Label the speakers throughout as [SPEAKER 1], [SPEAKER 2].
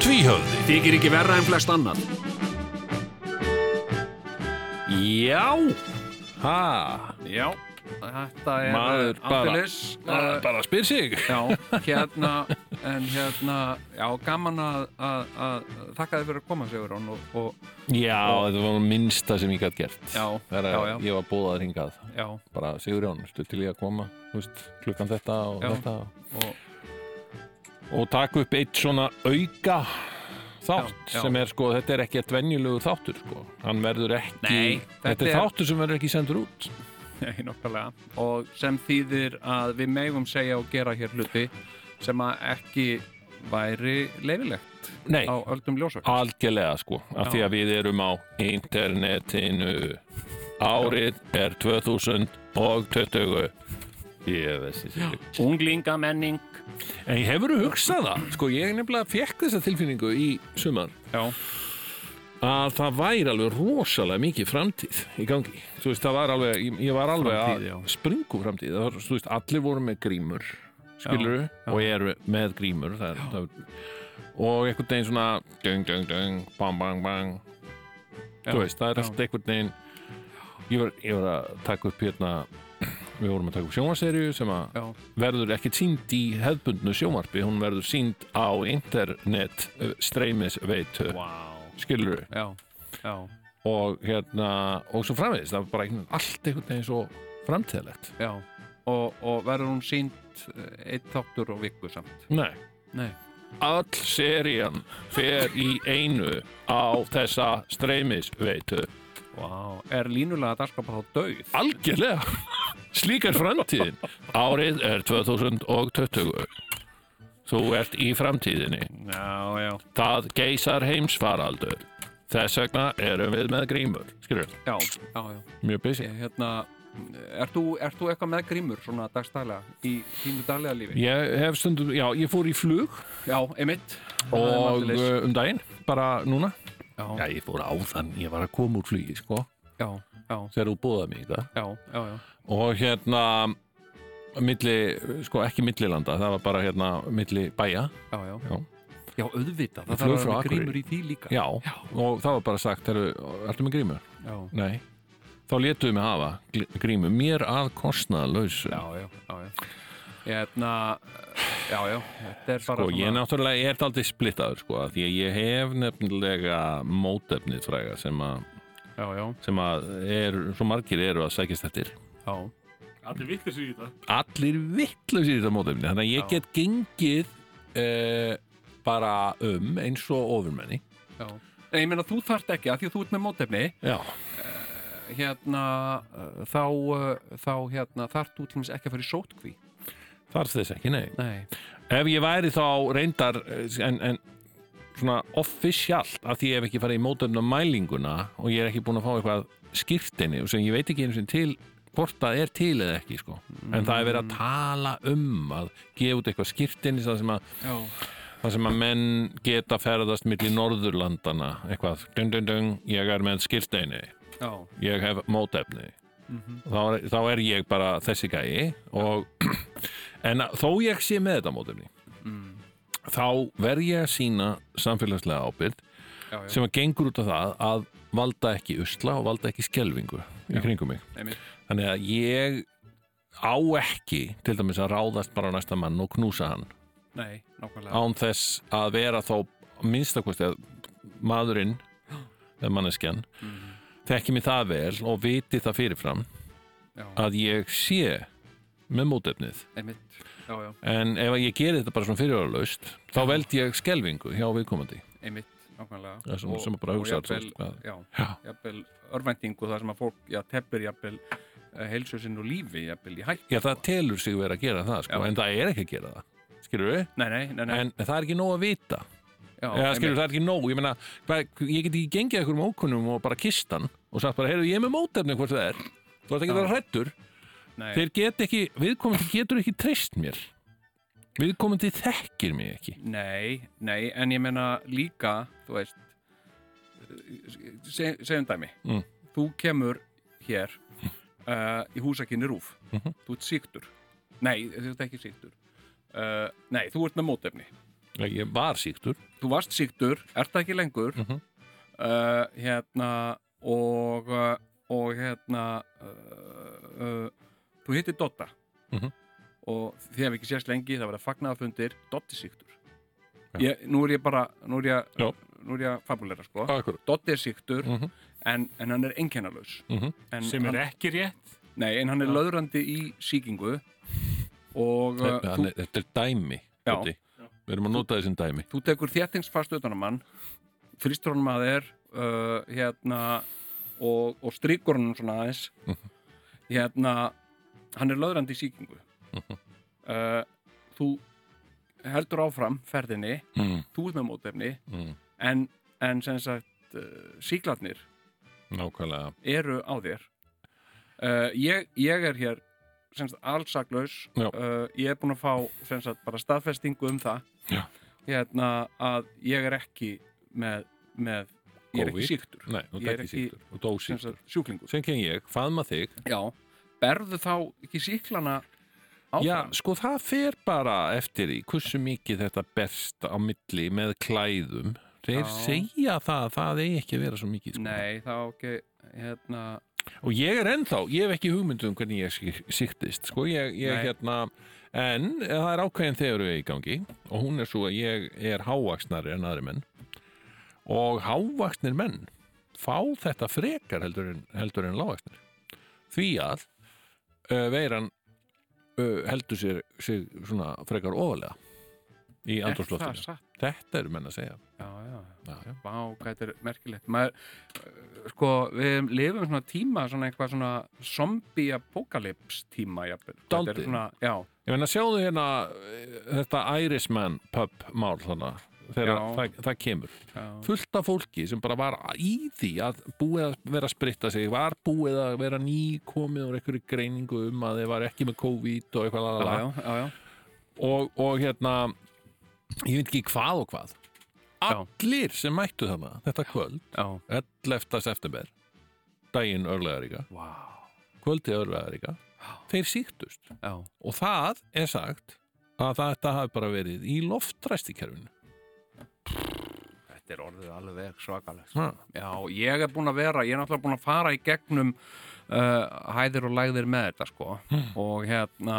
[SPEAKER 1] Tvíhöfði
[SPEAKER 2] Þykir ekki verra en flest annan Já
[SPEAKER 1] Ha,
[SPEAKER 2] Já, þetta er
[SPEAKER 1] maður
[SPEAKER 2] eh,
[SPEAKER 1] bara
[SPEAKER 2] aldeilis,
[SPEAKER 1] maður
[SPEAKER 2] eh,
[SPEAKER 1] bara spyr sig
[SPEAKER 2] Já, hérna En hérna, já, gaman að, að, að Þakka þið fyrir að koma, Sigurón og, og,
[SPEAKER 1] Já, þetta var minnsta sem ég gætt gert
[SPEAKER 2] Já,
[SPEAKER 1] Það er að
[SPEAKER 2] já, já.
[SPEAKER 1] ég var búðað hingað
[SPEAKER 2] Já,
[SPEAKER 1] bara Sigurjón, stu til ég að koma þú veist, klukkan þetta og
[SPEAKER 2] Já.
[SPEAKER 1] þetta
[SPEAKER 2] og
[SPEAKER 1] og taka upp eitt svona auka þátt
[SPEAKER 2] Já, já.
[SPEAKER 1] sem er sko, þetta er ekki að venjulegur þáttur sko, hann verður ekki
[SPEAKER 2] Nei,
[SPEAKER 1] þetta,
[SPEAKER 2] þetta
[SPEAKER 1] er
[SPEAKER 2] er-
[SPEAKER 1] þáttur sem verður ekki sendur út
[SPEAKER 2] Nei, nokkulega. Og sem þýðir að við megum segja og gera hér hluti sem að ekki væri leifilegt
[SPEAKER 1] Nei,
[SPEAKER 2] á öldum ljósak.
[SPEAKER 1] algjörlega sko af
[SPEAKER 2] Já.
[SPEAKER 1] því að við erum á internetinu árið er 2020 ég veist þessi
[SPEAKER 2] Unglingamenning.
[SPEAKER 1] En ég hefur hugsað það, sko ég nefnilega fekk þessa tilfinningu í sumar
[SPEAKER 2] Já,
[SPEAKER 1] að það væri alveg rosalega mikið framtíð í gangi þú veist, það var alveg, ég, ég var alveg
[SPEAKER 2] Framtíð, já.
[SPEAKER 1] að springu framtíð það var, þú veist, allir voru með grímur skiluru,
[SPEAKER 2] já.
[SPEAKER 1] og eru með grímur það er, það er, og einhvern veginn svona dung, dung, dung, bang, bang, bang
[SPEAKER 2] Já,
[SPEAKER 1] þú veist, það er
[SPEAKER 2] já.
[SPEAKER 1] allt einhvern veginn ég var, ég var að taka upp hérna við vorum að taka upp sjónvarserju sem að
[SPEAKER 2] já,
[SPEAKER 1] verður ekki sínd í hefðbundnu sjónvarpi, hún verður sínd á internet eh, streymisveitu wow. skiluru
[SPEAKER 2] já, já.
[SPEAKER 1] og hérna og svo framvegis, það var bara einhvern, allt einhvern veginn svo framtíðalegt
[SPEAKER 2] já. Og, og verður hún sínt eitt þáttur og viku samt.
[SPEAKER 1] Nei,
[SPEAKER 2] Nei.
[SPEAKER 1] all serían fer í einu á þessa eh, streymisveitu
[SPEAKER 2] Vá, er línulega dagskapa þá döið?
[SPEAKER 1] algjörlega slík er framtíðin árið er 2020 þú ert í framtíðinni
[SPEAKER 2] Já, já.
[SPEAKER 1] það geysar heimsfaraldur þess vegna erum við með grímur skilur,
[SPEAKER 2] Já, já, já.
[SPEAKER 1] mjög busy
[SPEAKER 2] Ég, hérna, ert þú, ert þú eitthvað með grímur svona dagstælega í þínu daglega lífi?
[SPEAKER 1] ég hef stundum, já, ég fór í flug
[SPEAKER 2] Já, einmitt. Það er
[SPEAKER 1] og
[SPEAKER 2] aldeilis.
[SPEAKER 1] uh, um daginn, bara núna
[SPEAKER 2] Já,
[SPEAKER 1] Já, ég fór áðan, ég var að koma úr flugi, sko,
[SPEAKER 2] já, já,
[SPEAKER 1] þegar þú bóðaði mig í það.
[SPEAKER 2] já, já, já.
[SPEAKER 1] Og hérna, milli, sko, ekki millilanda, það var bara hérna, milli bæja.
[SPEAKER 2] Já, já.
[SPEAKER 1] Já.
[SPEAKER 2] Já, auðvitað,
[SPEAKER 1] flug
[SPEAKER 2] það þarf að
[SPEAKER 1] frá
[SPEAKER 2] vera
[SPEAKER 1] Akureyri.
[SPEAKER 2] grímur í því líka.
[SPEAKER 1] Já, og það var bara sagt, eru, ertu með grímu?
[SPEAKER 2] já,
[SPEAKER 1] Nei. Þá létuðu mig hafa gl- grímu, mér að kostnaðalausu.
[SPEAKER 2] já, já. já, já. Hérna, já, já, þetta er bara
[SPEAKER 1] Og Sko, ég náttúrulega er aldrei splittaður, sko, af því að ég hef nefnilega mótefnið fræga sem að,
[SPEAKER 2] Já, já,
[SPEAKER 1] sem að er, svo margir eru að sækjast eftir.
[SPEAKER 2] já,
[SPEAKER 3] Allir vittir sér í þetta.
[SPEAKER 1] allir vittlausir í þetta mótefni þannig að ég
[SPEAKER 2] Já.
[SPEAKER 1] get gengið uh, bara um eins og ofurmenni
[SPEAKER 2] já. Nei, ég meina, þú þarft ekki að því að þú ert með mótefni,
[SPEAKER 1] já,
[SPEAKER 2] hérna, uh, þá, uh, þá, hérna, þarft þú til dæmis ekki að fara í sótkví.
[SPEAKER 1] þarf þess ekki, nei
[SPEAKER 2] Nei.
[SPEAKER 1] ef ég væri þá reyndar eh, en, en svona offisjalt að því ég hef ekki farið í mótefna mælinguna og ég er ekki búin að fá eitthvað skýrtinni sem ég veit ekki einu sinni til hvort það er til eða ekki sko.
[SPEAKER 2] Mm.
[SPEAKER 1] en það er verið að tala um að gefa út eitthvað skýrtinni það sem að
[SPEAKER 2] Já,
[SPEAKER 1] Það sem að menn geta ferðast milli Norðurlandana, eitthvað, dung, dung, dung, ég er með skilteini,
[SPEAKER 2] já, Mhm,
[SPEAKER 1] ég hef mótefni. þá, er, þá er ég bara þessi gæi og, en að- þó ég sé með þetta mótefni,
[SPEAKER 2] mhm.
[SPEAKER 1] þá verð ég að sína samfélagslega ábyrgð
[SPEAKER 2] já, já,
[SPEAKER 1] sem að gengur út af það að valda ekki usla og valda ekki skelvingu í kringum mig.
[SPEAKER 2] einmitt.
[SPEAKER 1] Þannig að ég á ekki til dæmis að ráðast bara á næsta mann og knúsa hann
[SPEAKER 2] Nei, nákvæmlega.
[SPEAKER 1] án þess að vera þá minnstakosti að maðurinn eða manneskjan
[SPEAKER 2] Mhm,
[SPEAKER 1] þekki mér það vel og viti það fyrirfram
[SPEAKER 2] Já,
[SPEAKER 1] að ég sé með mótefnið
[SPEAKER 2] einmitt. Já, já,
[SPEAKER 1] en ef ég geri þetta bara svona fyrirvaralaust þá veld ég skelvingu hjá viðkomandi
[SPEAKER 2] einmitt, nákvæmlega.
[SPEAKER 1] Það er svona sem að bara hugsa
[SPEAKER 2] og
[SPEAKER 1] þú veist,
[SPEAKER 2] jafnvel,
[SPEAKER 1] hvað-
[SPEAKER 2] já,
[SPEAKER 1] já,
[SPEAKER 2] jafnvel örvæntingu þar sem að fólk já, teppir jafnvel eh, heilsu sinni og lífi jafnvel í hætt
[SPEAKER 1] já það telur sig verið að gera það sko,
[SPEAKER 2] Já.
[SPEAKER 1] en það er ekki að gera það skilur við,
[SPEAKER 2] nei, nei, nei, nei.
[SPEAKER 1] en það er ekki nóg að vita
[SPEAKER 2] já,
[SPEAKER 1] eða skilur
[SPEAKER 2] einmitt.
[SPEAKER 1] það er ekki nóg, ég meina hvað, ég get ekki gengið einhverjum ókunnum og bara kist hann og sagt bara, heyrðu ég er með mótefni hvort það er þú ert ekki að vera hrættur
[SPEAKER 2] Nei.
[SPEAKER 1] þeir get ekki, viðkomandi getur ekki treyst mér viðkomandi þekkir mig ekki
[SPEAKER 2] Nei, nei, en ég meina líka, þú veist, se, segjum dæmi,
[SPEAKER 1] Mm.
[SPEAKER 2] þú kemur hér uh, í húsakinni rúf,
[SPEAKER 1] Mhm.
[SPEAKER 2] þú ert síktur, nei, þú ert ekki síktur, uh, nei, þú ert með mótefni,
[SPEAKER 1] ég var síktur
[SPEAKER 2] þú varst síktur, ert það ekki lengur,
[SPEAKER 1] Mhm.
[SPEAKER 2] uh, hérna, og, uh, og hérna, uh, uh, þú hittir Dotta,
[SPEAKER 1] Mhm.
[SPEAKER 2] og þið hef ekki sérst lengi, það verða fagnaðafundir, Dotti síktur.
[SPEAKER 1] Já.
[SPEAKER 2] Ég, nú er ég bara, nú er ég,
[SPEAKER 1] Já.
[SPEAKER 2] nú er ég að fabulera, sko.
[SPEAKER 1] Ah, akkurat
[SPEAKER 2] Dotti er síktur,
[SPEAKER 1] Mhm.
[SPEAKER 2] en, en hann er einkennalaus.
[SPEAKER 1] Mhm.
[SPEAKER 2] En
[SPEAKER 3] sem er
[SPEAKER 2] hann,
[SPEAKER 3] ekki rétt
[SPEAKER 2] Nei, en hann er löðrandi í síkingu og uh,
[SPEAKER 1] Þetta
[SPEAKER 2] þú,
[SPEAKER 1] er- þetta er dæmi
[SPEAKER 2] Já.
[SPEAKER 1] Doddi. við erum að nota þessin dæmi
[SPEAKER 2] þú tekur þéttingsfast utanum hann þrýstur honum að þér uh, hérna og, og strýkur honum svona aðeins hérna hann er löðrandi í sýkingu uh, þú heldur áfram ferðinni
[SPEAKER 1] mm,
[SPEAKER 2] þú ert með mótefni
[SPEAKER 1] mm,
[SPEAKER 2] en, en sem sagt uh, síklarnir
[SPEAKER 1] nákvæmlega
[SPEAKER 2] eru á þér uh, ég, ég er hér sem sagt allsaklaus
[SPEAKER 1] Já.
[SPEAKER 2] uh, ég er búin að fá sem sagt bara staðfestingu um það
[SPEAKER 1] Já.
[SPEAKER 2] hérna að ég er ekki með, með ég er
[SPEAKER 1] Covid.
[SPEAKER 2] ekki síktur
[SPEAKER 1] Nei, þú
[SPEAKER 2] Ég er
[SPEAKER 1] tekki
[SPEAKER 2] ekki-
[SPEAKER 1] síktur og dó
[SPEAKER 2] sem
[SPEAKER 1] síktur
[SPEAKER 2] sagt sjúklingur
[SPEAKER 1] sem kem ég, faðma þig
[SPEAKER 2] Já. berðu þá ekki síklana
[SPEAKER 1] Já,
[SPEAKER 2] áfram
[SPEAKER 1] sko það fer bara eftir í hversu mikið þetta berst á milli með klæðum þeir
[SPEAKER 2] Já.
[SPEAKER 1] segja það, að það eigi ekki að vera svo mikið sko.
[SPEAKER 2] nei þá ekki hérna
[SPEAKER 1] og ég er ennþá, ég hef ekki hugmynd um hvernig ég sí- sýktist sko, ég, ég
[SPEAKER 2] Nei.
[SPEAKER 1] hérna en það er ákveðin þegar við í gangi og hún er svo að ég er hávaksnari en aðri menn og hávaksnir menn fá þetta frekar heldur en, heldur en lávaksnir því að uh, veiran uh, heldur sér, sér svona frekar ofalega í
[SPEAKER 2] er það
[SPEAKER 1] andrúrslóttinu
[SPEAKER 2] satt
[SPEAKER 1] þetta eru menn að segja
[SPEAKER 2] já, já, já
[SPEAKER 1] já, já.
[SPEAKER 2] Vá, hvað þetta er merkilegt Maður, uh, sko, við lifum svona tíma svona eitthvað svona zombie apocalypse tíma jafnvel. Hvað þetta er
[SPEAKER 1] Dálítið.
[SPEAKER 2] svona, Já,
[SPEAKER 1] Ég meina, sjáðu hérna eh, þetta Irishman pub mál þarna, þegar
[SPEAKER 2] Já.
[SPEAKER 1] það, það kemur.
[SPEAKER 2] já,
[SPEAKER 1] Fullt af fólki sem bara var í því að búið að vera að spritta sig, var búið að vera nýkomið og einhverju greiningu um að þeir var ekki með COVID og eitthvað
[SPEAKER 2] já,
[SPEAKER 1] lalala.
[SPEAKER 2] já, já, já.
[SPEAKER 1] Og, og hérna, ég veit ekki hvað og hvað.
[SPEAKER 2] Já.
[SPEAKER 1] Allir sem mættu þarna, þetta kvöld,
[SPEAKER 2] já.
[SPEAKER 1] 11. september, daginn örlegaríka,
[SPEAKER 2] Vá,
[SPEAKER 1] kvöldi örlegaríka, þeir síktust.
[SPEAKER 2] já,
[SPEAKER 1] og það er sagt að þetta hafi bara verið í loftræstikerfinu
[SPEAKER 2] þetta er orðið alveg svakalegt
[SPEAKER 1] ha.
[SPEAKER 2] Já, ég er búin að vera, ég er náttúrulega búin að fara í gegnum uh, hæðir og lægðir með þetta sko
[SPEAKER 1] Hmm.
[SPEAKER 2] og hérna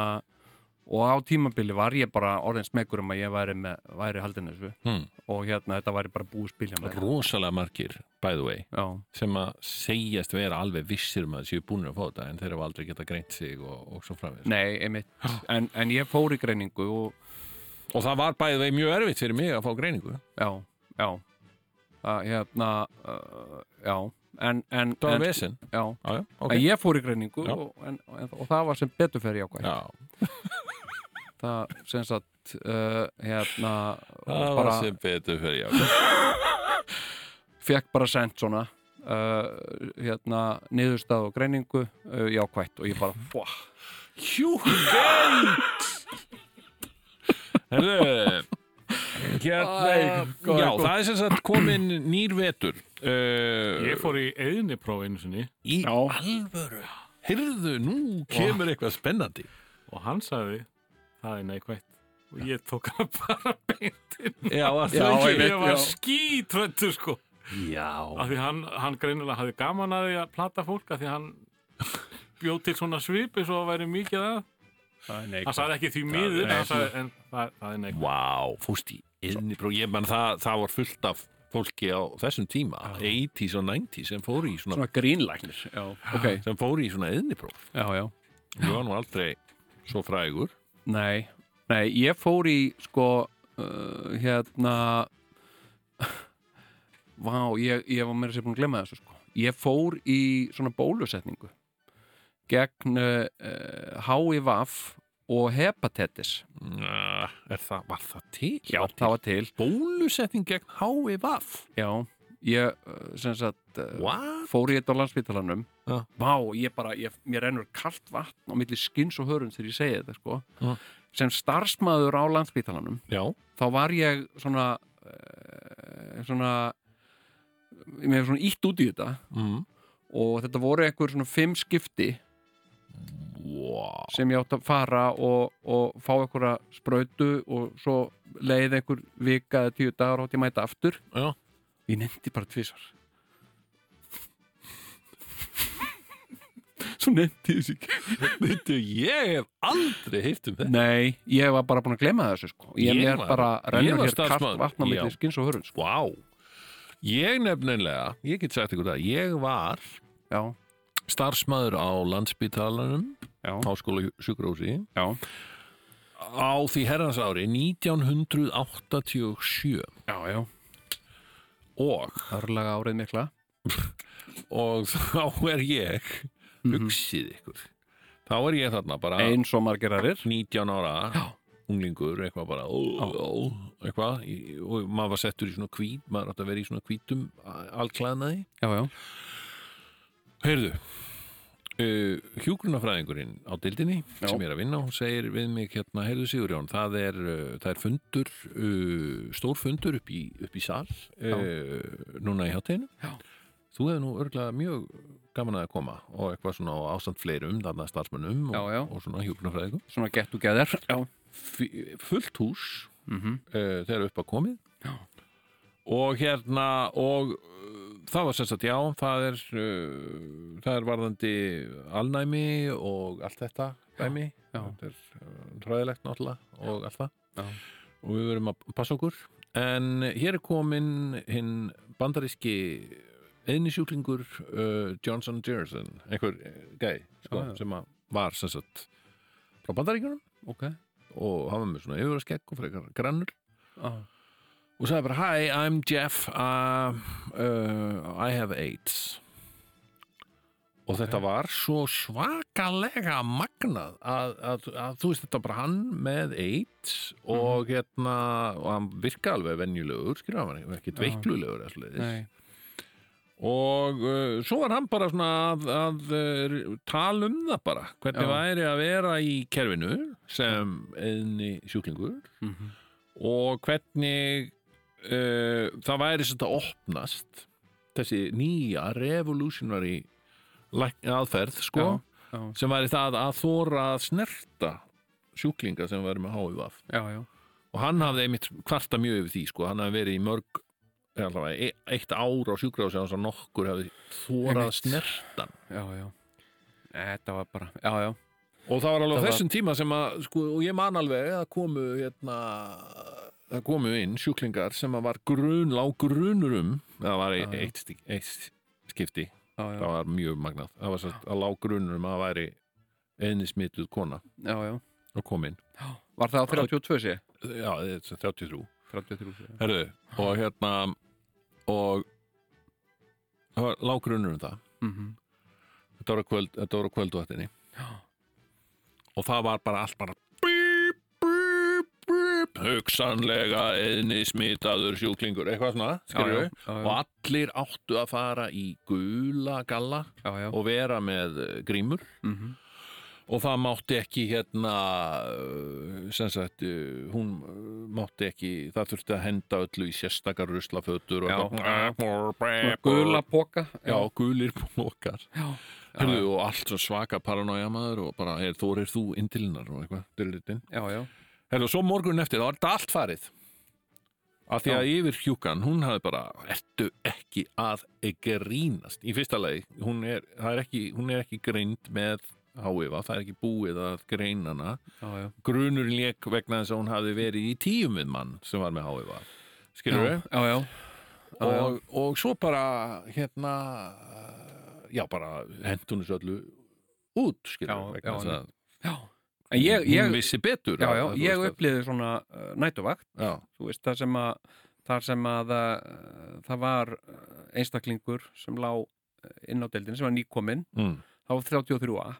[SPEAKER 2] og á tímabili var ég bara orðin smekur um að ég væri, með, væri haldin þessu
[SPEAKER 1] hmm.
[SPEAKER 2] og hérna þetta væri bara búið spilja með þetta.
[SPEAKER 1] rosalega margir, by the way
[SPEAKER 2] Já,
[SPEAKER 1] sem að segjast vera alveg vissir um að séu búinir að fá þetta en þeir hafa aldrei geta greint sig og, og svo framvegis
[SPEAKER 2] Nei, einmitt, en, en ég fór í greiningu og
[SPEAKER 1] og það var by the way mjög erfitt fyrir mig að fá greiningu
[SPEAKER 2] já, já að hérna uh, já, en, en,
[SPEAKER 1] það var
[SPEAKER 2] en,
[SPEAKER 1] vesen
[SPEAKER 2] já,
[SPEAKER 1] já, já,
[SPEAKER 2] en
[SPEAKER 1] okay.
[SPEAKER 2] ég fór í greiningu
[SPEAKER 1] Já.
[SPEAKER 2] og, en, og, og það var sem betur fyrir jákvæð
[SPEAKER 1] já.
[SPEAKER 2] það sem sagt uh, hérna
[SPEAKER 1] það
[SPEAKER 2] bara,
[SPEAKER 1] var sem betur fyrir já.
[SPEAKER 2] fekk bara sent svona uh, hérna niðurstað og greiningu uh, jákvætt og ég bara, fóa
[SPEAKER 1] hjúkveld Herðu Hérna
[SPEAKER 2] Ah, góð,
[SPEAKER 1] Já,
[SPEAKER 2] góð.
[SPEAKER 1] það er sem sagt komin nýr vetur uh,
[SPEAKER 3] ég fór í eðinipróf einu sinni
[SPEAKER 1] í
[SPEAKER 2] Já.
[SPEAKER 1] alvöru Heyrðu, nú kemur eitthvað spennandi
[SPEAKER 3] og hann sagði það er neikvætt og ég tók hann bara beint inn
[SPEAKER 1] Já, var
[SPEAKER 2] Já,
[SPEAKER 1] það
[SPEAKER 2] einmitt,
[SPEAKER 1] ekki
[SPEAKER 3] ég var
[SPEAKER 2] já.
[SPEAKER 3] skítröndur sko
[SPEAKER 1] Já,
[SPEAKER 3] af því hann, hann greinilega hafði gaman að því að plata fólk af því hann bjóð til svona svip eins og það væri mikið að hann sagði ekki því miður
[SPEAKER 1] er-
[SPEAKER 3] hann sagði, en það, það er neikvætt
[SPEAKER 1] vá, fórst í innipróf Ég menn það, það var fullt af fólki á þessum tíma 80s og 90s sem fór í svona,
[SPEAKER 2] svona grínlæknir já, ok,
[SPEAKER 1] sem fór í svona innipróf
[SPEAKER 2] já, já
[SPEAKER 1] Ég var nú aldrei svo frægur
[SPEAKER 2] Nei, nei, ég fór í sko, uh, hérna Vá, ég, ég var meira sér búin að glemma þessu sko Ég fór í svona bólusetningu gegn uh, uh, HIV og hepatitis
[SPEAKER 1] Næ, Er það, var það til?
[SPEAKER 2] það var til
[SPEAKER 1] bólusetning gegn HIV
[SPEAKER 2] Já, ég uh, sem sagt uh,
[SPEAKER 1] What?
[SPEAKER 2] fór ég þetta á landsbytalanum
[SPEAKER 1] Já.
[SPEAKER 2] vá, ég bara, ég, mér rennur kalt vatn á milli skins og hörund þegar ég segi þetta sko.
[SPEAKER 1] Já.
[SPEAKER 2] sem starfsmaður á landsbytalanum
[SPEAKER 1] Já,
[SPEAKER 2] þá var ég svona uh, svona ég hef svona ítt út í þetta
[SPEAKER 1] mm.
[SPEAKER 2] og þetta voru einhver svona fimm skipti
[SPEAKER 1] wow.
[SPEAKER 2] sem ég átt að fara og, og fá einhverja sprautu og svo leið einhver vika eða tíu dagar átt ég að mæta aftur
[SPEAKER 1] Já.
[SPEAKER 2] ég nefndi bara tvisar svo nefndi ég þessi ekki
[SPEAKER 1] Veitu, ég hef aldrei heyrt um þetta
[SPEAKER 2] nei, ég var bara búin að glema þessu sko ég,
[SPEAKER 1] Ég
[SPEAKER 2] ég
[SPEAKER 1] var-
[SPEAKER 2] bara
[SPEAKER 1] ég var
[SPEAKER 2] rennur hér kalt
[SPEAKER 1] starfsmaður,
[SPEAKER 2] vatna
[SPEAKER 1] já.
[SPEAKER 2] með skins og hörun sko.
[SPEAKER 1] Vá Ég nefnilega, ég get sagt ykkur það Ég var
[SPEAKER 2] já,
[SPEAKER 1] starfsmaður á landsbytalanum
[SPEAKER 2] já,
[SPEAKER 1] Háskóla sjúkrahúsi
[SPEAKER 2] já,
[SPEAKER 1] á því herrans ári 1987
[SPEAKER 2] já, já
[SPEAKER 1] og,
[SPEAKER 2] örlaga árið mikla
[SPEAKER 1] og þá er ég
[SPEAKER 2] Mhm.
[SPEAKER 1] hugsið ykkur þá er ég þarna bara
[SPEAKER 2] eins og margir aðrir
[SPEAKER 1] 19 ára
[SPEAKER 2] Já.
[SPEAKER 1] unglingur, eitthvað bara ó, ó, eitthvað, í- og maður var settur í svona hvít, maður átti að vera í svona hvítum allklæðnaði
[SPEAKER 2] já, já,
[SPEAKER 1] Heyrðu Uh, hjúgrunafræðingurinn á dildinni
[SPEAKER 2] Já.
[SPEAKER 1] sem ég er að vinna, hún segir við mig hérna, heyrðu Sigurjón, það er, uh, það er fundur, uh, stór fundur upp í, upp í sal uh, núna í hátteginu
[SPEAKER 2] Já.
[SPEAKER 1] þú hefur nú örglað mjög gaman að koma og eitthvað svona á ástand fleirum þarna starfsmönnum og,
[SPEAKER 2] Já, já.
[SPEAKER 1] og svona hjúgrunafræðingum
[SPEAKER 2] svona get og geðir já,
[SPEAKER 1] F- fullt hús
[SPEAKER 2] mm
[SPEAKER 1] uh, þegar upp að komið
[SPEAKER 2] Já.
[SPEAKER 1] og hérna og uh, það var sem sagt já það er, uh, það er varðandi alnæmi og allt þetta dæmi
[SPEAKER 2] já.
[SPEAKER 1] þetta er uh, hræðilegt náttúrulega og allt það
[SPEAKER 2] Já.
[SPEAKER 1] og við verum að passa okkur en hér er komin hinn bandaríski einnisjúklingur uh, Johnson Jerson einhver uh, gæi sko,
[SPEAKER 2] Já, já.
[SPEAKER 1] sem að var sem sagt frá bandaríkjunum
[SPEAKER 2] ok
[SPEAKER 1] og hann var með svona yfirvarskegg og frekar grannur
[SPEAKER 2] já,
[SPEAKER 1] og sagði bara Hi, I'm Jeff uh, uh, I have AIDS og þetta var svo svakalega magnað að, að, að þú veist þetta bara hann með AIDS og hérna og hann virka alveg venjulegur skilur hann var ekki
[SPEAKER 2] Já.
[SPEAKER 1] veiklulegur eða svoleiðis.
[SPEAKER 2] nei
[SPEAKER 1] og uh, svo var hann bara svona að, að uh, tala um það bara hvernig
[SPEAKER 2] Já.
[SPEAKER 1] væri að vera í kerfinu sem einni sjúklingur
[SPEAKER 2] mm
[SPEAKER 1] og hvernig uh, það væri sem þetta opnast þessi nýja revolutionary læk- aðferð sko,
[SPEAKER 2] já,
[SPEAKER 1] sem væri það að þóra að snerta sjúklinga sem væri með HVF
[SPEAKER 2] já, já,
[SPEAKER 1] og hann hafði einmitt kvarta mjög yfir því sko, hann hafði verið í mörg eða allavega, e- eitt ár á sjúkrafs eða nokkur hafði þórað að
[SPEAKER 2] Einmitt.
[SPEAKER 1] snerta hann
[SPEAKER 2] já, já. Nei, þetta var bara, já, já,
[SPEAKER 1] Og það var alveg á
[SPEAKER 2] Það var-
[SPEAKER 1] þessum tíma sem að, sko, og ég man alveg að komu, hérna, það komu inn sjúklingar sem að var grun, lág grunur um, það var
[SPEAKER 2] Já, já.
[SPEAKER 1] eitt, stik- eitt skipti,
[SPEAKER 2] já, já,
[SPEAKER 1] það var mjög magnað, það var satt að lág grunur um að það væri einni smituð kona
[SPEAKER 2] já, já.
[SPEAKER 1] og kom inn,
[SPEAKER 2] Var það á 32 sé?
[SPEAKER 1] já, þetta er 33,
[SPEAKER 2] 33 sé.
[SPEAKER 1] herðu, og hérna, og það var lág grunur um það,
[SPEAKER 2] Mm -hmm.
[SPEAKER 1] þetta voru kvöld, þetta voru kvöldvættinni
[SPEAKER 2] Já.
[SPEAKER 1] og það var bara allt bara bíp, bíp, bíp hugsanlega einni smitaður sjúklingur eitthvað svona, skilur við
[SPEAKER 2] Já,
[SPEAKER 1] og allir áttu að fara í gula galla
[SPEAKER 2] já, já.
[SPEAKER 1] og vera með eh, grímur
[SPEAKER 2] Mm -hmm.
[SPEAKER 1] og það mátti ekki hérna eh, sem sagt eh, hún eh, mátti ekki, það þurfti að henda öllu í sérstakar ruslafötur og
[SPEAKER 2] Já.
[SPEAKER 1] eitthvað.
[SPEAKER 2] Gula póka.
[SPEAKER 1] já, gulir bókar
[SPEAKER 2] já.
[SPEAKER 1] Hörðu, og allt svo svaka paranoja maður og bara, er, þú er þú indilinnar og eitthvað, dyrlitinn.
[SPEAKER 2] Já, já.
[SPEAKER 1] Hörðu, og svo morgun eftir, þá var þetta allt farið. Af því
[SPEAKER 2] Já.
[SPEAKER 1] að yfir hjúkan, hún hafði bara, ertu ekki að grínast. Í fyrsta lagi, hún er, það er, ekki, hún er ekki greind með háifa, það er ekki búið að greina hana.
[SPEAKER 2] Já, já.
[SPEAKER 1] Grunur lék vegna þess að hún hafði verið í tíum við mann sem var með háifa. Skilur við?
[SPEAKER 2] Já, já. Já, já.
[SPEAKER 1] og, og svo bara hérna eh, já bara hendunus öllu út skilur
[SPEAKER 2] Já,
[SPEAKER 1] vegna
[SPEAKER 2] já,
[SPEAKER 1] þess að
[SPEAKER 2] Já. En ég,
[SPEAKER 1] hún
[SPEAKER 2] ég,
[SPEAKER 1] vissi betur
[SPEAKER 2] já,
[SPEAKER 1] að-
[SPEAKER 2] já,
[SPEAKER 1] að þú
[SPEAKER 2] ég
[SPEAKER 1] veist að-
[SPEAKER 2] upplýði svona uh, nætuvakt,
[SPEAKER 1] já,
[SPEAKER 2] þú veist, það sem að þar sem að uh, það var uh, einstaklingur sem lá uh, inn á deildin sem var nýkominn
[SPEAKER 1] mm,
[SPEAKER 2] það var 33a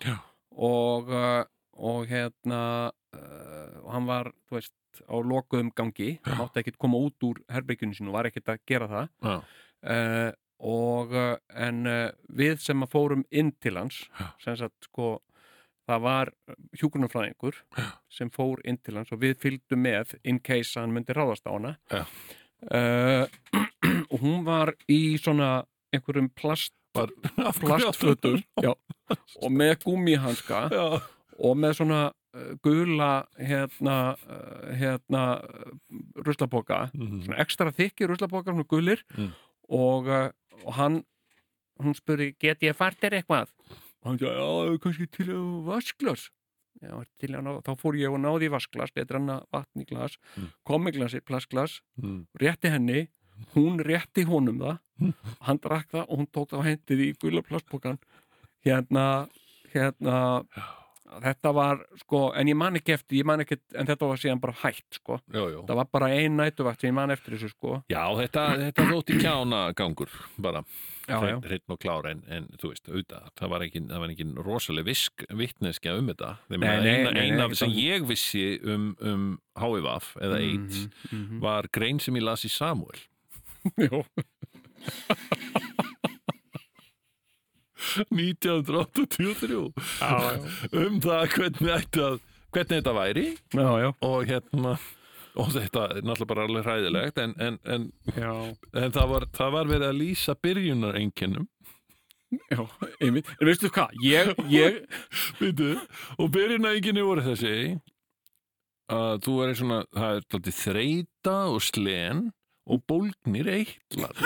[SPEAKER 1] Já.
[SPEAKER 2] og, uh, og eh, hérna uh, og hann var, þú veist, á lokuðum gangi hann átti ekkert koma út úr herbygginu sínu og var ekkert að gera það
[SPEAKER 1] já,
[SPEAKER 2] uh, og uh, en uh, við sem að fórum inn til hans
[SPEAKER 1] Já.
[SPEAKER 2] sem sagt sko það var hjúgrunarfræðingur sem fór inn til hans og við fylgdum með in case hann myndi ráðast á hana
[SPEAKER 1] Já.
[SPEAKER 2] uh, og hún var í svona einhverjum plast,
[SPEAKER 1] Var-
[SPEAKER 2] plastfötum já, og með gummihanska
[SPEAKER 1] já,
[SPEAKER 2] og með svona uh, gula hérna, uh, hérna ruslapoka
[SPEAKER 1] Mhm.
[SPEAKER 2] svona ekstra þykki ruslapokar, svona gulir
[SPEAKER 1] Mm.
[SPEAKER 2] og, uh, og hann hún spurði, get ég fært þér eitthvað og hann sagði, já, kannski til að vasklas já, til að ná, þá fór ég og náði í vasklas, þetta er hann að vatn í glas
[SPEAKER 1] Mm.
[SPEAKER 2] kom í glasi, plastglas
[SPEAKER 1] Mm.
[SPEAKER 2] rétti henni, hún rétti honum það, hann drakk það og hún tók það á hendið í gula plastpokan hérna, hérna þetta var, sko, en ég man ekki eftir ég man ekki, en þetta var síðan bara hætt sko,
[SPEAKER 1] já, já.
[SPEAKER 2] það var bara ein nætuvakt sem ég man eftir þessu, sko
[SPEAKER 1] Já, þetta, þetta þótti kjána gangur bara,
[SPEAKER 2] Já, já.
[SPEAKER 1] hreinn og klár en, en þú veist, auðvitað, það var engin, það var engin rosaleg visk, vitneskja um þetta þeim
[SPEAKER 2] Nei,
[SPEAKER 1] að
[SPEAKER 2] nei,
[SPEAKER 1] eina,
[SPEAKER 2] nei, nei,
[SPEAKER 1] eina
[SPEAKER 2] ekki
[SPEAKER 1] sem
[SPEAKER 2] það.
[SPEAKER 1] ég vissi um, um HIVAF eða AIDS
[SPEAKER 2] mhm.
[SPEAKER 1] var grein sem ég las í Samuel
[SPEAKER 2] Jó,
[SPEAKER 1] 1983 um það hvernig, ætti að, hvernig þetta væri
[SPEAKER 2] já, já,
[SPEAKER 1] og hérna og þetta er náttúrulega bara alveg hræðilegt en, en, en,
[SPEAKER 2] já,
[SPEAKER 1] en það, var, það var verið að lýsa byrjunarengjenum
[SPEAKER 2] já einmitt, en veistu hvað, ég, ég
[SPEAKER 1] Veitu, og byrjunæginni voru þessi að þú er svona, það er tóttið þreita og slen og bólgnir eitlar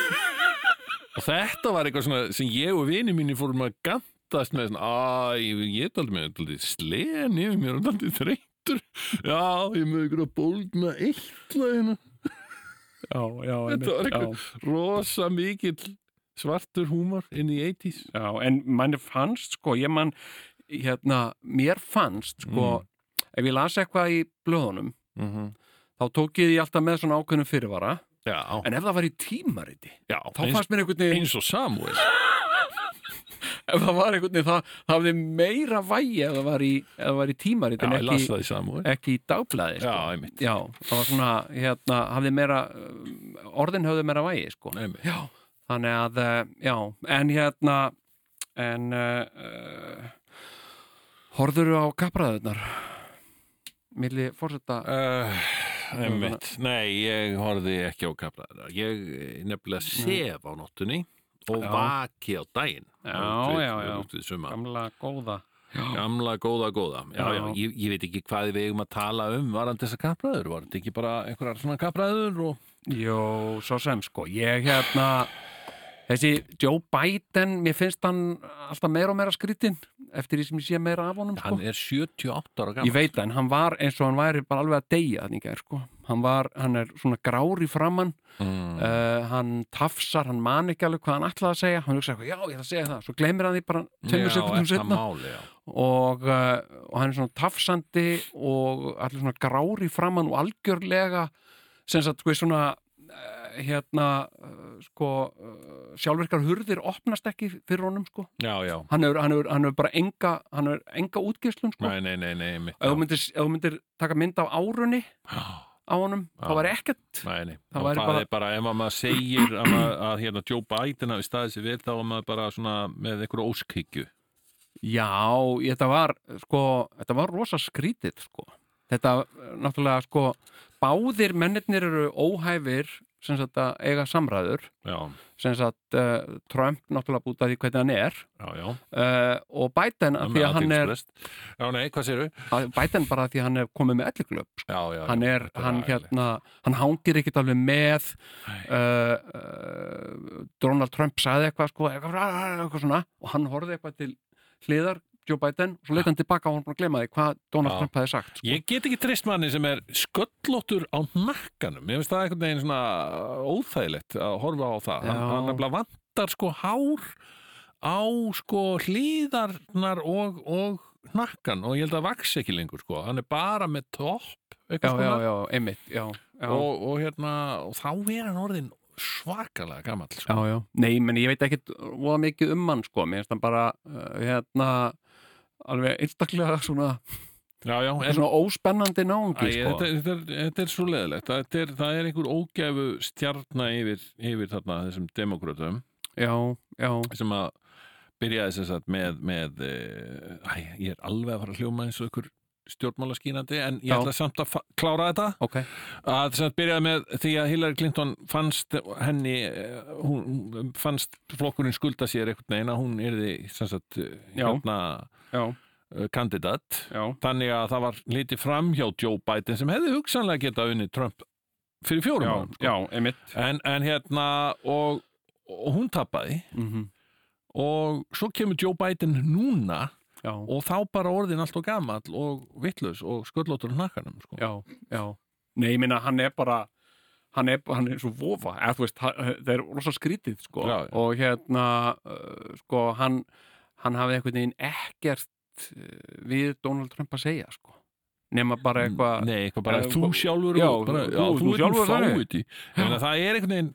[SPEAKER 1] og þetta var eitthvað svona sem ég og vini mínir fórum að gantast með svona, að ég er tóttið með tóttið slen yfir mér og tóttið þreitur já, ég er með ykkur að bólgna eitla hérna,
[SPEAKER 2] Já, já, einmitt,
[SPEAKER 1] Þetta var
[SPEAKER 2] já,
[SPEAKER 1] einhver- rosa mikill svartur húmar inn í 80s
[SPEAKER 2] já, en manni fannst, sko, ég mann, hérna, mér fannst, sko, ef ég las eitthvað í blöðunum,
[SPEAKER 1] mm -hmm.
[SPEAKER 2] Mhm. þá tók ég því alltaf með svona ákveðnum fyrirvara,
[SPEAKER 1] já,
[SPEAKER 2] en ef það var í tímariti,
[SPEAKER 1] já
[SPEAKER 2] þá
[SPEAKER 1] eins,
[SPEAKER 2] fannst mér einhvern veginn,
[SPEAKER 1] eins og Samuel
[SPEAKER 2] ef það var einhvern veginn, það, það hafði meira vægi ef það var í, ef það var í tímariti,
[SPEAKER 1] já,
[SPEAKER 2] en
[SPEAKER 1] ég las
[SPEAKER 2] ekki,
[SPEAKER 1] það í Samuel
[SPEAKER 2] ekki í dagblæði, sko.
[SPEAKER 1] já, einmitt
[SPEAKER 2] Já, það var svona, hérna, hafði meira, um, orðin höfðu meira vægi, sko.
[SPEAKER 1] Einmitt.
[SPEAKER 2] Já, þannig að, eh, já, en hérna, en, uh, horfðurðu á kapraðunar? Milli fórseta,
[SPEAKER 1] Uh, einmitt. Nei, ég horfði ekki á kaplaðina. Ég eh, nefnilega sef á nóttunni og
[SPEAKER 2] Já.
[SPEAKER 1] vaki á daginn.
[SPEAKER 2] Já,
[SPEAKER 1] Út við-
[SPEAKER 2] já, já.
[SPEAKER 1] út við suma.
[SPEAKER 2] gamla góða.
[SPEAKER 1] Gamla, góða, góða. Já, já,
[SPEAKER 2] Já.
[SPEAKER 1] Ég, ég veit ekki hvað við eigum að tala um varandi þessa kaplaður. Var þetta ekki bara einhverjar svona kaplaður og...
[SPEAKER 2] Jó, svo sem, sko, ég hérna, þessi Joe Biden, mér finnst hann alltaf meira og meira skrýtin eftir því sem ég sé meira af honum, sko.
[SPEAKER 1] Hann er 78 ára
[SPEAKER 2] Ég
[SPEAKER 1] gammal.
[SPEAKER 2] veit það, en hann var eins og hann væri bara alveg að deyja þannig er sko. Hann, var, hann er svona grár í framann,
[SPEAKER 1] Mm.
[SPEAKER 2] uh, hann tafsar, hann man ekki alveg hvað hann ætlaði að segja, hann hugsa eitthvað, já, ég ætla að segja það, svo gleymir hann því bara
[SPEAKER 1] Já,
[SPEAKER 2] tveimur sekundum
[SPEAKER 1] er það
[SPEAKER 2] setna
[SPEAKER 1] máli, já.
[SPEAKER 2] og, uh, og hann er svona tafsandi og allir svona grár í framann og algjörlega, sem sagt, sko, svona, uh, hérna, uh, sko, uh, sjálfverkar hurðir opnast ekki fyrir honum, sko.
[SPEAKER 1] Já, já.
[SPEAKER 2] Hann hefur, hann hefur, hann hefur bara enga, hann hefur enga útgeislun, sko
[SPEAKER 1] Nei, nei, nei, nei, mitt.
[SPEAKER 2] ef þú myndir, ef þú myndir taka mynd af árunni á honum,
[SPEAKER 1] Já.
[SPEAKER 2] þá var ekkert
[SPEAKER 1] Nei, nei.
[SPEAKER 2] Það
[SPEAKER 1] Og
[SPEAKER 2] væri
[SPEAKER 1] það
[SPEAKER 2] bara-
[SPEAKER 1] er bara ef að maður segir að, maður, að hérna, Joe Biden hafi staðið sér vel þá er maður bara svona með einhverju óskhyggju.
[SPEAKER 2] já, ég- þetta var sko, þetta var rosa skrítið sko. þetta eh, náttúrulega sko, báðir mennirnir eru óhæfir sem sagt að eiga samræður
[SPEAKER 1] Já,
[SPEAKER 2] sem sagt uh, Trump náttúrulega búta því hvernig hann er
[SPEAKER 1] já, já.
[SPEAKER 2] uh, og Biden
[SPEAKER 1] Það
[SPEAKER 2] að
[SPEAKER 1] með
[SPEAKER 2] því að hann er
[SPEAKER 1] athyglisbrest. Já, nei, hvað séru?
[SPEAKER 2] að Biden bara að því að hann er komið með elliklöp sko.
[SPEAKER 1] Já, já,
[SPEAKER 2] hann
[SPEAKER 1] já,
[SPEAKER 2] er,
[SPEAKER 1] þetta
[SPEAKER 2] hann
[SPEAKER 1] agalegt.
[SPEAKER 2] hérna hann hangir ekkert alveg með
[SPEAKER 1] Nei.
[SPEAKER 2] uh, uh, Donald Trump sagði eitthvað sko, eitthvað, eitthvað svona og hann horfði eitthvað til hliðar Joe Biden, og svo leit hann tilbaka og hann búin að glema því hvað Donald
[SPEAKER 1] Já.
[SPEAKER 2] Trump hefði sagt sko.
[SPEAKER 1] Ég get ekki treyst manni sem er sköllóttur á nakkanum. Ég finnst það einhvern veginn svona uh, óþægilegt að horfa á það. Hann,
[SPEAKER 2] Já.
[SPEAKER 1] hann nefnilega vantar sko hár á sko hlýðarnar og, og nakkan og ég held að vaks ekki lengur sko. Hann er bara með topp
[SPEAKER 2] já,
[SPEAKER 1] eitthvað
[SPEAKER 2] já,
[SPEAKER 1] svona
[SPEAKER 2] já, einmitt já, já,
[SPEAKER 1] og, og hérna og þá er hann orðin svakalega gamall sko.
[SPEAKER 2] já, já, nei, menn ég veit ekkert voða eh, mikið um hann, sko, mér finnst hann bara uh, hérna alveg einstaklega svona
[SPEAKER 1] já, já,
[SPEAKER 2] Þetta er
[SPEAKER 1] en
[SPEAKER 2] svona óspennandi
[SPEAKER 1] Æ,
[SPEAKER 2] náungi sko.
[SPEAKER 1] þetta, þetta, er, þetta er svo leðilegt það er, það er einhver ógæfu stjarna yfir, yfir þarna þessum demokrautum
[SPEAKER 2] Já, já,
[SPEAKER 1] sem að byrjaði sem sagt með, með eh, æ, ég er alveg að fara að hljóma eins og ykkur stjórnmála skínandi en ég
[SPEAKER 2] Já.
[SPEAKER 1] ætla samt að fa- klára þetta
[SPEAKER 2] ok
[SPEAKER 1] að sem sagt byrjaði með því að Hillary Clinton fannst henni eh, hún hún fannst flokkurinn skulda sér einhvern veginn að hún yrði sem sagt eh,
[SPEAKER 2] Já.
[SPEAKER 1] hérna
[SPEAKER 2] Já,
[SPEAKER 1] eh, kandidat
[SPEAKER 2] já,
[SPEAKER 1] þannig að það var litið fram hjá Joe Biden sem hefði hugsanlega getað unni Trump fyrir fjórum
[SPEAKER 2] já,
[SPEAKER 1] árum sko.
[SPEAKER 2] já, emitt
[SPEAKER 1] en, en hérna og, og hún tappaði
[SPEAKER 2] mm
[SPEAKER 1] og svo kemur Joe Biden núna
[SPEAKER 2] Já,
[SPEAKER 1] og þá bara orðin allt og gamall og vittlaus og sköllóttur á nakkanum sko.
[SPEAKER 2] já, já Nei, ég minna, hann er bara hann er, hann er svo vofa eða, þú veist, hann, það er rosa skrítið sko.
[SPEAKER 1] Já, já.
[SPEAKER 2] og hérna uh, sko, hann, hann hafði einhvern veginn ekkert uh, við Donald Trump að segja sko. nema bara eitthvað
[SPEAKER 1] Nei, eitthvað bara
[SPEAKER 2] Já,
[SPEAKER 1] þú
[SPEAKER 2] og-
[SPEAKER 1] sjálfur
[SPEAKER 2] já,
[SPEAKER 1] og bara,
[SPEAKER 2] þú-
[SPEAKER 1] já,
[SPEAKER 2] þú-
[SPEAKER 1] þú
[SPEAKER 2] þú
[SPEAKER 1] ert
[SPEAKER 2] sjálfur
[SPEAKER 1] sjálfur
[SPEAKER 2] þannig.
[SPEAKER 1] fáið í en það er einhvern veginn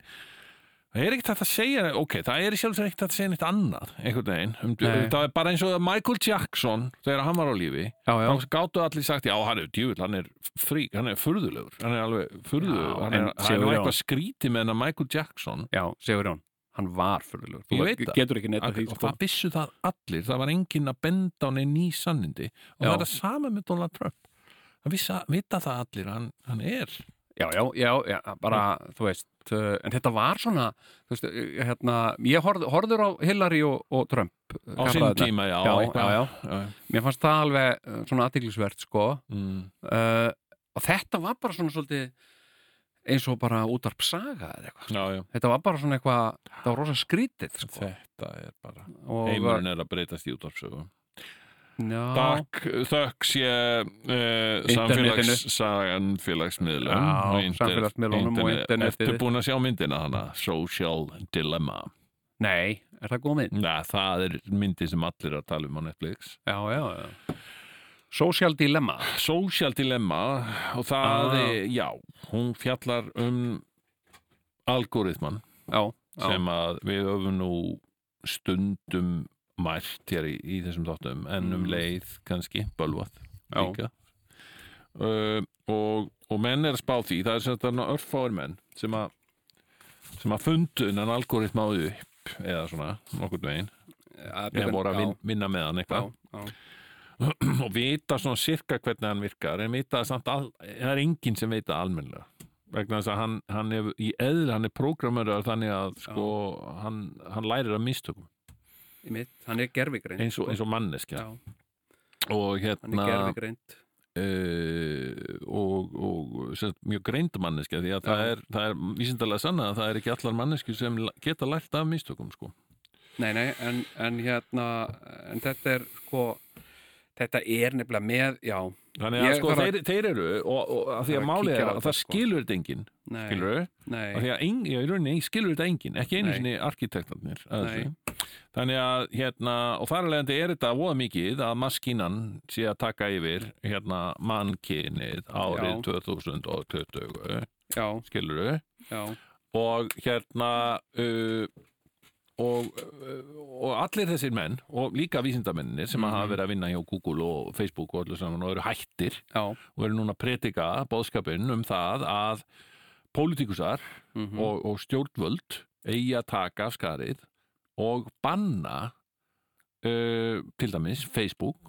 [SPEAKER 1] það er ekkert hægt að segja ok, það er sjálfsög ekkert hægt að segja neitt annað einhvern veginn, um,
[SPEAKER 2] Nei.
[SPEAKER 1] það er bara eins og að Michael Jackson þegar hann var á lífi
[SPEAKER 2] já, já,
[SPEAKER 1] þá gáttu allir sagt, já, hann er djúvill hann er frík, hann er furðulegur hann er alveg furðulegur,
[SPEAKER 2] Já,
[SPEAKER 1] hann er,
[SPEAKER 2] en
[SPEAKER 1] hann er
[SPEAKER 2] Sigurjón-
[SPEAKER 1] nú eitthvað skríti með hennar Michael Jackson
[SPEAKER 2] já, Sigurjón hann var fyrirlegur,
[SPEAKER 1] Ég
[SPEAKER 2] þú
[SPEAKER 1] veit það.
[SPEAKER 2] getur ekki neitt að því
[SPEAKER 1] og
[SPEAKER 2] sko.
[SPEAKER 1] það vissu það allir, það var enginn að benda á neinn ný sannindi og
[SPEAKER 2] Já.
[SPEAKER 1] það er það sama með Donald Trump það vissa, vita það allir, að hann, hann er
[SPEAKER 2] já, já, já, já, bara, þú veist uh, en þetta var svona þú veist, uh, hérna, ég horð, horður á Hillary og, og Trump uh,
[SPEAKER 1] á sinn
[SPEAKER 2] kappræðurnar.
[SPEAKER 1] tíma, já,
[SPEAKER 2] já,
[SPEAKER 1] eitthvað.
[SPEAKER 2] já, já,
[SPEAKER 1] já.
[SPEAKER 2] mér fannst það alveg uh, svona aðtiklisvert, sko
[SPEAKER 1] Mm.
[SPEAKER 2] uh, og þetta var bara svona svolítið eins og bara útarpsaga eða eitthvað,
[SPEAKER 1] Já, já.
[SPEAKER 2] þetta var bara svona eitthvað það var rosa skrítið, sko
[SPEAKER 1] Þetta er bara
[SPEAKER 2] og,
[SPEAKER 1] Heimurinn er að breytast í útvarpsögu
[SPEAKER 2] já,
[SPEAKER 1] Takk, þökk sé uh,
[SPEAKER 2] Internetinu.
[SPEAKER 1] samfélags, samfélagsmiðlum
[SPEAKER 2] Já,
[SPEAKER 1] og inter-
[SPEAKER 2] samfélagsmiðlunum og internetið.
[SPEAKER 1] Ertu búin að sjá myndina hana? Social Dilemma
[SPEAKER 2] nei, er það góð mynd?
[SPEAKER 1] Nei, það er myndi sem allir eru að tala um á Netflix
[SPEAKER 2] já, já, já Social Dilemma
[SPEAKER 1] Social Dilemma og það
[SPEAKER 2] Ah.
[SPEAKER 1] er, já, hún fjallar um algoritman
[SPEAKER 2] já, já,
[SPEAKER 1] sem að við höfum nú stundum mært hér í, í þessum þáttum en um
[SPEAKER 2] Mm.
[SPEAKER 1] leið kannski, bölvað
[SPEAKER 2] Já.
[SPEAKER 1] líka uh, og, og menn er að spá því það er sem þetta örfáir menn sem að sem að fundu en algoritma upp eða svona nokkurn veginn eða voru að vin, vinna með hann
[SPEAKER 2] já,
[SPEAKER 1] eitthvað
[SPEAKER 2] já,
[SPEAKER 1] og vita svona sirka hvernig hann virkar en vita það samt, al, það er enginn sem veit það almennlega vegna þess að hann, hann er í eðl, hann er prógramörður þannig að sko, hann, hann lærir að mistökum
[SPEAKER 2] í mitt, hann er gerfigreind
[SPEAKER 1] eins og, eins og manneskja
[SPEAKER 2] já,
[SPEAKER 1] og
[SPEAKER 2] hann
[SPEAKER 1] hérna
[SPEAKER 2] er gerfigreind
[SPEAKER 1] uh, og, og sem, sagt, mjög greind manneskja því að það
[SPEAKER 2] Já.
[SPEAKER 1] er, það er vísindalega sanna að það er ekki allar manneskju sem la- geta lært af mistökum sko.
[SPEAKER 2] Nei, nei, en, en hérna en þetta er sko þetta er nefnilega með, já
[SPEAKER 1] þannig að
[SPEAKER 2] Ég
[SPEAKER 1] sko,
[SPEAKER 2] þarf að-
[SPEAKER 1] þeir, þeir eru og, og að því að
[SPEAKER 2] Þarf að
[SPEAKER 1] málið
[SPEAKER 2] kíkja
[SPEAKER 1] er að
[SPEAKER 2] á þetta,
[SPEAKER 1] það
[SPEAKER 2] sko.
[SPEAKER 1] skilur þetta enginn
[SPEAKER 2] nei,
[SPEAKER 1] skilur þau
[SPEAKER 2] nei,
[SPEAKER 1] Af því að ein, já, í rauninni skilur þetta enginn, ekki einu
[SPEAKER 2] Nei.
[SPEAKER 1] sinni arkitektarnir að
[SPEAKER 2] Nei.
[SPEAKER 1] þessu. Þannig að hérna, og þar alvegandi er þetta voða mikið að maskínan sé að taka yfir hérna mannkynið árið
[SPEAKER 2] Já.
[SPEAKER 1] 2020
[SPEAKER 2] já,
[SPEAKER 1] skilur þau
[SPEAKER 2] já,
[SPEAKER 1] og hérna uh, og, uh, og allir þessir menn og líka vísindamennir sem
[SPEAKER 2] Mhm.
[SPEAKER 1] hafa verið að vinna hjá Google og Facebook og öllu saman og eru hættir
[SPEAKER 2] já
[SPEAKER 1] og eru núna að predika bóðskapinn um það að pólitíkusar
[SPEAKER 2] mhm.
[SPEAKER 1] og, og stjórnvöld eigi að taka af skarið og banna uh, til dæmis Facebook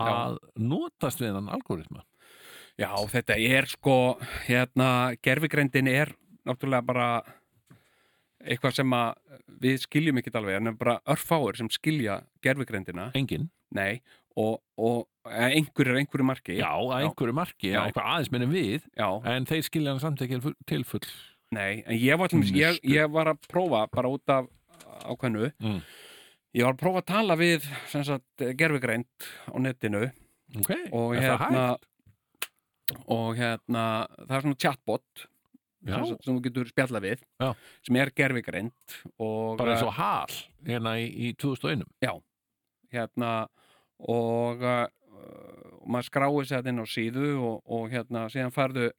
[SPEAKER 1] að notast við hann algoritma
[SPEAKER 2] Já, þetta er sko hérna, gerfigreindin er náttúrulega bara eitthvað sem að við skiljum ekkit alveg en er bara örfáir sem skilja gerfigreindina,
[SPEAKER 1] enginn,
[SPEAKER 2] nei og, og eh, einhverjir einhverju marki
[SPEAKER 1] já, að
[SPEAKER 2] Já.
[SPEAKER 1] einhverju marki
[SPEAKER 2] Já.
[SPEAKER 1] eitthvað aðeins minni við,
[SPEAKER 2] Já,
[SPEAKER 1] en þeir skilja hann samt ekki til full
[SPEAKER 2] nei, en ég var, til dæmis- ég,
[SPEAKER 1] Misstu.
[SPEAKER 2] ég var að prófa bara út af ákveðnu
[SPEAKER 1] Mm.
[SPEAKER 2] ég var að prófa að tala við sem sagt, gerfigreind á netinu
[SPEAKER 1] ok,
[SPEAKER 2] og
[SPEAKER 1] er það
[SPEAKER 2] hérna
[SPEAKER 1] hægt?
[SPEAKER 2] og hérna, það er svona chatbot
[SPEAKER 1] Já,
[SPEAKER 2] sem, sagt sem þú getur spjalla við
[SPEAKER 1] Já.
[SPEAKER 2] sem er gerfigreind og,
[SPEAKER 1] bara eins og hal hérna í, í 2001
[SPEAKER 2] hérna og, uh, og maður skráið sér þetta inn á síðu og, og hérna síðan farðu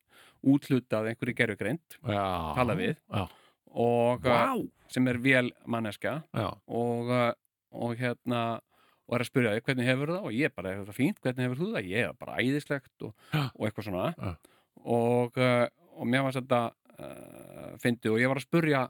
[SPEAKER 2] útlutað einhverju gerfigreind
[SPEAKER 1] já,
[SPEAKER 2] Tala við.
[SPEAKER 1] já,
[SPEAKER 2] og uh,
[SPEAKER 1] Vá.
[SPEAKER 2] sem er vel manneska
[SPEAKER 1] já,
[SPEAKER 2] og, uh, og hérna og er að spyrja þig hvernig hefur það og ég bara, er þetta fínt, hvernig hefur þú það ég er bara æðislegt og,
[SPEAKER 1] Já.
[SPEAKER 2] og eitthvað svona
[SPEAKER 1] Já.
[SPEAKER 2] og, uh, og mér var þetta uh, fyndið og ég var að spyrja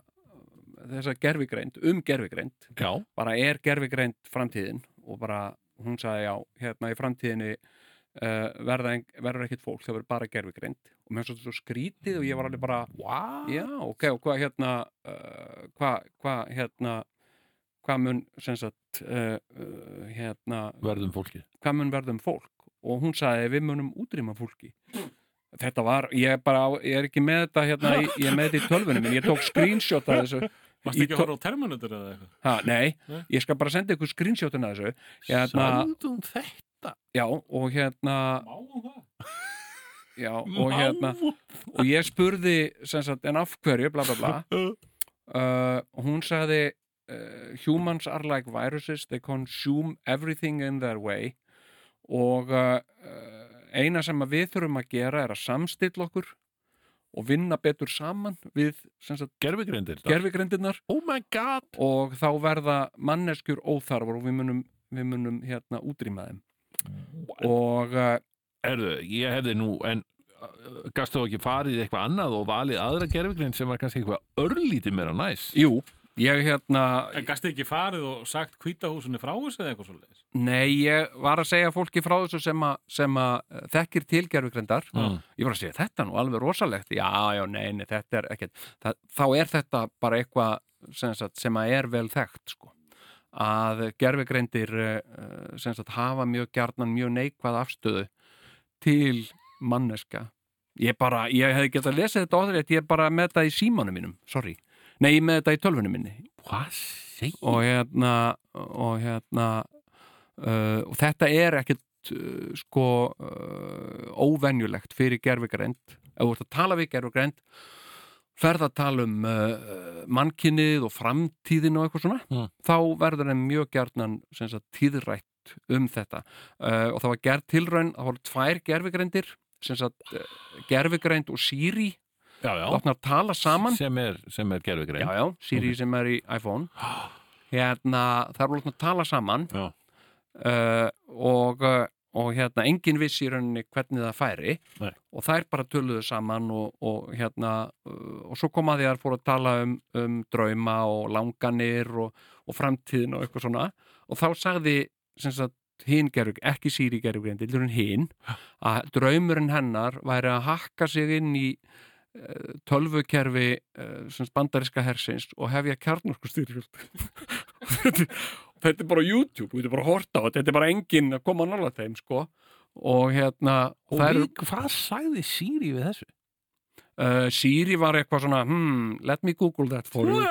[SPEAKER 2] þessa gerfigreind, um gerfigreind
[SPEAKER 1] já,
[SPEAKER 2] bara er gerfigreind framtíðin og bara hún sagði já, hérna í framtíðinni uh, verða, en- verður ekkert fólk, það verður bara gerfigreind og mér var svo skrítið og ég var alveg bara
[SPEAKER 1] wow.
[SPEAKER 2] já, ok, og hvað hérna uh, hvað, hvað hérna hvað mun sem sagt uh, uh, hérna,
[SPEAKER 1] verðum fólkið
[SPEAKER 2] hvað mun verða um fólk og hún sagði við munum útrýma fólki þetta var, ég er bara á- ég er ekki með þetta hérna, ég, ég er með þetta í tölvunum en ég tók screenshot af þessu
[SPEAKER 3] Varst
[SPEAKER 2] Í
[SPEAKER 3] ekki
[SPEAKER 2] to-
[SPEAKER 3] að horfa á Terminator eða eitthvað?
[SPEAKER 2] ha, nei,
[SPEAKER 3] Nei.
[SPEAKER 2] ég skal bara senda ykkur screenshotin af þessu Hérna-
[SPEAKER 1] Sandum þetta
[SPEAKER 2] já, og hérna
[SPEAKER 3] Má hún það?
[SPEAKER 2] já, og hérna og ég spurði sem sagt, en af hverju, bla bla bla uh, og hún sagði uh, humans are like viruses they consume everything in their way og uh, uh, eina sem að við þurfum að gera er að samstilla okkur og vinna betur saman við sem sagt,
[SPEAKER 1] Gerfigrindir
[SPEAKER 2] gerfigrindirnar
[SPEAKER 1] Oh my god
[SPEAKER 2] og þá verða manneskjur óþarfar og við munum, við munum hérna útrýma þeim og uh,
[SPEAKER 1] Erðu, ég hefði nú en uh, gastu þú ekki farið í eitthvað annað og valið aðra gerfigrind sem var kannski eitthvað örlítið meira næs
[SPEAKER 2] jú, ég hérna
[SPEAKER 3] En gæstu ekki farið og sagt kvítahúsunni frá þessu eða eitthvað svoleiðis?
[SPEAKER 2] nei, ég var að segja fólki frá þessu sem að, sem að uh, þekkir til gerfigrindar
[SPEAKER 1] Mm.
[SPEAKER 2] ég var að segja þetta er nú alveg rosalegt já, já, nei, nei, þetta er ekkert það, þá er þetta bara eitthvað sem, sagt, sem að er vel þekkt sko. að gerfigreindir eh, sem sagt, hafa mjög gjarnan mjög neikvað afstöðu til manneska ég bara, ég hefði getað að lesa þetta áþrætt ég er bara með þetta í símanum mínum, sorry nei, ég er með þetta í tölfunum minni
[SPEAKER 1] Hvað segir?
[SPEAKER 2] og hérna og hérna uh, og þetta er ekkert uh, sko uh, óvenjulegt fyrir gerfigreind ef þú ert að tala við gerfigreind ferð að tala um uh, mannkinnið og framtíðin og eitthvað svona
[SPEAKER 1] Mm.
[SPEAKER 2] þá verður þeim mjög gjarnan sem sagt, tíðrætt um þetta uh, og það var gerð tilraun, það voru tvær gerfigreindir sem sagt, uh, gerfigreind og Siri
[SPEAKER 1] Já, já
[SPEAKER 2] opnar að tala saman
[SPEAKER 1] sem er, sem er gerfigrind
[SPEAKER 2] já, já, Siri sem er í iPhone hérna, það er alveg að tala saman
[SPEAKER 1] Já.
[SPEAKER 2] uh, og, uh, og hérna engin vissi í rauninni hvernig það færi
[SPEAKER 1] Nei.
[SPEAKER 2] og þær bara töluðu saman og, og hérna uh, og svo komaði þær fór að tala um, um drauma og langanir og, og framtíðin og eitthvað svona og þá sagði sem sagt hinn gerur, ekki síri gerur heldur en hinn, að draumurinn hennar væri að hakka sig inn í eh, tölvukerfi uh, bandariska hersins og hefja kjarnorku styrjöld þetta, þetta er bara á YouTube, þú getur bara að horta á þetta þetta er bara enginn að koma nála þeim sko. og hérna
[SPEAKER 1] Og
[SPEAKER 2] það eru-
[SPEAKER 1] við, hvað sagði Siri við þessu?
[SPEAKER 2] Uh, Siri var eitthvað svona hmm, let me google that for you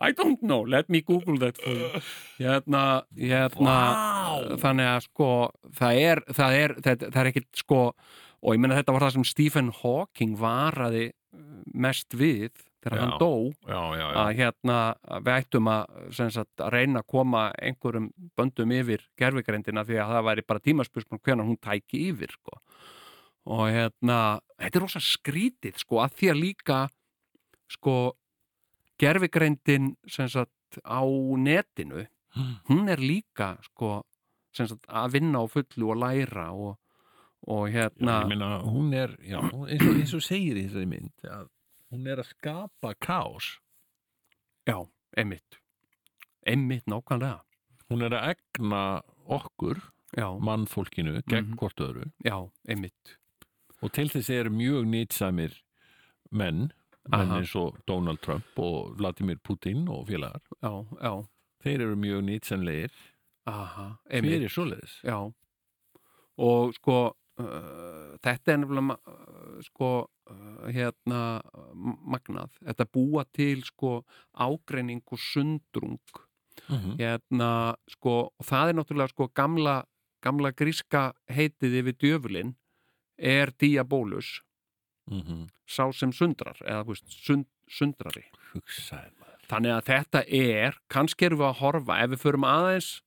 [SPEAKER 2] I don't know, let me google that for you hérna, hérna
[SPEAKER 1] Vá.
[SPEAKER 2] þannig að sko það er, það er, þetta, það er ekkit sko og ég meina þetta var það sem Stephen Hawking varaði uh, mest við þegar
[SPEAKER 1] Já.
[SPEAKER 2] hann dó
[SPEAKER 1] Já, já, já
[SPEAKER 2] að hérna að við ættum að, sem sagt, að reyna að koma einhverjum böndum yfir gerfigrindina því að það væri bara tímaspursmann hvernig hún tæki yfir sko. og hérna, þetta er rosa skrítið sko, að því að líka sko, gerfigrindin sem sagt á netinu
[SPEAKER 1] Hmm.
[SPEAKER 2] hún er líka sko, sem sagt, að vinna á fullu og læra og, og
[SPEAKER 1] Já,
[SPEAKER 2] hérna
[SPEAKER 1] ég meina, hún er, já, eins og, eins og segir í þessari mynd að hún er að skapa kás
[SPEAKER 2] já, einmitt einmitt nákvæmlega
[SPEAKER 1] hún er að egna okkur,
[SPEAKER 2] já,
[SPEAKER 1] mannfólkinu gegn
[SPEAKER 2] Mhm.
[SPEAKER 1] hvort öðru
[SPEAKER 2] já, einmitt
[SPEAKER 1] og til þess eru mjög nýtsamir menn, menn
[SPEAKER 2] Aha.
[SPEAKER 1] eins og Donald Trump og Vladimir Putin og félagar,
[SPEAKER 2] já, já
[SPEAKER 1] þeir eru mjög nýtsamlegir
[SPEAKER 2] Aha, einmitt,
[SPEAKER 1] fyrir svoleiðis
[SPEAKER 2] já. Og sko, uh, þetta er nefnilega, ma- uh, sko, uh, hérna, uh, magnað. Þetta búa til, sko, ágreining og sundrung.
[SPEAKER 1] Mhm.
[SPEAKER 2] Hérna, sko, og það er náttúrulega, sko, gamla, gamla gríska heitið yfir djöfulinn er diabólus,
[SPEAKER 1] Mhm.
[SPEAKER 2] sá sem sundrar, eða, þú veist, sund, sundrari.
[SPEAKER 1] hugsaði maður
[SPEAKER 2] Þannig að þetta er, kannski erum við að horfa, ef við förum aðeins,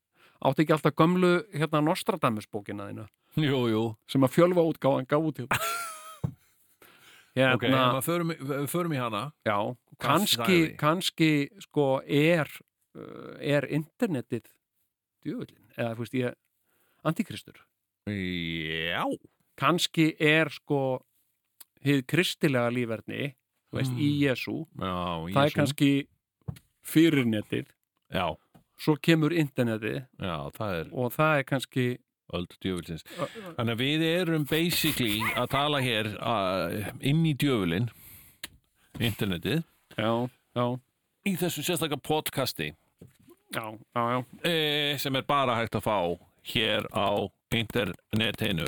[SPEAKER 2] átti ekki alltaf gömlu hérna Nostradamus bókina þína,
[SPEAKER 1] Jú, jú,
[SPEAKER 2] sem að fjölva útgáðan gaf út hérna. hérna,
[SPEAKER 1] ok, ef við förum, við förum í hana
[SPEAKER 2] já, kannski,
[SPEAKER 1] Gassræði.
[SPEAKER 2] kannski sko er uh, er internetið djöfullin, eða þú veist ég antikristur,
[SPEAKER 1] Já.
[SPEAKER 2] kannski er sko hið kristilega lífverðni þú veist, í Jesú
[SPEAKER 1] Já,
[SPEAKER 2] það er
[SPEAKER 1] Jesú.
[SPEAKER 2] kannski fyrir netið
[SPEAKER 1] Já,
[SPEAKER 2] svo kemur internetið
[SPEAKER 1] já, það er
[SPEAKER 2] og það er kannski
[SPEAKER 1] öld djöfulsins. Þannig að við erum basically að tala hér uh, inn í djöfulin, internetið,
[SPEAKER 2] já, já,
[SPEAKER 1] í þessu sérstaklega podcasti
[SPEAKER 2] já, já, já.
[SPEAKER 1] eh, sem er bara hægt að fá hér á internetinu.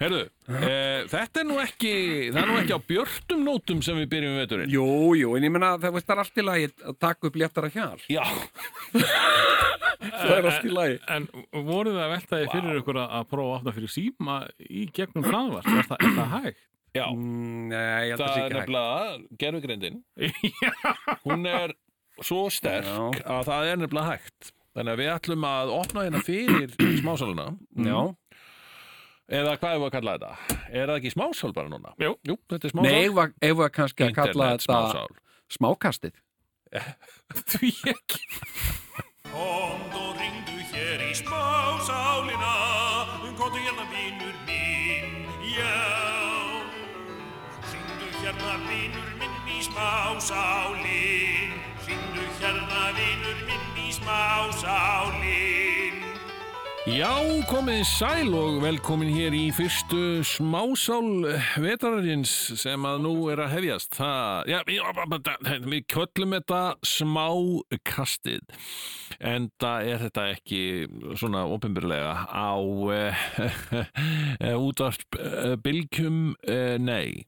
[SPEAKER 1] Herðu, eh, þetta er nú ekki, það er nú ekki á björtum nótum sem við byrjum veturinn.
[SPEAKER 2] Jú, jú, en ég meina það, veist, það er allt í lagi að taka upp léttara hjal
[SPEAKER 1] Já,
[SPEAKER 2] það er allt í lagi
[SPEAKER 3] En voruð það veltaði fyrir ykkur að að prófa aftan fyrir síma í gegnum hlaðvart? Er það, er það hægt?
[SPEAKER 1] já.
[SPEAKER 2] Mm, Nei, ég held að
[SPEAKER 1] Það
[SPEAKER 2] það
[SPEAKER 1] er
[SPEAKER 2] sé ekki hægt
[SPEAKER 1] nefnilega gerfugrindin Hún er svo sterk
[SPEAKER 2] Já.
[SPEAKER 1] að það er nefnilega hægt Þannig að við ætlum að opna hérna fyrir smásaluna
[SPEAKER 2] Mm. Já,
[SPEAKER 1] Eða hvað er við að kalla þetta? Er það ekki smásál bara núna?
[SPEAKER 3] Jú.
[SPEAKER 1] Jú þetta er smásál
[SPEAKER 2] nei, eigum við- eigum við kannski að kalla
[SPEAKER 1] Internet
[SPEAKER 2] þetta
[SPEAKER 1] smásál
[SPEAKER 2] smákastið
[SPEAKER 1] Því ekki
[SPEAKER 4] Komd og ringdu hér í smásálina um Komdu hérna vinur minn, já Ringdu hérna vinur minn í smásálin Ringdu hérna vinur minn í smásálin
[SPEAKER 1] Já, komið þið sæl og velkomin hér í fyrstu smásál vetrarins sem að nú er að hefjast. Það, já, já, já, já, við köllum þetta smákastið, en það er þetta ekki svona opinbyrlega á uh, útvarp uh, bylgjum, uh, nei.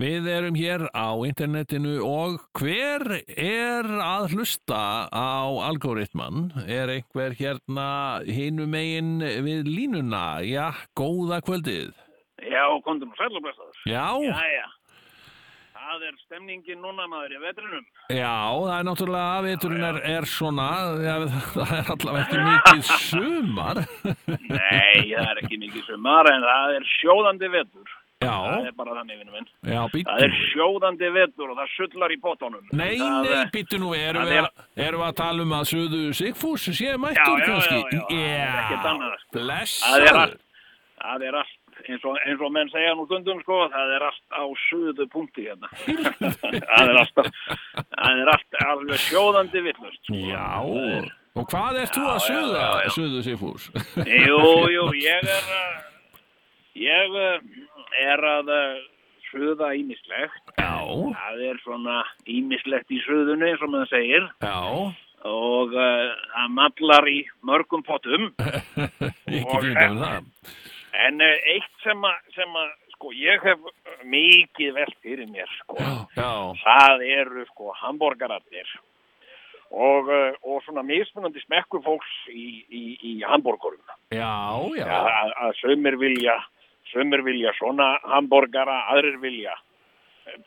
[SPEAKER 1] Við erum hér á internetinu og hver er að hlusta á algoritman? Er einhver hérna hinu megin við línuna? Já, góða kvöldið.
[SPEAKER 5] Já, komdu nú sæl og blessaður.
[SPEAKER 1] Já, já,
[SPEAKER 5] Jæja, það er stemningin núna maður í vetrinum.
[SPEAKER 1] það er náttúrulega að veturinn er, er svona, já, það er allavega ekki mikið sumar.
[SPEAKER 5] Nei, það er ekki mikið sumar en það er sjóðandi vetur.
[SPEAKER 1] Já,
[SPEAKER 5] Það er bara þannig, vinnu minn.
[SPEAKER 1] já, býttu.
[SPEAKER 5] Það er sjóðandi vetur og það sullar í potónum.
[SPEAKER 1] Nei,
[SPEAKER 5] það,
[SPEAKER 1] nei, býttu nú, erum
[SPEAKER 5] það
[SPEAKER 1] við,
[SPEAKER 5] er-
[SPEAKER 1] að, erum við að tala um að söðu Sigfús sé mættur
[SPEAKER 5] Já, já, já,
[SPEAKER 1] kannski?
[SPEAKER 5] já, það er ekkert annað, sko. Það er
[SPEAKER 1] blessaður.
[SPEAKER 5] allt, það er allt, eins og, eins og menn segja nú stundum, sko, það er allt á suðu punkti hérna. það er allt, á- það er allt alveg sjóðandi villust. Sko.
[SPEAKER 1] Já,
[SPEAKER 5] Það er-
[SPEAKER 1] og hvað ert þú að
[SPEAKER 5] Já, já,
[SPEAKER 1] söða,
[SPEAKER 5] já, já.
[SPEAKER 1] söðu Sigfús?
[SPEAKER 5] Jú, jú, ég er uh, ég uh, er að uh, suða ímislegt
[SPEAKER 1] Já,
[SPEAKER 5] það er svona ímislegt í suðunni eins og maður segir
[SPEAKER 1] já,
[SPEAKER 5] og uh, það mallar í mörgum pottum
[SPEAKER 1] ekki
[SPEAKER 5] Og-
[SPEAKER 1] fyrir um það.
[SPEAKER 5] en uh, eitt sem að, sem að sko, ég hef uh, mikið velt fyrir mér sko.
[SPEAKER 1] Já,
[SPEAKER 5] það eru sko hambúrgararnir og, uh, og svona mismunandi smekkur fólks í, í, í hambúrgurum
[SPEAKER 1] já, já,
[SPEAKER 5] að, að- að sömur vilja sömur vilja svona hambúrgara aðrir vilja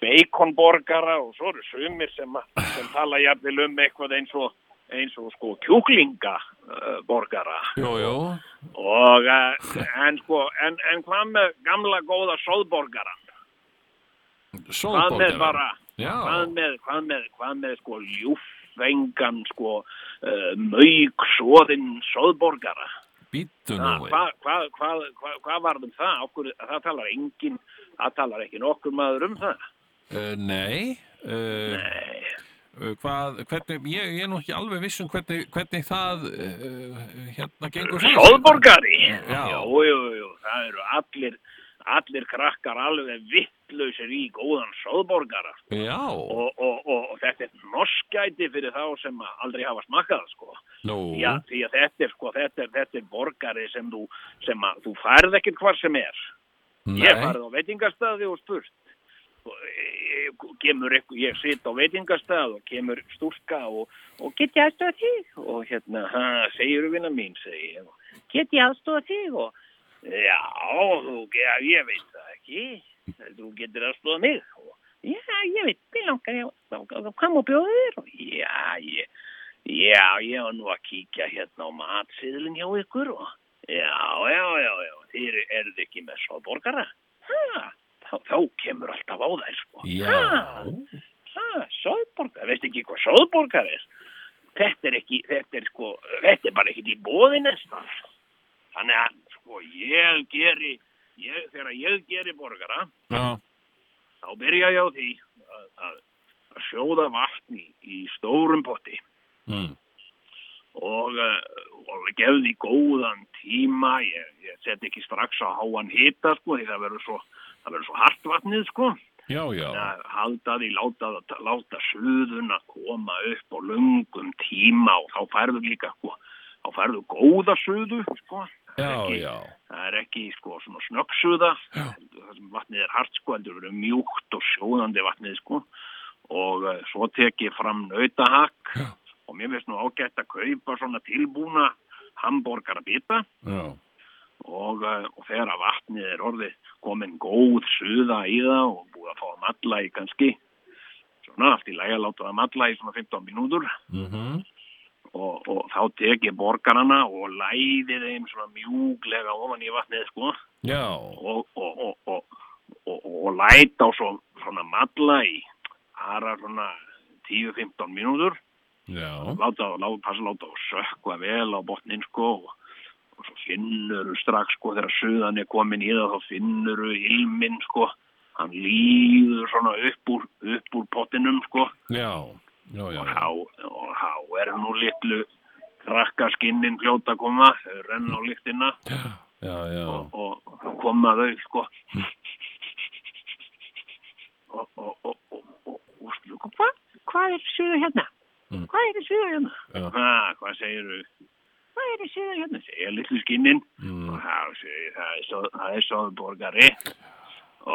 [SPEAKER 5] beikonborgara og svo eru sömur sem, að- sem tala jafnvel um eitthvað eins og eins og sko kjúklingaborgara
[SPEAKER 1] jú, jú,
[SPEAKER 5] og eh, en sko en, en hvað með gamla góða sóðborgaran hvað með
[SPEAKER 1] sólbókjara.
[SPEAKER 5] bara
[SPEAKER 1] Já,
[SPEAKER 5] hvað með, hvað með, hvað með sko ljúfengan sko uh, mauk svoðinn sóðborgara
[SPEAKER 1] býttu
[SPEAKER 5] Ha,
[SPEAKER 1] nú.
[SPEAKER 5] Ah, Hvað hva, hva, hva, hva varðum það? Okkur, það talar engin, það talar ekki nokkur maður um það.
[SPEAKER 1] Uh, nei, uh, uh, hvað, hvernig, ég, ég er nú ekki alveg viss um hvernig, hvernig það uh, hérna gengur fyrir.
[SPEAKER 5] Sjóðborgari?
[SPEAKER 1] Já.
[SPEAKER 5] Jú, jú, jú, það eru allir, allir krakkar alveg vittlausir í góðan sjóðborgara.
[SPEAKER 1] Já,
[SPEAKER 5] Og, og, og, og þetta er norskæti fyrir þá sem að aldrei hafa smakkað, sko.
[SPEAKER 1] nú,
[SPEAKER 5] Já, því að þetta er, sko, þetta er, þetta er borgari sem þú, sem að þú færð ekkert hvar sem er. Ég
[SPEAKER 1] nei,
[SPEAKER 5] farið á veitingastæði og spurt Og, e, e, kemur eitthvað, ég sitt á veitingastæð og kemur stúlka og, og get ég aðstofa þig og hérna, ha, segir vinna mín segi ég, get ég aðstofa þig og já, þú, ja, ég veit það ekki þú getur aðstofa mig og, já, ég veit, mér langar ég að- langar að koma og bjóða þér og já, ég já, ég var nú að kíkja hérna á matsiðlinn hjá ykkur og já, já, já, já þér eruð ekki með svo borgara ha, þá, þá kemur alltaf á þær sko
[SPEAKER 1] já,
[SPEAKER 5] ha, sóðborgar, veist ekki hvað sóðborgar er? þetta er ekki, þetta er sko, þetta er bara ekkert í bóði næsta. Þannig að, sko, ég geri, ég, þegar ég geri borgara,
[SPEAKER 1] Já,
[SPEAKER 5] þá byrja ég á því að, að, að sjóða vatni í stórum potti
[SPEAKER 1] Mm.
[SPEAKER 5] og, eh, og gefði góðan tíma, ég, ég set ekki strax á háan hita, sko, því það verður svo, það verður svo hart vatnið, sko
[SPEAKER 1] já, já.
[SPEAKER 5] að halda því, láta, það- láta suðuna koma upp á löngum tíma og þá færðu líka, sko, þá færðu góða suðu, sko. Það er
[SPEAKER 1] Já,
[SPEAKER 5] ekki-
[SPEAKER 1] já.
[SPEAKER 5] Það er ekki, sko, svona snöggsuða, það sem vatnið er hart, sko, heldur verið mjúkt og sjóðandi vatnið, sko. Og uh, svo tek ég fram nautahakk
[SPEAKER 1] Já.
[SPEAKER 5] og mér finnst nú ágætt að kaupa svona tilbúna hambúrgarabita
[SPEAKER 1] Já,
[SPEAKER 5] og, eh, og þegar að vatnið er orðið komin góð suða í það og búið að fá að matla í kannski svona allt í lagi að láta það matla í svona 15 mínútur
[SPEAKER 1] mhm,
[SPEAKER 5] og, og þá tek ég borgarana og læði þeim svona mjúglega ofan í vatnið sko
[SPEAKER 1] já,
[SPEAKER 5] og, og, og, og, og, og, og læta á svo, svona matla í aðra svona 10-15 mínútur
[SPEAKER 1] já,
[SPEAKER 5] láta, láta, passa að láta og sökva vel á botnin sko og, og svo finnuru strax sko þegar suðan er komin í það þá finnuru ilminn sko hann líður svona upp úr, upp úr pottinum sko
[SPEAKER 1] já, já, já,
[SPEAKER 5] og há, og há er nú litlu krakkaskinninn fljóta að koma, þau renna á lyktina
[SPEAKER 1] já, já,
[SPEAKER 5] og, og þá koma þau sko og, og, og, og, og, og, og hvað hva er suðu hérna?
[SPEAKER 1] Mm.
[SPEAKER 5] Hvað er suðu hérna?
[SPEAKER 1] Já.
[SPEAKER 5] Ha, hvað segir þau? Hvað er suðu hérna? Segir litlu skinnin
[SPEAKER 1] Mm.
[SPEAKER 5] og þá segir þau, það er svo- það er soðborgari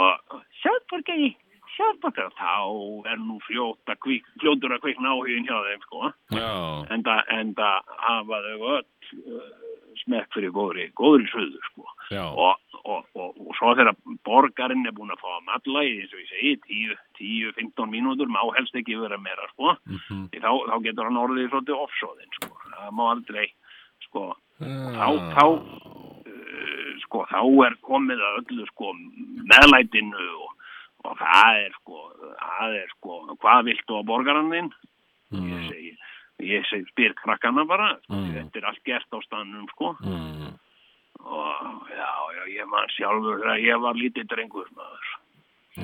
[SPEAKER 5] og soðborgari soðborgari og þá er nú fljóta kvík, fljótur að kvikna áhugin hjá þeim sko
[SPEAKER 1] já,
[SPEAKER 5] enda, enda hafa þau öll uh, smekk fyrir góðri, góðri suðu sko
[SPEAKER 1] já,
[SPEAKER 5] og, og, og, og svo þegar borgarinn er búin að fá að matla í, eins og ég segi, 10-15 mínútur má helst ekki vera meira, sko.
[SPEAKER 1] mhm,
[SPEAKER 5] Því Þá, þá getur hann orðið svolítið ofsóðinn, sko. Það má aldrei, sko, þá,
[SPEAKER 1] já,
[SPEAKER 5] þá, uh, sko, þá er komið að öllu, sko, meðlætinu og, og það er, sko, það er, sko, hvað viltu á borgarann þinn? Ég
[SPEAKER 1] mm,
[SPEAKER 5] segi, ég segi, spyr krakkana bara, sko,
[SPEAKER 1] Mm.
[SPEAKER 5] þetta er allt gert á staðnum, sko.
[SPEAKER 1] mm,
[SPEAKER 5] Og já, já, ég man sjálfur þegar ég var lítið drengur maður.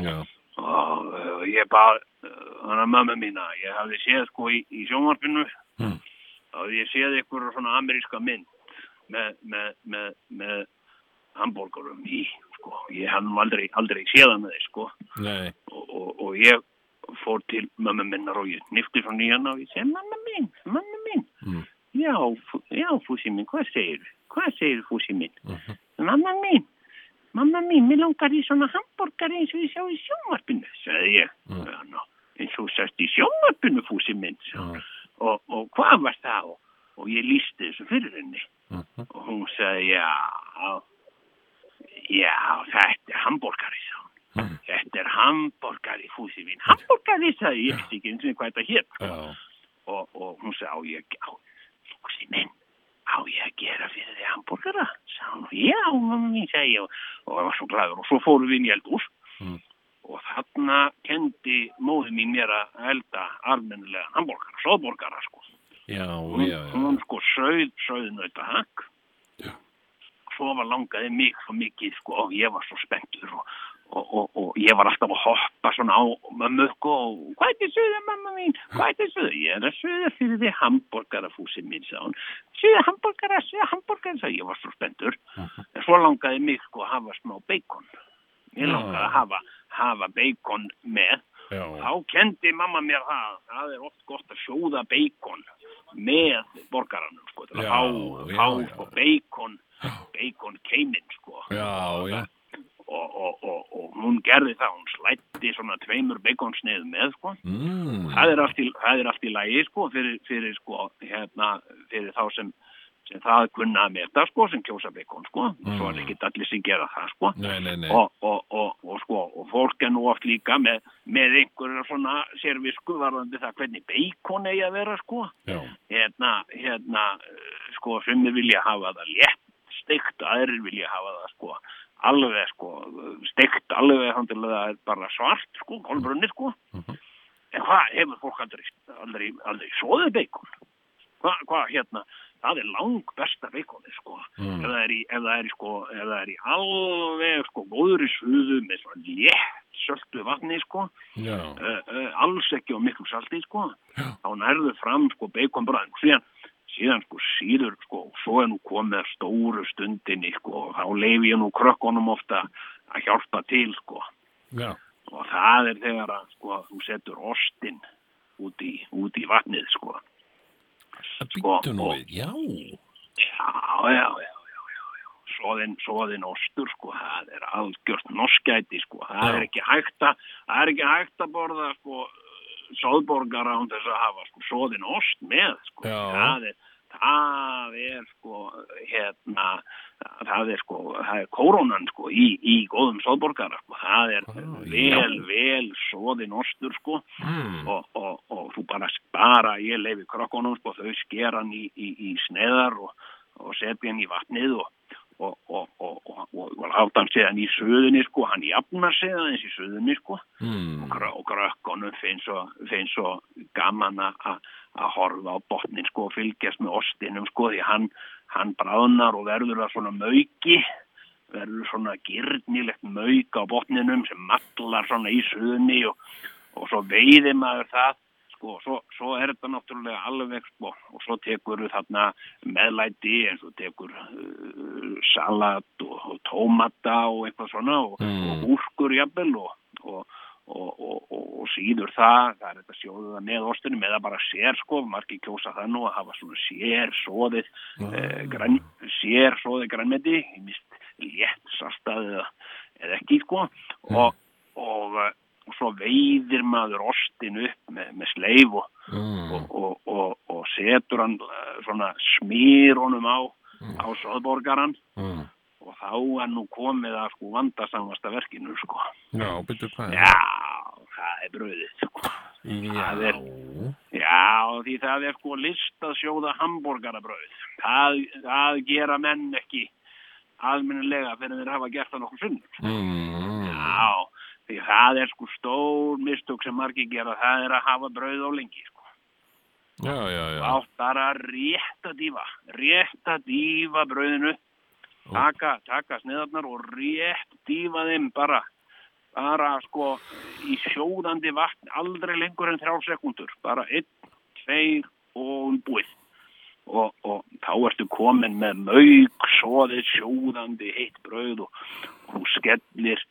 [SPEAKER 1] já,
[SPEAKER 5] Og uh, ég bað uh, hana mömmu mína, ég hafði séð sko í, í sjónvarpinu,
[SPEAKER 1] Mm.
[SPEAKER 5] þá hafði ég séð ykkur svona ameríska mynd með, með, með, með hambúrgurum í, sko. Ég hafði nú aldrei, aldrei séð hann með þeir, sko.
[SPEAKER 1] nei,
[SPEAKER 5] Og, og, og ég fór til mömmu minnar og ég nýfti svona í hana og ég segi, mamma mín, mamma mín,
[SPEAKER 1] Mm.
[SPEAKER 5] já, fú- já, fúsi mín, hvað segir, hvað segir fúsi mín?
[SPEAKER 1] Mhm.
[SPEAKER 5] Mamma mín, mamma mín, mér langar í svona hambúrgar eins og ég sjá í sjónvarpinu, sagði ég.
[SPEAKER 1] Mm.
[SPEAKER 5] Já, ná, eins og sérst í sjónvarpinu, fúsi minn.
[SPEAKER 1] Mm.
[SPEAKER 5] Mm. Og, og hvað var það? Og, og ég lísti þessu fyrir henni.
[SPEAKER 1] mhm,
[SPEAKER 5] Og hún sagði, já, já, þetta er hambúrgari, sagði hún.
[SPEAKER 1] Mm.
[SPEAKER 5] Þetta er hambúrgari, fúsi minn. Hambúrgari, sagði ég, ég veist ekki eins og hvað þetta sko. hér.
[SPEAKER 1] já,
[SPEAKER 5] Og, og hún sagði, á ég, á, fúsi minn, á ég að gera fyrir því hambúrgara? Sagði hún, já, mamma mín, sagði ég og, og ég var svo glæður og svo fórum við inn í eldús
[SPEAKER 1] Mm.
[SPEAKER 5] og þarna kendi móði mín mér að elda almennilega hambúrgara, soðbúrgara, sko.
[SPEAKER 1] já,
[SPEAKER 5] Hún,
[SPEAKER 1] já, já,
[SPEAKER 5] hún sko sögð, sögðnauta hakk.
[SPEAKER 1] Já.
[SPEAKER 5] Svo var langaði mig svo mikið, sko, og ég var svo spenntur og, og, og, og ég var alltaf að hoppa svona á mömmu, sko, og hvað er þetta sögða, mamma mín? Hvað er þetta sögða? Ég er að sögða fyrir því hambúrgarafúsin mín, sagði hún. Sögða hambúrgara, sögða hambúrgara, sagði ég, ég var svo spenntur. En svo langaði mig, sko, að hafa smá beikon.
[SPEAKER 1] Já.
[SPEAKER 5] Ég langaði að hafa, hafa beikon með
[SPEAKER 1] já,
[SPEAKER 5] Þá kendi mamma mér það, það er oft gott að sjóða beikon með borgaranum, sko, til að
[SPEAKER 1] Já,
[SPEAKER 5] fá,
[SPEAKER 1] já,
[SPEAKER 5] fá
[SPEAKER 1] já.
[SPEAKER 5] sko, beikon, beikon keiminn, sko.
[SPEAKER 1] já, já,
[SPEAKER 5] Og, og, og, og hún gerði það, hún slætti svona tveimur beikonsneið með, sko.
[SPEAKER 1] mm,
[SPEAKER 5] Það er allt í, það er allt í lagi, sko, fyrir, fyrir, sko, hérna, fyrir þá sem, sem það kunna að meta, sko, sem kjósa beikon, sko. Svo er
[SPEAKER 1] Mm.
[SPEAKER 5] ekki allir sem gera það, sko
[SPEAKER 1] nei, nei, nei,
[SPEAKER 5] og, og, og, og, sko, og fólk er nú oft líka með, með einhverja svona sérvisku varðandi það hvernig beikon eigi að vera sko
[SPEAKER 1] já,
[SPEAKER 5] hérna, hérna eh, sko sumir vilja hafa það létt steikt, aðrir vilja hafa það sko alveg sko steikt alveg hann til að það er bara svart sko, kolbrunni sko en hvað hefur fólk aldrei, aldrei, aldrei svoðið beikon Hvað, hva, hérna, það er lang besta beikonið, sko. Ef, það er í, ef það er í, sko, ef það er í alveg, sko, góður í suðu með svona létt söltu vatni, sko.
[SPEAKER 1] Já.
[SPEAKER 5] Uh, uh, alls ekki á miklu salti, sko. Þá nærðu fram, sko, beikonbræðin. Síðan, síðan, sko, síður, sko, svo er nú komið að stóru stundinni, sko. Þá leifi ég nú krökkunum ofta að hjálpa til, sko
[SPEAKER 1] Já.
[SPEAKER 5] og það er þegar að sko, þú setur ostin út í, út í vatnið sko.
[SPEAKER 1] Það
[SPEAKER 5] Sko,
[SPEAKER 1] býttu nú
[SPEAKER 5] og-
[SPEAKER 1] við. Já.
[SPEAKER 5] Já, já, já, já, já, já. Svoðin, svoðin ostur sko, það er algjört norskæti sko, það
[SPEAKER 1] Já.
[SPEAKER 5] er ekki hægt að, það er ekki hægt að borða sko, sóðborgara án þess að hafa sko, svoðin ost með sko,
[SPEAKER 1] Já.
[SPEAKER 5] það er, það er sko, hérna, það er sko, það er kórónan sko í, í góðum sóðborgara sko, það er vel, vel svoðin ostur sko,
[SPEAKER 1] Mm.
[SPEAKER 5] og, og, og þú bara, bara ég leifi krokkunum sko, þau sker hann í, í, í sneðar og, og setja hann í vatnið og, og, og, og, og, og, og láta hann séðan í suðunni sko, hann jafnar séðan eins í suðunni sko
[SPEAKER 1] Mm.
[SPEAKER 5] og krö- og krökkunum finnst svo, finn svo gaman að- að að horfa á botnin sko og fylgjast með ostinum sko því hann, hann bráðnar og verður það svona mauki verður svona gyrnilegt mauk á botninum sem mallar svona í suðunni og, og svo veiði maður það sko, og svo, svo er þetta náttúrulega alveg sko, og svo tekur þarna meðlæti eins og tekur uh, salat og, og tómata og eitthvað svona og,
[SPEAKER 1] Mm.
[SPEAKER 5] og úrkur jafnvel og, og, og, og, og, og síður það, það er þetta sjóðuða með ostinum eða bara sér sko, margir kjósa það nú að hafa svona sér sóðið eh, græn, sér svoði grænmeti ég mist létt sastaði eða, eða ekki sko og, og, eh, og svo veiðir maður ostin upp með, með sleif og,
[SPEAKER 1] Mm.
[SPEAKER 5] og, og, og, og setur hann eh, svona smýr honum á, á soðborgaran
[SPEAKER 1] Mm.
[SPEAKER 5] og þá er nú komið að sko vandasamasta verkinu sko
[SPEAKER 1] Já, býttu hvað.
[SPEAKER 5] já, það er bröðið sko það er- Já, því það er sko list að sjóða hambúrgarabröð. Það, það gera menn ekki almennilega fyrir þeir hafa gert það nokkur sunnur.
[SPEAKER 1] Mm.
[SPEAKER 5] Já, því það er sko stór mistök sem margir gera. Það er að hafa bröð á lengi, sko.
[SPEAKER 1] Já, já, já.
[SPEAKER 5] Átt bara að rétta dýfa, rétta dýfa bröðinu, taka, taka sniðarnar og rétt dýfa þeim bara, bara sko í sjóðandi vatn aldrei lengur en þrjár sekundur, bara einn, tveir og búið. Og, og þá ertu komin með mauk, soðið, sjóðandi, heitt brauð og, og þú skellir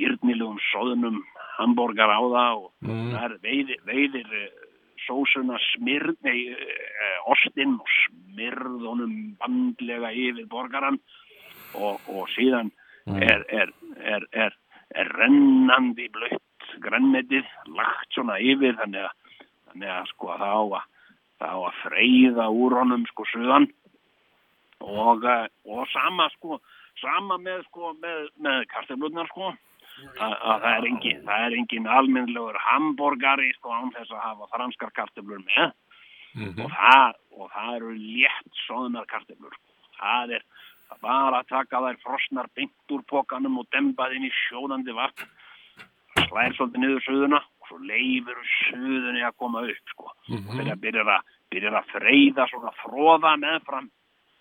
[SPEAKER 5] gyrnilegum soðunum hambúrgar á það og
[SPEAKER 1] Mm.
[SPEAKER 5] það er veiðir, veiðir eh, sósuna smyrð, nei, eh, ostinn og smyrð honum bandlega yfir borgaran og, og síðan er, er, er, er, er rennandi blött grannmetið lagt svona yfir þannig að, þannig að sko þá að þá að freyða úr honum sko suðan og, eh, og sama sko sama með sko með, með kartöflutnar sko að að það er engin, það er engin almennlegur hambúrgari sko án þess að hafa franskar kartöflur með og, það, og það eru létt soðnar kartöflur sko. það er bara að taka þær frosnar beint úr pokanum og demba þinn í sjóðandi vatn slær svolítið niður suðuna og svo leifur suðunni að koma upp sko. og þegar byrjar að, byrjar að freyða svona fróða meðfram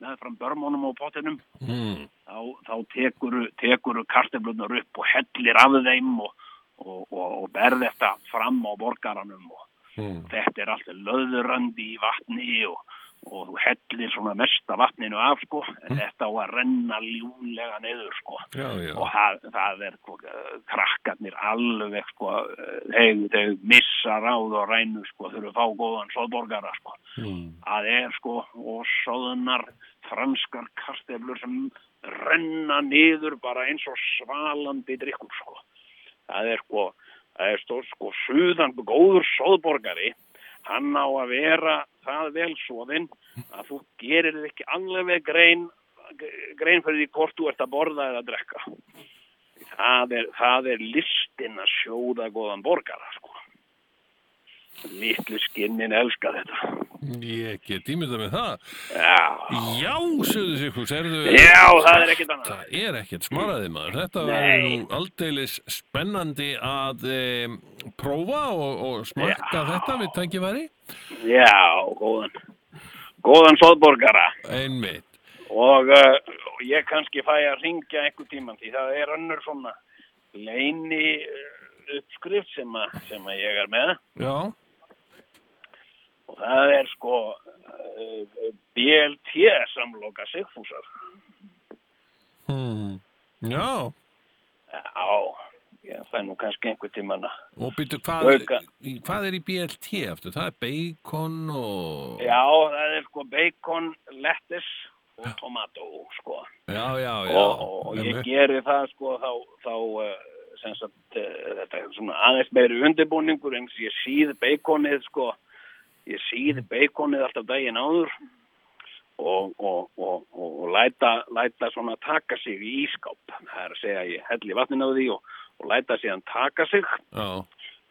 [SPEAKER 5] meðfram börmónum og potinum
[SPEAKER 1] Mm.
[SPEAKER 5] þá, þá tekur, tekur karteflunar upp og hellir af þeim og, og, og, og berð þetta fram á borgaranum og
[SPEAKER 1] Mm.
[SPEAKER 5] þetta er alltaf löðurandi í vatni og, og þú hellir svona mesta vatninu af sko en þetta á að renna ljúlega neyður sko
[SPEAKER 1] Já, já.
[SPEAKER 5] og það, það er sko, eh, krakkarnir alveg sko, eh, þeir, þeir missa ráð og rænu sko, þurfu að fá góðan soðborgara sko.
[SPEAKER 1] Mm.
[SPEAKER 5] Það er sko og soðunar franskar karteflur sem renna niður bara eins og svalandi drikkur sko. Það er sko, það er stór sko suðan góður soðborgari hann á að vera það vel soðinn að þú gerir þér ekki alveg grein, grein fyrir því hvort þú ert að borða eða að drekka. Það er, það er listin að sjóða góðan borgara, sko. Lítlu skinnin elska þetta.
[SPEAKER 1] Ég get ímyndað með það.
[SPEAKER 5] Já,
[SPEAKER 1] Já, sögðu sikur, serðu...
[SPEAKER 5] já það er ekkit annað.
[SPEAKER 1] Það er ekkert smaraði maður. Þetta
[SPEAKER 5] Nei.
[SPEAKER 1] verður nú aldeilis spennandi að e, prófa og, og smakka þetta við tækifæri.
[SPEAKER 5] Já, góðan.
[SPEAKER 6] góðan soðborgara
[SPEAKER 1] einmitt
[SPEAKER 6] og uh, og ég kannski fæ að ringja einhver tíman því það er önnur svona leini uh, uppskrift sem, að, sem að ég er með
[SPEAKER 1] Já,
[SPEAKER 6] og það er sko uh, BLT samloka Sigfúsar
[SPEAKER 1] hmm. Já.
[SPEAKER 6] Já, ég fæ nú kannski einhver tíman að
[SPEAKER 1] og býtu hvað er,
[SPEAKER 6] Auka.
[SPEAKER 1] í- hvað er í BLT eftir? Það er bacon og
[SPEAKER 6] Já, það er sko bacon, lettuce og tomató sko
[SPEAKER 1] já, já, já.
[SPEAKER 6] og, og ég
[SPEAKER 1] Einmitt.
[SPEAKER 6] geri það sko þá, þá uh, sem sagt uh, þetta er svona aðeins meiri undirbúningur eins ég síð beikonið sko ég síð
[SPEAKER 1] Mm.
[SPEAKER 6] beikonið alltaf daginn áður og, og, og, og, og læta, læta svona taka sig í ískáp það er að segja ég helli vatnin á því og, og læta síðan taka sig
[SPEAKER 1] Já,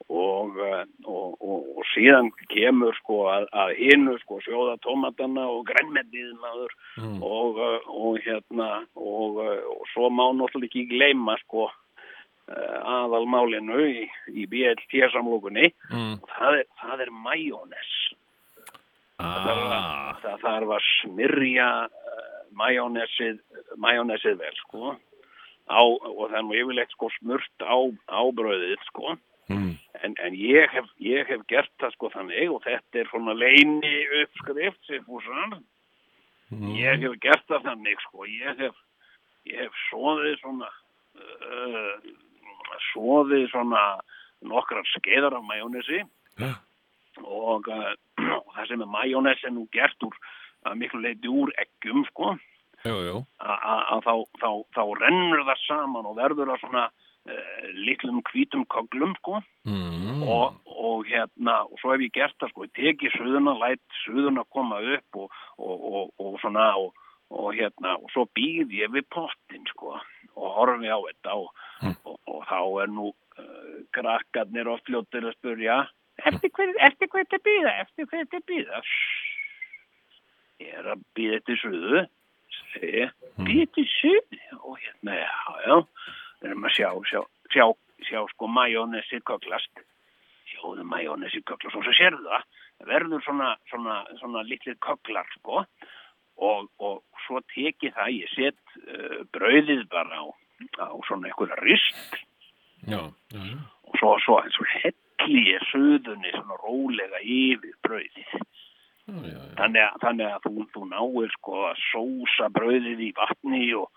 [SPEAKER 6] og, eh, og, og, og síðan kemur sko að, að hinu sko sjóða tómatana og grænmetiðin aður
[SPEAKER 1] Mm.
[SPEAKER 6] og, eh, og hérna og, eh, og svo má náttúrulega ekki gleyma sko eh, aðalmálinu í, í BLT-samlókunni
[SPEAKER 1] mm.
[SPEAKER 6] það er, það er majónes
[SPEAKER 1] ah.
[SPEAKER 6] það þarf að smyrja uh, majónesið, majónesið vel sko á, og það er nú yfirleitt sko smurt á, á bröðið sko
[SPEAKER 1] Mm.
[SPEAKER 6] en, en ég, hef, ég hef gert það sko þannig og þetta er svona leini uppskrift Sigfússon ég hef gert það þannig sko ég hef, ég hef svoðið svona uh, svoðið svona nokkrar skeiðar af majónesi
[SPEAKER 1] Já.
[SPEAKER 6] og uh, það sem er majónes er nú gert úr að miklu leiti úr eggjum sko
[SPEAKER 1] Jú, jú,
[SPEAKER 6] a- a- að þá, þá, þá rennur það saman og verður það svona uh, litlum hvítum koglum sko
[SPEAKER 1] mm.
[SPEAKER 6] og, og hérna, og svo hef ég gert það sko, ég teki suðuna, læt suðuna koma upp og, og, og, og svona og, og hérna, og svo býð ég við pottin sko og horfi á þetta og, og, og þá er nú uh, krakkarnir oft ljóttir að spurja eftir hvað, eftir hvað þetta býða, eftir hvað þetta býða ég er að býða eftir suðu segi, ég,
[SPEAKER 1] Hmm.
[SPEAKER 6] býða eftir suðu og hérna, já, já við erum að sjá, sjá, sjá, sjá sko majónesi köklast sjóðu majónesi köklast og svo sérðu það það verður svona, svona, svona litlið köklar sko og, og svo teki það ég set uh, brauðið bara á, á svona einhverja rist
[SPEAKER 1] já, já, já.
[SPEAKER 6] og svo, svo, svo helli ég suðunni svona rólega yfir brauðið
[SPEAKER 1] já, já, já.
[SPEAKER 6] þannig að, þannig að þú, þú náir sko að sósa brauðið í vatni og,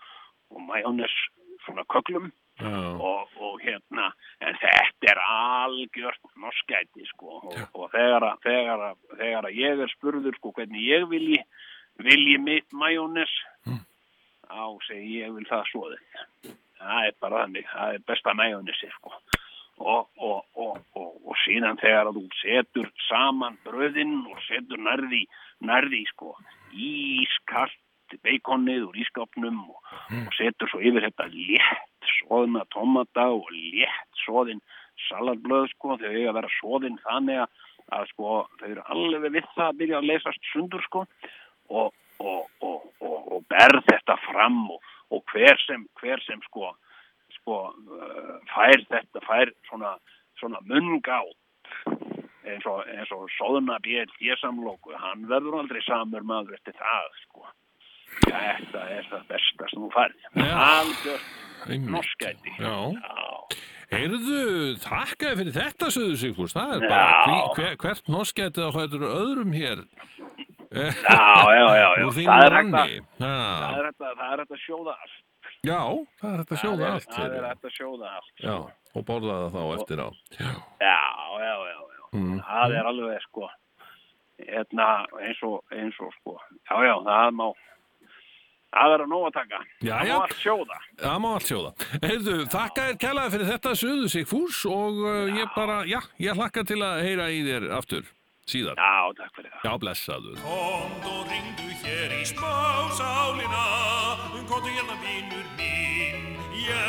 [SPEAKER 6] og majónes svona köklum
[SPEAKER 1] Já.
[SPEAKER 6] og, og hérna en þetta er algjört norskæti sko og, og þegar, að, þegar, að, þegar að ég er spurður sko hvernig ég vilji vilji mitt majónes á segi ég vil það svoðið það er bara þannig, það er besta majónesi sko og, og, og, og, og síðan þegar að þú setur saman bröðin og setur nærði, nærði sko ískalt beikonið úr ískapnum og, og setur svo yfir þetta létt svoðina tomata og létt svoðin salatblöð sko þau eiga að vera svoðin þannig að, að sko þau eru alveg við það að byrja að leysast sundur sko og, og, og, og, og berð þetta fram og, og hver sem, hver sem sko, sko uh, fær þetta, fær svona, svona mungátt eins og, eins og soðuna BLG-samlóku, hann verður aldrei samur maður eftir það, sko. Þetta er það besta sem þú færð.
[SPEAKER 1] Já.
[SPEAKER 6] Algjört
[SPEAKER 1] Einmitt.
[SPEAKER 6] norskæti.
[SPEAKER 1] Já.
[SPEAKER 6] Já.
[SPEAKER 1] Heyrðu, þakkaði fyrir þetta, sögðu Sigfús, það er
[SPEAKER 6] Já.
[SPEAKER 1] bara hví, hver, hvert norskætið á hættur öðrum hér
[SPEAKER 6] Já, já, já, já.
[SPEAKER 1] úr þínu
[SPEAKER 6] Það er hægt að,
[SPEAKER 1] ranni. Já,
[SPEAKER 6] það er hægt að, það er hægt að sjóða allt.
[SPEAKER 1] já, það er hægt að
[SPEAKER 6] Það
[SPEAKER 1] sjóða
[SPEAKER 6] er-
[SPEAKER 1] allt
[SPEAKER 6] Það er
[SPEAKER 1] fyrir.
[SPEAKER 6] hægt að sjóða allt.
[SPEAKER 1] Já, og borða það þá eftir á. Já,
[SPEAKER 6] Já, já, já, já. Það er alveg, sko, hérna, eins og, eins og, sko, já, já, það má, það er að nóg að taka.
[SPEAKER 1] Já,
[SPEAKER 6] það
[SPEAKER 1] já.
[SPEAKER 6] má allt sjóða.
[SPEAKER 1] það má allt sjóða. Heyrðu, þakkaði kælaði fyrir þetta, sögðu Sigfús og uh, ég bara, já, ég hlakka til að heyra í þér aftur síðar.
[SPEAKER 6] Já, takk fyrir það.
[SPEAKER 1] Já, blessaður.
[SPEAKER 5] Komdu og ringdu hér í spásálina Komdu hérna vinur minn, já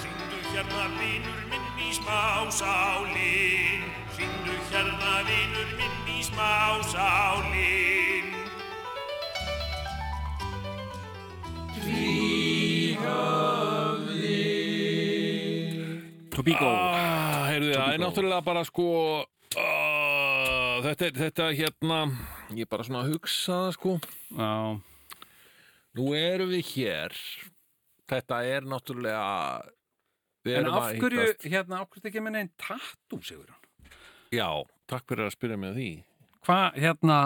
[SPEAKER 5] Ringdu hérna vinur minn í spásálin Ringdu hérna vinur minn í spásálin
[SPEAKER 2] Tobago
[SPEAKER 1] Ah, heyrðu, það er náttúrulega bara sko, ah, þetta, er- þetta hérna, Ég er bara svona að hugsa það sko
[SPEAKER 2] Já,
[SPEAKER 1] Nú erum við hér Þetta er náttúrulega Við
[SPEAKER 2] en
[SPEAKER 1] erum
[SPEAKER 2] af
[SPEAKER 1] að
[SPEAKER 2] hverju,
[SPEAKER 1] hittast.
[SPEAKER 2] hérna, af hverju þetta ekki með neinn tattoo, segur hann?
[SPEAKER 1] Já, takk fyrir að spyrja mig að því
[SPEAKER 2] Hvað, hérna,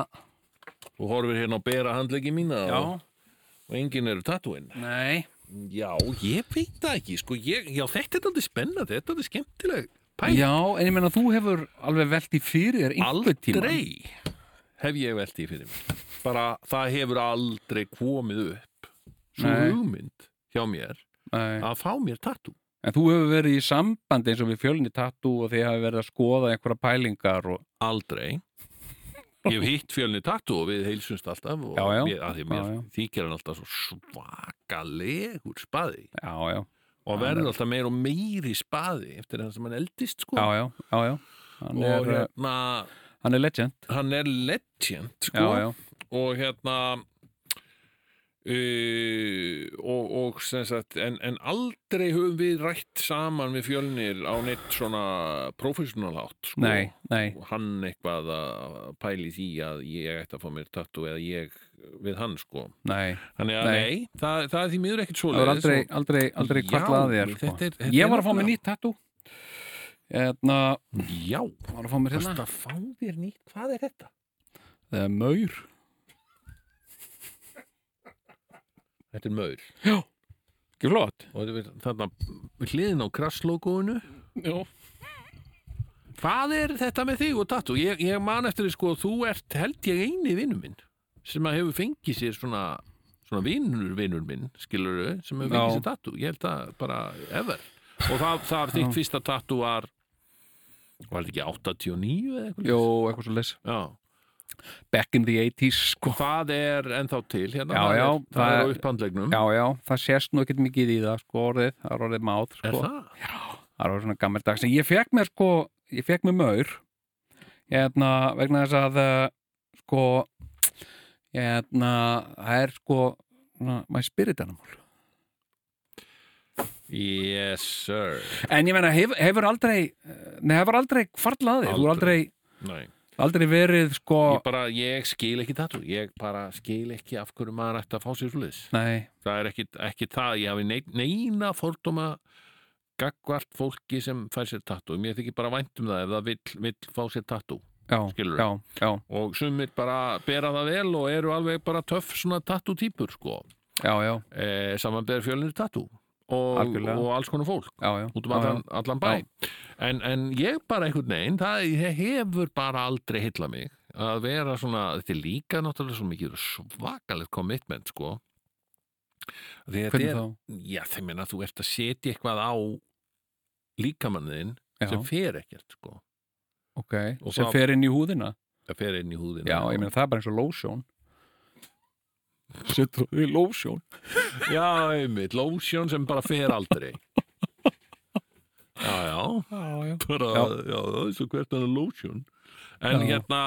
[SPEAKER 1] Þú horfir hérna á bera handleggi mína
[SPEAKER 2] já,
[SPEAKER 1] og, og enginn eru tatúinn
[SPEAKER 2] nei,
[SPEAKER 1] Já, ég veit það ekki sko, ég, Já, þetta er aldrei spennandi, þetta er aldrei skemmtileg pæl.
[SPEAKER 2] já, en ég meina þú hefur alveg velt í fyrir þér einhver tíma.
[SPEAKER 1] Aldrei hef ég velt því fyrir mér Bara það hefur aldrei komið upp Svo
[SPEAKER 2] Nei.
[SPEAKER 1] hugmynd hjá mér
[SPEAKER 2] Nei,
[SPEAKER 1] að fá mér tattoo
[SPEAKER 2] en þú hefur verið í sambandi eins og við fjölni tattoo og þið hafi verið að skoða einhverja pælingar og,
[SPEAKER 1] Aldrei Ég hef hitt fjölni tattoo og við heilsumst alltaf og
[SPEAKER 2] Já, já.
[SPEAKER 1] Mér, að því mér
[SPEAKER 2] Já, já.
[SPEAKER 1] þykir hann alltaf svo svakalegur spaði
[SPEAKER 2] já, já,
[SPEAKER 1] og
[SPEAKER 2] Hann
[SPEAKER 1] verður alltaf meir og meiri spaði eftir hann sem hann eldist sko
[SPEAKER 2] já, já, já, já. Hann
[SPEAKER 1] og
[SPEAKER 2] er,
[SPEAKER 1] hérna,
[SPEAKER 2] uh, hann er legend,
[SPEAKER 1] hann er legend sko
[SPEAKER 2] já, já,
[SPEAKER 1] og hérna uh, og, og sem sagt en, en aldrei höfum við rætt saman við fjölnir á neitt svona professionalhátt sko.
[SPEAKER 2] nei, nei,
[SPEAKER 1] Og hann eitthvað að pæli því að ég ætti að fá mér tattu eða ég við hann sko
[SPEAKER 2] nei.
[SPEAKER 1] þannig að
[SPEAKER 2] Nei.
[SPEAKER 1] nei, það, það er því miður ekkert svo
[SPEAKER 2] Það var aldrei, aldrei, aldrei
[SPEAKER 1] Já,
[SPEAKER 2] kvallaði þér sko.
[SPEAKER 1] þetta er- þetta er
[SPEAKER 2] Ég var að fá mér
[SPEAKER 1] nefnilega-
[SPEAKER 2] nýtt tattoo Hérna,
[SPEAKER 1] já,
[SPEAKER 2] var að fá mér hérna
[SPEAKER 1] það fá þér nýtt hvað er þetta?
[SPEAKER 2] Það er maur
[SPEAKER 1] Þetta er maur
[SPEAKER 2] Ekki flott
[SPEAKER 1] og þetta er þarna við hliðin á krasslogoinu
[SPEAKER 2] Já,
[SPEAKER 1] Hvað er þetta með þig og tattu? Ég, ég man eftir því sko, þú ert held ég eini vinnu minn sem að hefur fengið sér svona, svona vinnur vinnur minn, skilur sem hefur fengið
[SPEAKER 2] Já.
[SPEAKER 1] sér tattu. Ég held að bara ever. Og það, það var þitt fyrsta tattu var var þetta ekki 89 eða eitthvað?
[SPEAKER 2] Jó eitthvað svo leys
[SPEAKER 1] Já.
[SPEAKER 2] Back in the 80s sko
[SPEAKER 1] Það er ennþá til hérna.
[SPEAKER 2] Já,
[SPEAKER 1] það
[SPEAKER 2] já,
[SPEAKER 1] er, það
[SPEAKER 2] það
[SPEAKER 1] er á
[SPEAKER 2] er-
[SPEAKER 1] upphandlegnum.
[SPEAKER 2] Já, já, það sést nú ekkert mikið í það sko orðið, það er orðið máð
[SPEAKER 1] Er
[SPEAKER 2] sko.
[SPEAKER 1] það?
[SPEAKER 2] Það er orðið svona gammeldags En ég fekk mér sko, ég fekk mér maur Hérna, vegna þess að uh, sko Hérna, það er sko svona, maður spyrir þetta
[SPEAKER 1] Yes, sir.
[SPEAKER 2] En ég meina, hef, hefur aldrei eh, Nei, hefur aldrei kvarlaði Þú er aldrei,
[SPEAKER 1] Aldrei. Nei.
[SPEAKER 2] aldrei verið sko
[SPEAKER 1] Ég bara, ég skil ekki tattu. Ég bara skil ekki af hverju maður ætti að fá sér svo liðs.
[SPEAKER 2] Nei,
[SPEAKER 1] það er ekki, ekki það ég hafi nein- neina fordóma gagvart fólki sem fær sér tattoo mér þykir bara vænt um það ef það vill, vill fá sér tattoo
[SPEAKER 2] já,
[SPEAKER 1] Skilurðu?
[SPEAKER 2] já, já,
[SPEAKER 1] og sumir bara bera það vel og eru alveg bara töff svona tattoo týpur sko
[SPEAKER 2] já, já,
[SPEAKER 1] eh, samanber fjölunir tattoo og,
[SPEAKER 2] Algjörlega.
[SPEAKER 1] og alls konar fólk
[SPEAKER 2] já, já
[SPEAKER 1] út um
[SPEAKER 2] já, já.
[SPEAKER 1] allan, allan bæ en, en ég bara einhvern veginn það hefur bara aldrei hitla mig að vera svona, þetta er líka náttúrulega svo mikið svakalegt commitment sko Því þetta
[SPEAKER 2] Hvernig
[SPEAKER 1] er,
[SPEAKER 2] þá?
[SPEAKER 1] Já, þeim meina að þú ert að setja eitthvað á líkamannin
[SPEAKER 2] Já,
[SPEAKER 1] sem fer ekkert, sko.
[SPEAKER 2] ok,
[SPEAKER 1] og
[SPEAKER 2] sem
[SPEAKER 1] það-
[SPEAKER 2] fer inn í húðina
[SPEAKER 1] Það fer inn í húðina.
[SPEAKER 2] Já, ég meina, það er bara eins og lotion Settur þú í lotion
[SPEAKER 1] Já, einmitt, lotion sem bara fer aldrei. já, já,
[SPEAKER 2] Já, já,
[SPEAKER 1] bara, já,
[SPEAKER 2] Já.
[SPEAKER 1] það er svo hvert að lotion. En
[SPEAKER 2] Já.
[SPEAKER 1] hérna,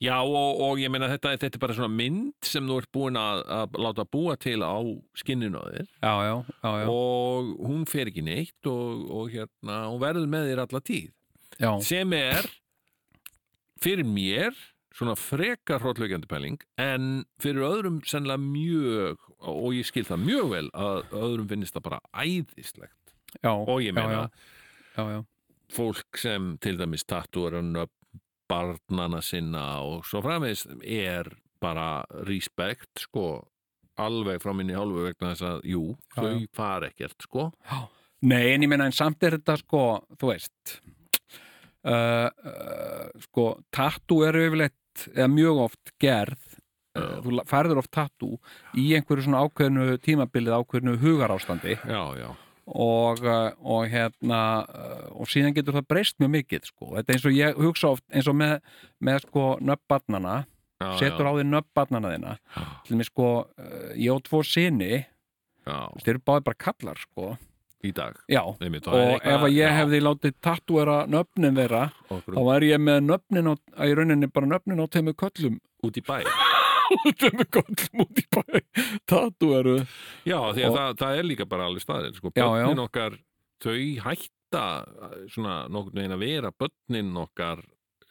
[SPEAKER 1] já, og, og ég meina þetta, þetta er bara svona mynd sem þú ert búin að, að láta búa til á skinninu á þér
[SPEAKER 2] já, já, já, já,
[SPEAKER 1] og hún fer ekki neitt og, og hérna, hún verður með þér alla tíð.
[SPEAKER 2] já.
[SPEAKER 1] sem er fyrir mér svona frekar hróttlökjandi pæling en fyrir öðrum sennilega mjög og ég skil það mjög vel að öðrum finnist það bara æðislegt
[SPEAKER 2] já
[SPEAKER 1] og ég meina
[SPEAKER 2] já, já, já,
[SPEAKER 1] fólk sem til dæmis tattúar barnana sinna og svo framvegis er bara respekt sko alveg frá minni hálfu vegna þess að jú,
[SPEAKER 2] Já,
[SPEAKER 1] þau
[SPEAKER 2] já.
[SPEAKER 1] fara ekkert sko
[SPEAKER 2] já. Nei, en ég meina, en samt er þetta sko þú veist uh, uh, sko, tattoo eru yfirleitt eða mjög oft gerð uh, þú la- færður oft tattoo í einhverju svona ákveðnu tímabilið ákveðnu hugarástandi
[SPEAKER 1] já, já,
[SPEAKER 2] og, uh, og hérna uh, og síðan getur það breyst mjög mikið sko. þetta er eins og ég hugsa oft eins og með, með sko nöppbarnana
[SPEAKER 1] já,
[SPEAKER 2] setur
[SPEAKER 1] já,
[SPEAKER 2] á því nöppbarnana þina til mér sko, uh, ég á tvo sinni
[SPEAKER 1] já,
[SPEAKER 2] þeir eru báði bara kallar sko
[SPEAKER 1] í dag
[SPEAKER 2] já,
[SPEAKER 1] Einmitt, það er
[SPEAKER 2] og
[SPEAKER 1] eitthvað-
[SPEAKER 2] ef að ég
[SPEAKER 1] já,
[SPEAKER 2] hefði látið tattúera nöfnin þeirra
[SPEAKER 1] okkur-
[SPEAKER 2] þá væri ég með nöfnin á, í rauninni bara nöfnin á teimu köllum
[SPEAKER 1] út í bæ
[SPEAKER 2] teimu köllum út í bæ tattúeru
[SPEAKER 1] Já, því að
[SPEAKER 2] Og-
[SPEAKER 1] það, það er líka bara alveg staðin sko.
[SPEAKER 2] Já, já.
[SPEAKER 1] Börnin okkar, þau hætta eh, svona nokkurn veginn að vera börnin okkar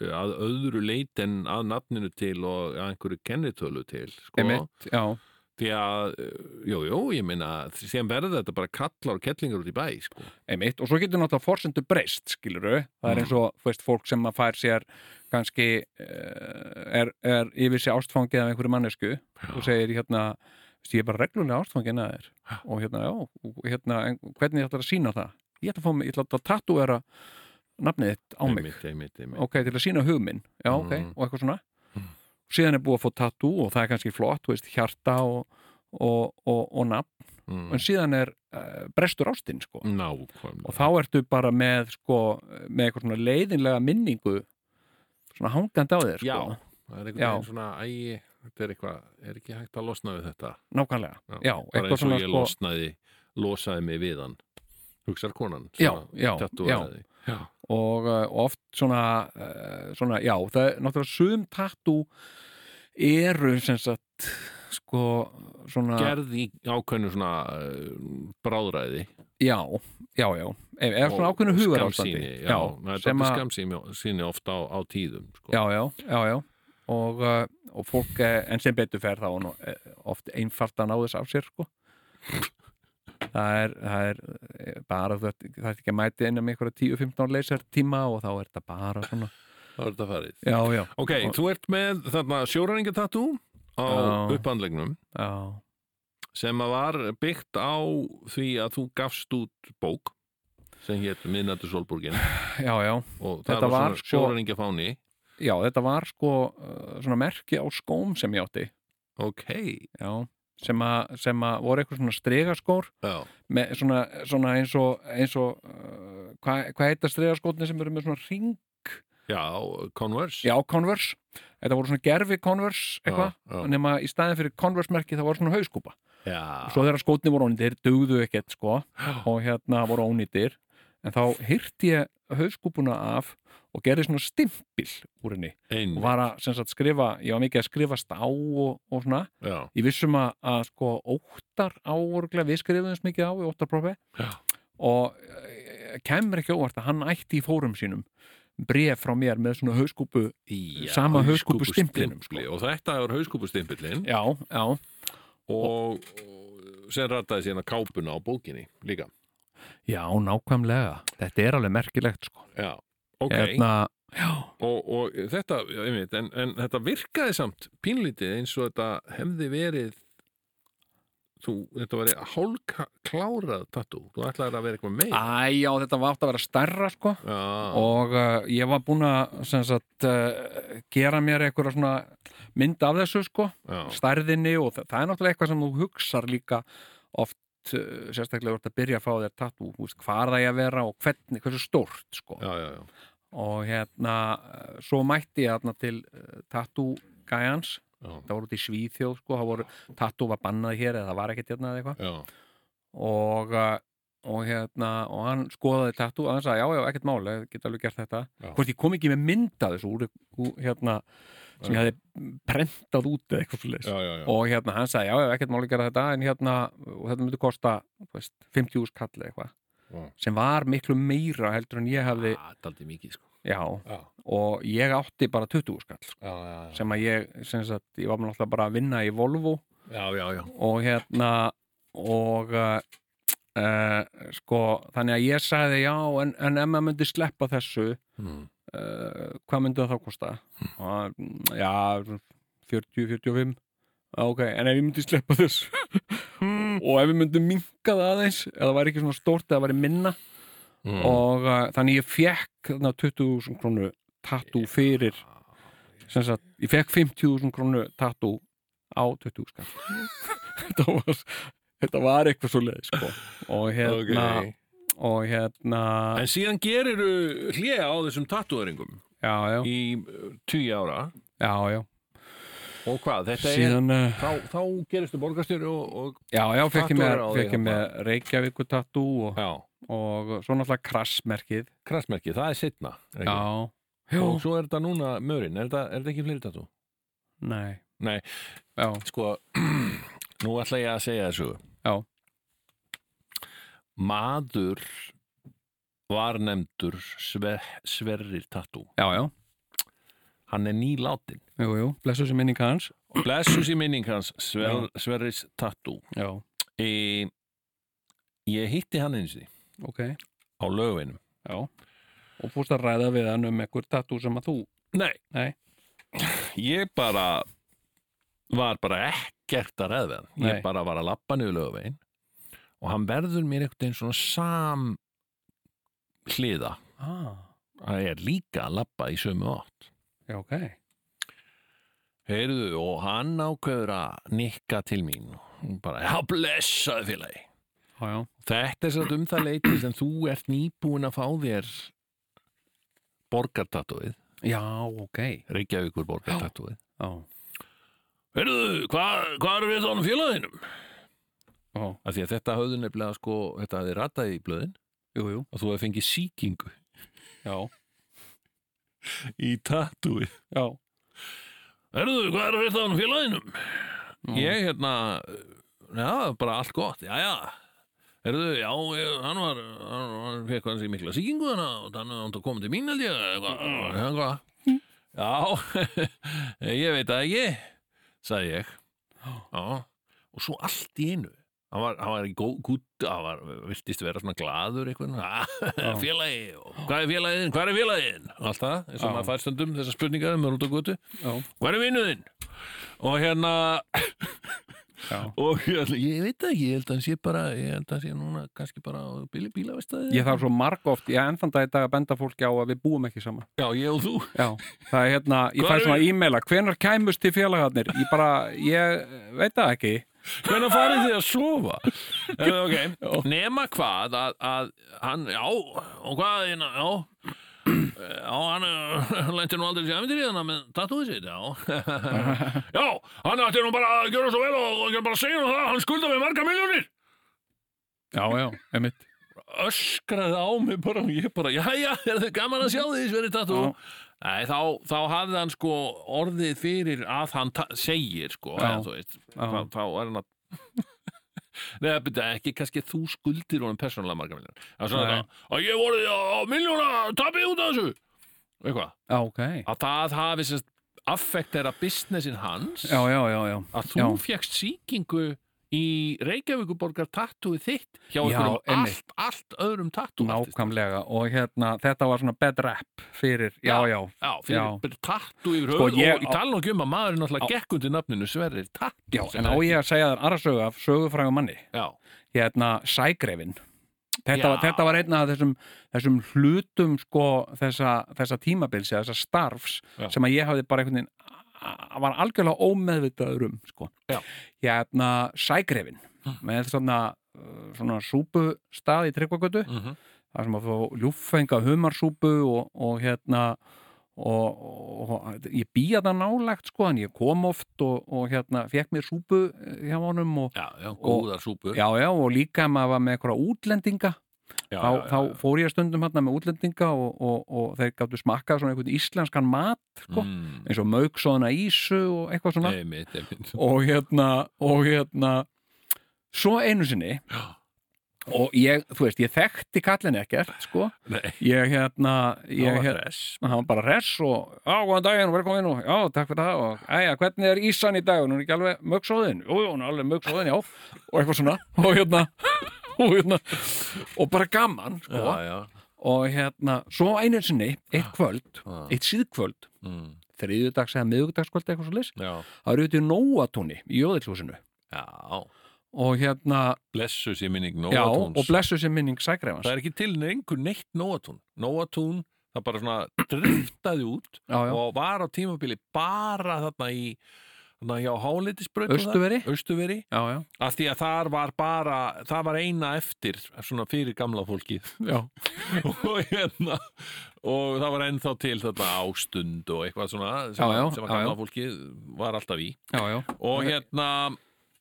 [SPEAKER 1] að öðru leit en að nafninu til og að einhverju kennitölu til sko.
[SPEAKER 2] Einmitt, já,
[SPEAKER 1] því að, eh, jú, jú, ég meina sem verður þetta bara kallar og kettlingar út í bæ sko.
[SPEAKER 2] einmitt og svo getur náttúrulega forsendu breyst, skiluru
[SPEAKER 1] Mm.
[SPEAKER 2] það er eins og, þú veist, fólk sem að fær sér kannski eh, er, er yfir sér ástfangið af einhverju mannesku og segir, hérna veist, ég er bara reglulega ástfangin að þér og hérna, já, og hérna, en hvernig ætlar að sína það? Ég ætla að fá mig, ég ætla að tatúera nafnið þitt á mig
[SPEAKER 1] einmitt, einmitt, einmitt.
[SPEAKER 2] ok, til að sína hugminn já, ok,
[SPEAKER 1] Mm.
[SPEAKER 2] og eitthvað svona síðan er búið að fá tattoo og það er kannski flott þú veist, hjarta og, og, og, og nafn,
[SPEAKER 1] Mm.
[SPEAKER 2] en síðan er uh, brestur ástinn, sko og
[SPEAKER 1] nákvæmlega
[SPEAKER 2] þá ertu bara með, sko með eitthvað svona leiðinlega minningu svona hangandi á þér, sko
[SPEAKER 1] já, það er einhvern
[SPEAKER 2] Já.
[SPEAKER 1] veginn svona æ, þetta er eitthvað, er ekki hægt að losna við þetta
[SPEAKER 2] nákvæmlega, já,
[SPEAKER 1] bara
[SPEAKER 2] eitthvað
[SPEAKER 1] eins og
[SPEAKER 2] svona,
[SPEAKER 1] ég
[SPEAKER 2] sko
[SPEAKER 1] losnaði losaði mig við hann hugsar konan
[SPEAKER 2] Já,
[SPEAKER 1] svona
[SPEAKER 2] já,
[SPEAKER 1] tattúeraði. já.
[SPEAKER 2] og, uh, og oft svona, uh, svona já, það er náttúrulega sum tattoo eru sem sagt sko svona
[SPEAKER 1] gerð í ákveðnu svona uh, bráðræði
[SPEAKER 2] Já, já, já Ef- eða svona
[SPEAKER 1] og
[SPEAKER 2] ákveðnu hugar
[SPEAKER 1] skammsýni, já, það er
[SPEAKER 2] sem
[SPEAKER 1] þetta
[SPEAKER 2] að
[SPEAKER 1] skamsýni síni ofta á, á tíðum sko.
[SPEAKER 2] já, já, já, já og, uh, og fólk, eh, en sem betur fer þá er nú, eh, oft einfalt að ná þess af sér sko það er, það er eh, bara þú ert- það er ekki að mæti inn um einhverja 10-15 leysar tíma og þá er þetta bara svona
[SPEAKER 1] það er þetta farið
[SPEAKER 2] já, já,
[SPEAKER 1] ok,
[SPEAKER 2] Og-
[SPEAKER 1] þú ert með þarna sjóræningatatú á
[SPEAKER 2] Já.
[SPEAKER 1] upphandlegnum
[SPEAKER 2] já,
[SPEAKER 1] sem að var byggt á því að þú gafst út bók sem hétt Minnatu Solborgin
[SPEAKER 2] já, já
[SPEAKER 1] og það
[SPEAKER 2] Þetta
[SPEAKER 1] var
[SPEAKER 2] var
[SPEAKER 1] svona
[SPEAKER 2] sko-
[SPEAKER 1] sjóræningafáni
[SPEAKER 2] já, þetta var sko eh, svona merki á skóm sem ég átti
[SPEAKER 1] ok,
[SPEAKER 2] já, sem að, sem að voru eitthvað svona stregaskór
[SPEAKER 1] já,
[SPEAKER 2] með svona, svona eins og, eins og uh, hvað hva heita stregaskotni sem eru með svona ring
[SPEAKER 1] já Converse
[SPEAKER 2] já, Converse, þetta voru svona gerfi Converse eitthvað,
[SPEAKER 1] já.
[SPEAKER 2] nema í staðin fyrir Converse merki það voru svona hauskúpa
[SPEAKER 1] Já,
[SPEAKER 2] svo þegar skotni voru ónýtir, dugðu ekkert sko, og hérna voru ónýtir en þá hirti ég hauskúpuna af og gerði svona stimpil úr henni
[SPEAKER 1] einmitt,
[SPEAKER 2] og var að sem sagt skrifa, ég var mikið að skrifast á og, og svona,
[SPEAKER 1] já,
[SPEAKER 2] ég vissum að, að sko óttar áorglega við skrifum þess mikið á í óttarprófi
[SPEAKER 1] Já.
[SPEAKER 2] og eh, kemur ekki óvart að hann ætti í fórum sínum bref frá mér með svona hauskúpu
[SPEAKER 1] já,
[SPEAKER 2] sama hauskúpustimplinum,
[SPEAKER 1] hauskúpustimpli. Og þetta var hauskúpustimpilin
[SPEAKER 2] já, já,
[SPEAKER 1] og, og sem rataði síðan að kápuna á bókinni líka.
[SPEAKER 2] já, nákvæmlega þetta er alveg merkilegt sko
[SPEAKER 1] Já, ok.
[SPEAKER 2] Hérna, já,
[SPEAKER 1] Og, og þetta, já, einmitt, en, en þetta virkaði samt pínlítið eins og þetta hefði verið þú, þetta var hálklárað tattoo. Þú ætlaði að vera eitthvað meir.
[SPEAKER 2] æjá, þetta var átt að vera stærra sko
[SPEAKER 1] Já,
[SPEAKER 2] og uh, ég var búinn að sem sagt, uh, gera mér einhverja svona mynd af þessu sko
[SPEAKER 1] já,
[SPEAKER 2] stærðinni og það, það er náttúrulega eitthvað sem þú hugsar líka oft uh, sérstaklega úr að byrja að fá þér tattoo þú veist, hvar það ég að vera og hvernig, hversu stórt sko.
[SPEAKER 1] já, já, já.
[SPEAKER 2] og hérna, uh, svo mætti ég hérna til uh, tattoo gæjans
[SPEAKER 1] Já,
[SPEAKER 2] það voru út í Svíþjóð, sko, það voru tattoo var bannað hér eða það var ekkert hérna eða eitthvað
[SPEAKER 1] já,
[SPEAKER 2] og, uh, og hérna, og hann skoðaði tattoo og hann sagði, já, já, ekkert mál, ég get alveg gert þetta
[SPEAKER 1] Já.
[SPEAKER 2] hvort ég kom ekki með myndað þessu úr, úr, hérna, sem ég hefði prentað út eða eitthvað fyrir
[SPEAKER 1] já, já, já.
[SPEAKER 2] og hérna hann sagði, já, já, ekkert máli gera þetta en hérna, og þetta myndi kosta þú veist, 50 úrs kall eða eitthvað
[SPEAKER 1] Já.
[SPEAKER 2] sem var miklu meira heldur en ég hafði
[SPEAKER 1] Ah, þetta er aldrei mikið, sko.
[SPEAKER 2] já,
[SPEAKER 1] Já,
[SPEAKER 2] og ég átti bara 20 úrs kall
[SPEAKER 1] já, já, já.
[SPEAKER 2] sem að ég, sem sagt, ég var náttúrulega bara að vinna í Volvo
[SPEAKER 1] Já, já, já.
[SPEAKER 2] og hérna og uh, uh, sko, þannig að ég sagði já, en, en ef maður myndi sleppa þessu
[SPEAKER 1] Mm.
[SPEAKER 2] uh, hvað myndi það þá kosta? Og hann, já, 40-45 ok, en ef ég myndi sleppa þess
[SPEAKER 1] Mm.
[SPEAKER 2] og ef ég myndi minka það aðeins eða það væri ekki svona stórt eða það væri minna
[SPEAKER 1] Mm.
[SPEAKER 2] og uh, þannig ég fekk þarna 20.000 krónu tattoo fyrir sem sagt, ég fekk 50.000 krónu tattoo á 20 skall þetta var þetta var eitthvað svo leið sko. og hérna
[SPEAKER 1] Ok.
[SPEAKER 2] og hérna,
[SPEAKER 1] En síðan gerir hlið á þessum tattúöringum
[SPEAKER 2] já, já,
[SPEAKER 1] í tíu ára
[SPEAKER 2] já, já
[SPEAKER 1] og hvað, þetta
[SPEAKER 2] síðan uh,
[SPEAKER 1] er þá, þá gerist þú borgarstjóri og, og
[SPEAKER 2] Já, já, fekk ég með,
[SPEAKER 1] Tattúar á því,
[SPEAKER 2] fekk ég
[SPEAKER 1] hérna.
[SPEAKER 2] með Reykjavíku tattoo og,
[SPEAKER 1] já,
[SPEAKER 2] og svo náttúrulega krassmerkið
[SPEAKER 1] krassmerki, það er setna
[SPEAKER 2] Já,
[SPEAKER 1] og
[SPEAKER 2] já,
[SPEAKER 1] svo er þetta núna mörinn, er þetta, er þetta ekki fleiri tattú?
[SPEAKER 2] nei
[SPEAKER 1] Nei.
[SPEAKER 2] Já,
[SPEAKER 1] Sko, nú ætla ég að segja þessu
[SPEAKER 2] Já.
[SPEAKER 1] Maður var nefndur sver, sverrir tattú
[SPEAKER 2] já, já,
[SPEAKER 1] hann er nýlátin
[SPEAKER 2] Jú, jú, blessu sem minning hans
[SPEAKER 1] og blessus í minning hans Sver, Sverris Tattoo
[SPEAKER 2] Já,
[SPEAKER 1] e, ég hitti hann eins og því
[SPEAKER 2] ok,
[SPEAKER 1] á lögvinum
[SPEAKER 2] já og fórst að ræða við hann um einhver tattoo sem að þú
[SPEAKER 1] Nei,
[SPEAKER 2] Nei.
[SPEAKER 1] ég bara var bara ekkert að ræða við hann
[SPEAKER 2] Nei.
[SPEAKER 1] ég bara var að labba niður lögvegin og hann verður mér einhvern veginn svona sam hliða
[SPEAKER 2] ah.
[SPEAKER 1] hann er líka að labba í sömu átt
[SPEAKER 2] Já, ok
[SPEAKER 1] heyrðu og hann ákveður að nikka til mín og bara, já blessaði félagi
[SPEAKER 2] Já, já,
[SPEAKER 1] þetta er satt um það leiti sem þú ert nýbúin að fá þér borgartatuðið,
[SPEAKER 2] já, ok
[SPEAKER 1] Reykjavíkur borgartatuðið
[SPEAKER 2] Já,
[SPEAKER 1] heyrðu, hvað hva er við þannig félaginum?
[SPEAKER 2] já,
[SPEAKER 1] af því að þetta hafði nefnilega sko, þetta hafði ratað í blöðin
[SPEAKER 2] jú, jú,
[SPEAKER 1] og þú hafði fengið sýkingu
[SPEAKER 2] já
[SPEAKER 1] í tatúi
[SPEAKER 2] Já,
[SPEAKER 1] Erðu, hvað er þetta á félaginum? Ég hérna, já, bara allt gott, já, já Erðu, já, ég, hann var hann, hann fekk hans í mikla sýkingu hana og hann hann kom til mín held ég eitthvað, eitthvað. Já, ég veit það ekki sagði ég Já, og svo allt í einu Hann var, hann var í góð, gútt, hann var, viltist vera svona glaður eitthvað, "Ah, félagi, og hvað er félagiðin, hvað er félagiðin? Allt það, eins og
[SPEAKER 2] Já.
[SPEAKER 1] maður fær stundum þessar spurningar um rúta gutu.
[SPEAKER 2] já,
[SPEAKER 1] Hvað er vinnuðinn? Og hérna,
[SPEAKER 2] já
[SPEAKER 1] og hérna, ég veit það ekki, ég held að hann sé bara, ég held að hann sé núna kannski bara á bíla, bílavistæði.
[SPEAKER 2] Ég þarf svo marg oft, ég ennþann dag í dag að benda fólki á að við búum ekki saman
[SPEAKER 1] Já, ég og þú.
[SPEAKER 2] Já, það er hérna, ég
[SPEAKER 1] Hvar
[SPEAKER 2] fæ
[SPEAKER 1] er-
[SPEAKER 2] svona e-maila Hvenar kæmust til félagarnir? Ég bara, ég veit það ekki
[SPEAKER 1] Hvernig farið þið að sofa? Eh, ok, nema hvað að, að hann, já, og hvað hérna, já, já, hann eh, lenti nú aldrei sér æfintir í hana með tattúið sitt, já. já, hann ætti nú bara að gjöra svo vel og, og bara segja nú það, hann skulda með marga miljónir.
[SPEAKER 2] Já, já, emitt
[SPEAKER 1] öskraði á mig bara og ég bara, jæja, er þau gaman að sjá því sverið tattoo? Nei, þá, þá hafði hann sko orðið fyrir að hann ta- segir sko,
[SPEAKER 2] Já.
[SPEAKER 1] eða, þú veist, þá, þá er hann að Nei, byrja, ekki kannski þú skuldir honum persónulega marga miljónir. Það er svona
[SPEAKER 2] Nei.
[SPEAKER 1] þetta, að ég voru á, á miljóna tapið út af þessu. Eitthvað,
[SPEAKER 2] Já, ok
[SPEAKER 1] að það hafi sérst affektera businessin hans
[SPEAKER 2] Já, já, já, já
[SPEAKER 1] að þú
[SPEAKER 2] Já.
[SPEAKER 1] fjekkst sýkingu í Reykjavíkuborgar tattúið þitt hjá
[SPEAKER 2] Já,
[SPEAKER 1] einhverjum
[SPEAKER 2] einmitt.
[SPEAKER 1] allt, allt öðrum tattúartist
[SPEAKER 2] Nákvæmlega, og hérna, þetta var svona bad rap fyrir, já,
[SPEAKER 1] Já.
[SPEAKER 2] já,
[SPEAKER 1] Já, fyrir
[SPEAKER 2] Já.
[SPEAKER 1] já. tattu yfir
[SPEAKER 2] Sko,
[SPEAKER 1] höfuð
[SPEAKER 2] ég-
[SPEAKER 1] og ég tala nú ekki um að maðurinn náttúrulega gekk undir nafninu Sverrir Tattu
[SPEAKER 2] já En á ég að segja þér aðra sögu af sögufræga manni
[SPEAKER 1] Já,
[SPEAKER 2] Hérna, sægrefin Þetta,
[SPEAKER 1] Já.
[SPEAKER 2] var, þetta var einn af þessum, þessum hlutum sko þessa, þessa tímabilsi, þessa starfs
[SPEAKER 1] Já.
[SPEAKER 2] sem að ég hafði bara einhvern veginn a- var algjörlega ómeðvitaður um sko.
[SPEAKER 1] Já. Hm.
[SPEAKER 2] Hérna sægrefin með svona, uh, svona súpustað í tryggvagötu
[SPEAKER 1] mm -hmm.
[SPEAKER 2] þar sem að fá ljúffenga humarsúpu og, og hérna og, og, og ég býja það nálægt sko, en ég kom oft og, og hérna fekk mér súpu eh, hjá honum og,
[SPEAKER 1] já, já góðar súpur
[SPEAKER 2] já, já, og líka ef maður var með einhverja útlendinga
[SPEAKER 1] já, já,
[SPEAKER 2] þá,
[SPEAKER 1] já, já.
[SPEAKER 2] þá fór ég stundum hérna með útlendinga og, og, og þeir gáttu smakkað svona einhvern íslenskan mat sko,
[SPEAKER 1] Mm,
[SPEAKER 2] eins og mauk svona ísu og eitthvað svona
[SPEAKER 1] einmitt, einmitt.
[SPEAKER 2] og hérna, og hérna svo einu sinni og ég, þú veist, ég þekkti kallin ekkert, sko
[SPEAKER 1] Nei,
[SPEAKER 2] ég hérna,
[SPEAKER 1] það
[SPEAKER 2] ég
[SPEAKER 1] var
[SPEAKER 2] hérna
[SPEAKER 1] þess
[SPEAKER 2] hann var bara hress og já, góðan daginn, velkomin og já, takk fyrir það og æja, hvernig er Ísan í dag, hún er ekki alveg mögsóðin, jú, jú, hún er alveg mögsóðin, já og eitthvað svona, og hérna og hérna, og bara gaman sko,
[SPEAKER 1] Já, já
[SPEAKER 2] og hérna, svo einu sinni, eitt kvöld
[SPEAKER 1] Já.
[SPEAKER 2] eitt síðkvöld,
[SPEAKER 1] mm,
[SPEAKER 2] þriðudags eða miðugudagskvöld eitthvað svo leys,
[SPEAKER 1] Já,
[SPEAKER 2] það eru þetta í Nóatóni í Jóðilshúsinu
[SPEAKER 1] já
[SPEAKER 2] og hérna,
[SPEAKER 1] Blessu sér minning
[SPEAKER 2] já, og
[SPEAKER 1] Nóatúns
[SPEAKER 2] blessu sem minning
[SPEAKER 1] Það
[SPEAKER 2] sækrefans,
[SPEAKER 1] er ekki til lengur neitt Nóatún Nóatún, það bara svona driftaði út
[SPEAKER 2] já, já,
[SPEAKER 1] og var á tímabili bara þarna í þarna hjá Háleitisbraut og það.
[SPEAKER 2] Austurveri?
[SPEAKER 1] Austurveri
[SPEAKER 2] já, já
[SPEAKER 1] Af því að þar var bara, það var eina eftir svona fyrir gamla fólkið
[SPEAKER 2] já,
[SPEAKER 1] og hérna og það var ennþá til þetta ástund og eitthvað svona sem,
[SPEAKER 2] Já, já,
[SPEAKER 1] sem að
[SPEAKER 2] já,
[SPEAKER 1] gamla
[SPEAKER 2] já.
[SPEAKER 1] fólkið var alltaf í
[SPEAKER 2] já, já
[SPEAKER 1] og hérna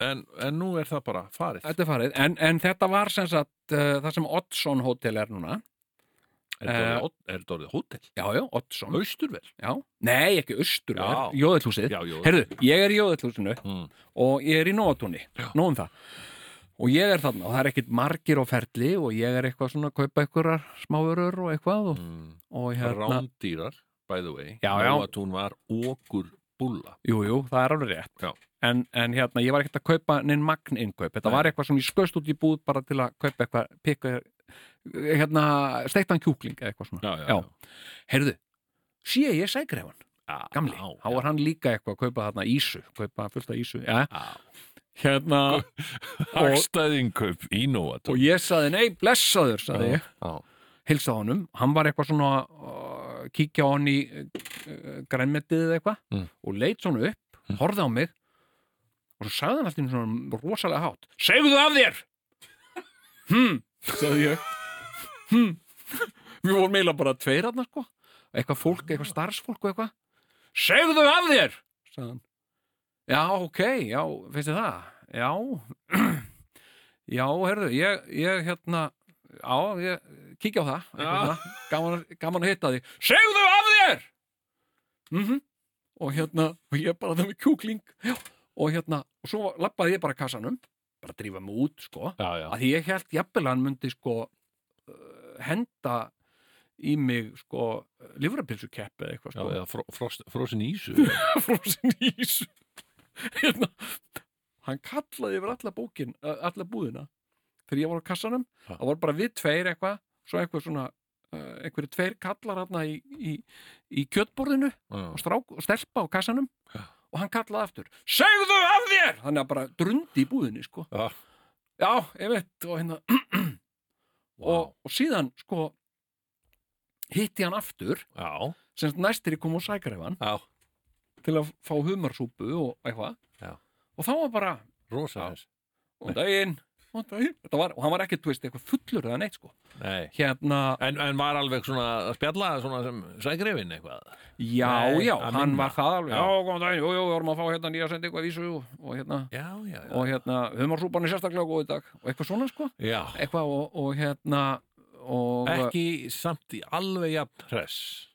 [SPEAKER 1] en, en nú er það bara farið
[SPEAKER 2] Þetta er farið, en, en þetta var sem sagt uh, það sem Oddsson Hotel er núna Eh,
[SPEAKER 1] er þetta orðið hot- er þetta orðið hótel?
[SPEAKER 2] Já, já, Oddsson
[SPEAKER 1] Austurvel?
[SPEAKER 2] já. Nei, ekki austur
[SPEAKER 1] Já.
[SPEAKER 2] Jóðillhúsið
[SPEAKER 1] Já, jú
[SPEAKER 2] Herðu, ég er í Jóðillhúsinu
[SPEAKER 1] Mm.
[SPEAKER 2] og ég er í Nóatúni, nóum það og ég er þarna og það er ekkit margir á ferli og ég er eitthvað svona að kaupa einhverjar smávörur og eitthvað og,
[SPEAKER 1] Mm.
[SPEAKER 2] og hérna
[SPEAKER 1] Rándýrar by the way
[SPEAKER 2] Já,
[SPEAKER 1] Nóg
[SPEAKER 2] já.
[SPEAKER 1] að hún var okkur búlla
[SPEAKER 2] Jú, jú, það er alveg rétt
[SPEAKER 1] Já.
[SPEAKER 2] en, en hérna, ég var ekkert að kaupa neinn magn innkaup, þetta
[SPEAKER 1] Nei.
[SPEAKER 2] var eitthvað sem ég skauðst út í búð bara til að kaupa eitthvað pikka, hérna, steiktan kjúkling eða eitthvað svona,
[SPEAKER 1] Já, já, já.
[SPEAKER 2] heyrðu, sé ég sækrefan,
[SPEAKER 1] Já,
[SPEAKER 2] gamli
[SPEAKER 1] já,
[SPEAKER 2] þá var hann líka eitthvað að kaupa þarna ísu kaupa fullt af ísu, já,
[SPEAKER 1] já.
[SPEAKER 2] hérna og,
[SPEAKER 1] Hagstæðingkaup í Nóatún
[SPEAKER 2] og ég saði, nei, blessaður saði ég,
[SPEAKER 1] já,
[SPEAKER 2] hilsaði honum hann var eitthvað svona uh, kíkja á hann í uh, grænmetið eða eitthvað
[SPEAKER 1] Mm.
[SPEAKER 2] og leit svona upp, horfði á mig og svo sagði hann alltaf svona rosalega hátt, segðu af þér hm, sagði ég hm við vorum eiginlega bara tveir aðna sko eitthvað fólk, eitthvað starfsfólk og eitthvað segðu af þér sagði hann já, ok, já, finnst þið það já já, herðu, ég, ég hérna já, ég kíkja á það eitthvað svona. gaman, að- gaman að hitta því segðu af þér mhm og hérna, og ég bara það með kjúkling já, og hérna, og svo lappaði ég bara að kassanum, bara að drífa mig út sko,
[SPEAKER 1] já, já.
[SPEAKER 2] að því ég held jafnvel að hann myndi sko uh, henda í mig sko livrapilsukepp eða eitthvað
[SPEAKER 1] já,
[SPEAKER 2] sko
[SPEAKER 1] eða fro, frost, frosin ísu
[SPEAKER 2] frósin ís hérna hann kallaði yfir alla bókin eh, alla búðina þegar ég var á kassanum
[SPEAKER 1] Ha.
[SPEAKER 2] það voru bara við tveir eitthvað svo eitthvað svona uh, einhverju tveir kallar hérna í, í, í kjötborðinu
[SPEAKER 1] Já.
[SPEAKER 2] og, strák, og stelpa á kassanum
[SPEAKER 1] Já.
[SPEAKER 2] og hann kallaði aftur segðu af þér þannig að bara drundi í búðinni sko
[SPEAKER 1] Já.
[SPEAKER 2] já, ég veit og, hérna, og,
[SPEAKER 1] Vá.
[SPEAKER 2] og síðan sko hitti hann aftur
[SPEAKER 1] já,
[SPEAKER 2] sem sagt næstir ég kom og sækar ef hann
[SPEAKER 1] já,
[SPEAKER 2] til að fá humarsúpu og eitthvað
[SPEAKER 1] Já.
[SPEAKER 2] og þá var bara
[SPEAKER 1] rosa
[SPEAKER 2] Já.
[SPEAKER 1] þess
[SPEAKER 2] og daginn, og daginn Þetta var, og hann var ekki, þú veist, eitthvað fullur eða neitt sko
[SPEAKER 1] Nei.
[SPEAKER 2] hérna,
[SPEAKER 1] En, en var alveg svona að spjalla svona sem sægrefin eitthvað
[SPEAKER 2] já,
[SPEAKER 1] Nei,
[SPEAKER 2] já,
[SPEAKER 1] að
[SPEAKER 2] hann
[SPEAKER 1] minna.
[SPEAKER 2] var það alveg
[SPEAKER 1] Já.
[SPEAKER 2] já, góðan daginn, jú, jú, við vorum að fá hérna nýja sendi eitthvað vísu og, og hérna
[SPEAKER 1] Já, já, já,
[SPEAKER 2] og hérna, humarsúpan er sérstaklega góð í dag og eitthvað svona sko,
[SPEAKER 1] já.
[SPEAKER 2] eitthvað og, og hérna og
[SPEAKER 1] Ekki samt í alveg jafn hress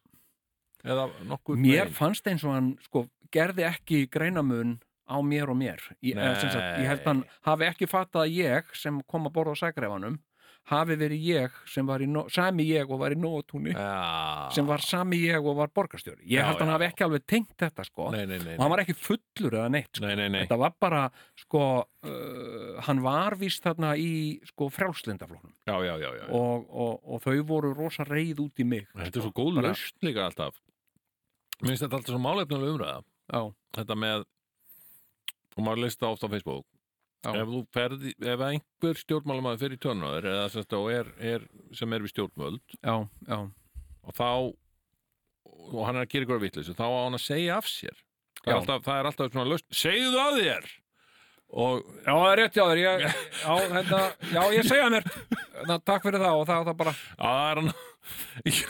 [SPEAKER 1] Eða nokkuð
[SPEAKER 2] mér
[SPEAKER 1] megin.
[SPEAKER 2] fannst eins og hann sko, gerði ekki greinamun á mér og mér ég, eða, sem sagt, ég held hann hafi ekki fattað að ég sem kom að borða á sækrefanum hafi verið ég sem var í no, sami ég og var í nóatúni
[SPEAKER 1] Já.
[SPEAKER 2] sem var sami ég og var borgarstjóri ég
[SPEAKER 1] Já,
[SPEAKER 2] held hann
[SPEAKER 1] já.
[SPEAKER 2] hafi ekki alveg tengt þetta sko
[SPEAKER 1] Nei, nei, nei,
[SPEAKER 2] og hann var ekki fullur eða neitt sko.
[SPEAKER 1] nei, nei, nei.
[SPEAKER 2] þetta var bara sko uh, hann var víst þarna í sko frjálslindaflóknum
[SPEAKER 1] Já, já, já, já.
[SPEAKER 2] og, og, og þau voru rosa reyð út í mig
[SPEAKER 1] Þetta er svo góð
[SPEAKER 2] bara-
[SPEAKER 1] löst líka alltaf Mér finnst þetta alltaf svo málefnulega umræða
[SPEAKER 2] já,
[SPEAKER 1] Þetta með og maður leist það oft á Facebook
[SPEAKER 2] Já.
[SPEAKER 1] ef, þú ferði, ef einhver stjórnmálamaður fyrir tönnaður eða sem, sagt, og er, er, sem er við stjórnmöld
[SPEAKER 2] já, já,
[SPEAKER 1] og þá og hann er að gera ykkur vitleysu þá á hann að segja af sér það er
[SPEAKER 2] Já.
[SPEAKER 1] alltaf, það er alltaf svona löst segðu það að þér og
[SPEAKER 2] já, það er rétt já, þér, ég, já, hérna, já, ég segja mér Na, takk fyrir það og það, það bara
[SPEAKER 1] Já, það er hann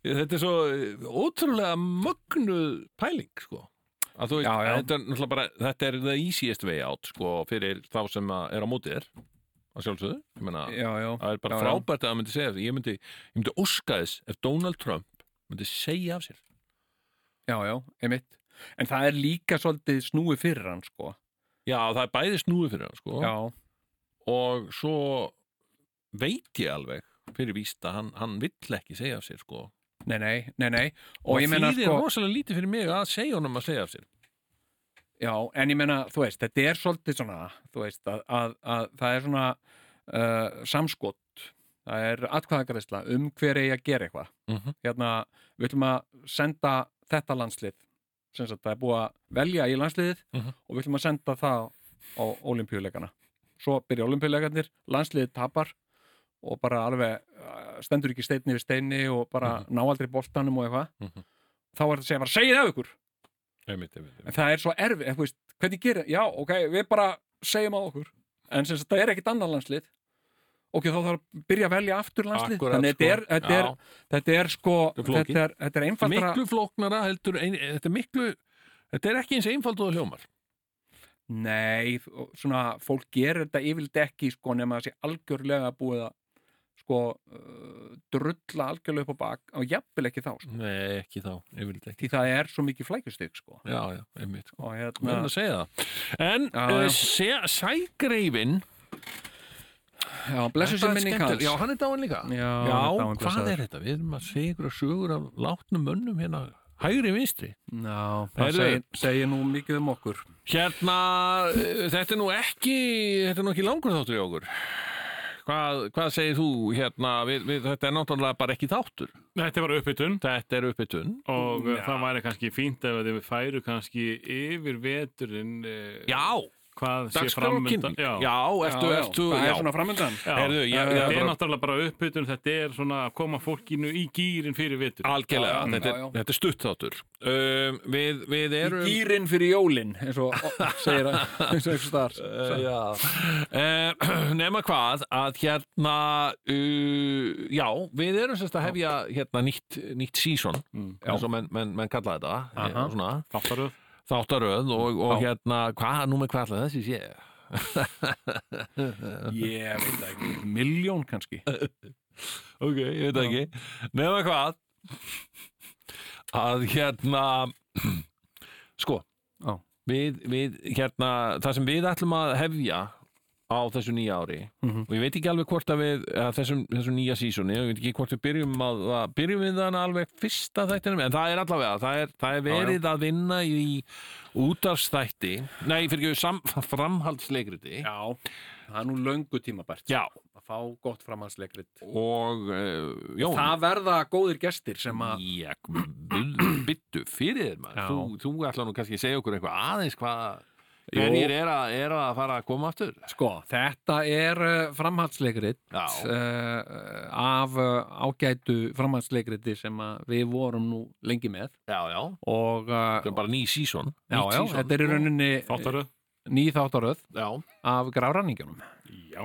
[SPEAKER 1] Þetta er svo eh, ótrúlega mögnuð pæling sko. að þú veist,
[SPEAKER 2] Já, já.
[SPEAKER 1] Þetta, er náttúrulega bara, þetta er the easiest way out sko, fyrir þá sem að er á móti þér að sjálfsögðu, ég meina
[SPEAKER 2] já, já,
[SPEAKER 1] það er bara
[SPEAKER 2] já, já.
[SPEAKER 1] frábært að það myndi segja þessu. ég myndi, ég myndi óska þess ef Donald Trump myndi segja af sér
[SPEAKER 2] já, já, einmitt en það er líka svolítið snúið fyrir hann sko
[SPEAKER 1] Já, það er bæði snúið fyrir hann sko.
[SPEAKER 2] já,
[SPEAKER 1] og svo veit ég alveg fyrir víst að hann, hann vill ekki segja af sér sko.
[SPEAKER 2] nei, nei, nei, nei og, ég meina
[SPEAKER 1] þýðir
[SPEAKER 2] sko
[SPEAKER 1] rosalega lítið fyrir mig að segja honum að segja af sér
[SPEAKER 2] Já, en ég meina, þú veist, þetta er svolítið svona, þú veist, að, að, að það er svona uh, samskott, það er atkvæðagreðsla um hver eigi að gera eitthvað.
[SPEAKER 1] Mhm.
[SPEAKER 2] Hérna, við ætlum að senda þetta landslið, sem sagt, það er búið að velja í landsliðið
[SPEAKER 1] Mhm.
[SPEAKER 2] og við ætlum að senda það á olimpíuleikana. Svo byrja olimpíuleikarnir, landsliðið tapar og bara alveg uh, stendur ekki steinni við steini og bara ná aldrei boltanum og eitthvað.
[SPEAKER 1] Mhm.
[SPEAKER 2] Þá er þetta að segja bara, segið af ykkur!
[SPEAKER 1] einmitt, einmitt, einmitt.
[SPEAKER 2] en það er svo erfið, þú veist, hvernig gerir já, ok, við bara segjum á okkur en sem sagt, það er ekkit annað landslið ok, þá þarf að byrja að velja aftur landslið
[SPEAKER 1] Akkúrat,
[SPEAKER 2] þannig
[SPEAKER 1] sko.
[SPEAKER 2] þetta er, þetta er,
[SPEAKER 1] Já.
[SPEAKER 2] þetta er sko
[SPEAKER 1] Þetta er flókið.
[SPEAKER 2] þetta er, þetta er einfaldra
[SPEAKER 1] miklu flóknara heldur ein, eh, þetta er miklu þetta er ekki eins einfald og það hljómar
[SPEAKER 2] nei, og svona, fólk gerir þetta yfirleitt ekki, sko, nema að sé algjörlega búið að sko, uh, drulla algjörlega upp á bak og jafnvel ekki þá, sko.
[SPEAKER 1] nei ekki þá, ég vil þetta ekki
[SPEAKER 2] því það er svo mikið flækjustygg, sko
[SPEAKER 1] já, já, einmitt,
[SPEAKER 2] og
[SPEAKER 1] við erum
[SPEAKER 2] hérna,
[SPEAKER 1] eh, að segja það en
[SPEAKER 2] Já,
[SPEAKER 1] uh,
[SPEAKER 2] já.
[SPEAKER 1] se- sægreifin
[SPEAKER 2] já, blessu
[SPEAKER 1] Þetta
[SPEAKER 2] sem
[SPEAKER 1] er
[SPEAKER 2] minni
[SPEAKER 1] skemmtilegt.
[SPEAKER 2] Karls
[SPEAKER 1] Já, hann er dáin líka
[SPEAKER 2] Já, hann er dáinn,
[SPEAKER 1] hvað
[SPEAKER 2] blessaður.
[SPEAKER 1] er þetta? Við erum að segja ykkur sögur af látnum mönnum hérna hægri vinstri
[SPEAKER 2] Já, það
[SPEAKER 1] Heyrðu.
[SPEAKER 2] segir, segir nú mikið um okkur
[SPEAKER 1] Hérna, eh, þetta er nú ekki þetta er nú ekki langur þáttur í okkur Hvað, hvað segir þú hérna, við, við, þetta er náttúrulega bara ekki þáttur
[SPEAKER 3] Þetta var uppbytun
[SPEAKER 1] Þetta er uppbytun
[SPEAKER 3] og Já. það væri kannski fínt ef þið færu kannski yfir veturinn eh,
[SPEAKER 1] Já,
[SPEAKER 3] hvað sé
[SPEAKER 1] dagskrákin
[SPEAKER 3] framundan
[SPEAKER 1] Já, ertu, ertu
[SPEAKER 2] það
[SPEAKER 1] já.
[SPEAKER 2] er svona framöndan
[SPEAKER 3] Já,
[SPEAKER 1] Heyrðu, ég- ég
[SPEAKER 3] þetta er
[SPEAKER 1] bara-
[SPEAKER 3] náttúrulega bara uppbytun, þetta er svona að koma fólkinu í gýrin fyrir vetur.
[SPEAKER 1] Algjörlega,
[SPEAKER 2] Já,
[SPEAKER 1] þetta,
[SPEAKER 2] já,
[SPEAKER 1] er,
[SPEAKER 2] já.
[SPEAKER 1] þetta er stutt þáttur um, við, við erum
[SPEAKER 2] Gýrin fyrir jólin eins og ó, segir að- eins og eitthvað starf
[SPEAKER 1] uh, nema hvað að hérna uh, já, við erum sérst að hefja hérna nýtt, nýtt season eins og menn, menn, menn kalla þetta
[SPEAKER 2] Mm. Aha.
[SPEAKER 1] eh, svona,
[SPEAKER 3] Þáttaröð.
[SPEAKER 1] þáttaröð og, og hérna, hvað, nú með hvað allir þessi sé
[SPEAKER 2] Ég veit það ekki, miljón kannski
[SPEAKER 1] ok, ég veit það ekki nema hvað að hérna sko
[SPEAKER 2] Já.
[SPEAKER 1] við, við hérna það sem við ætlum að hefja á þessu nýja ári
[SPEAKER 2] Mhm.
[SPEAKER 1] og ég veit ekki alveg hvort að við að þessum, þessum nýja sísoni, ég veit ekki hvort við byrjum að, að byrjum við þannig alveg fyrsta þættinum en það er allavega, það er, það er verið að vinna í útarstætti nei, fyrir ekki framhaldsleikriti
[SPEAKER 2] Já, það er nú löngu tímabært
[SPEAKER 1] Já.
[SPEAKER 2] Að fá gott framhansleikrit
[SPEAKER 1] og uh, Jón
[SPEAKER 2] Það verða góðir gestir sem að
[SPEAKER 1] Já, byttu fyrir þér maður
[SPEAKER 2] Já.
[SPEAKER 1] þú, þú ætla nú kannski að segja okkur eitthvað aðeins hvað hverjir er, að- er að fara að koma aftur
[SPEAKER 2] Sko, þetta er uh, framhaldsleikrit
[SPEAKER 1] Já.
[SPEAKER 2] uh, af uh, ágætu framhaldsleikriti sem að við vorum nú lengi með
[SPEAKER 1] Já, já,
[SPEAKER 2] og uh,
[SPEAKER 1] þetta er bara ný sísón
[SPEAKER 2] já, já, þetta er í rauninni
[SPEAKER 3] Þáttaröð.
[SPEAKER 2] ný þáttaröð
[SPEAKER 1] Já,
[SPEAKER 2] af gráræningunum
[SPEAKER 3] Já.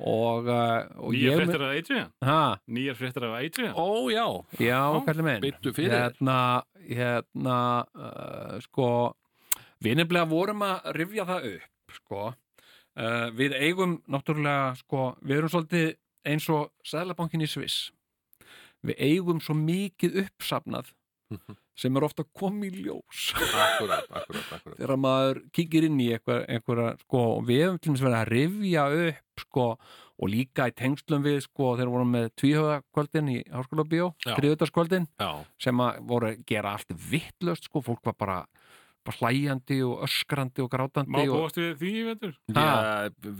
[SPEAKER 2] og, uh, og
[SPEAKER 3] Nýjar
[SPEAKER 2] ég
[SPEAKER 3] fréttir af Adrian.
[SPEAKER 2] ha,
[SPEAKER 3] Nýjar fréttir af Adrian.
[SPEAKER 1] ó já
[SPEAKER 2] já, kallir minn
[SPEAKER 1] Biddu fyrir þér.
[SPEAKER 2] hérna, hérna uh, sko við nefnilega vorum að rifja það upp sko uh, við eigum náttúrulega sko við erum svolítið eins og Sæðlabankin í Sviss við eigum svo mikið uppsafnað sem er ofta komið í ljós
[SPEAKER 1] Akkurat, akkurat, akkurat
[SPEAKER 2] þegar maður kíkir inn í einhverja, einhverja sko, og við hefum til dæmis verið að rifja upp sko, og líka í tengslum við sko, þegar við vorum með tvíhöðakvöldin í háskóla bíó,
[SPEAKER 1] Já.
[SPEAKER 2] þriðutaskvöldin
[SPEAKER 1] Já,
[SPEAKER 2] sem að voru að gera allt vittlust sko, fólk var bara, bara hlæjandi og öskrandi og
[SPEAKER 3] Má
[SPEAKER 2] grátandi og,
[SPEAKER 3] búast við því í vetur.
[SPEAKER 1] já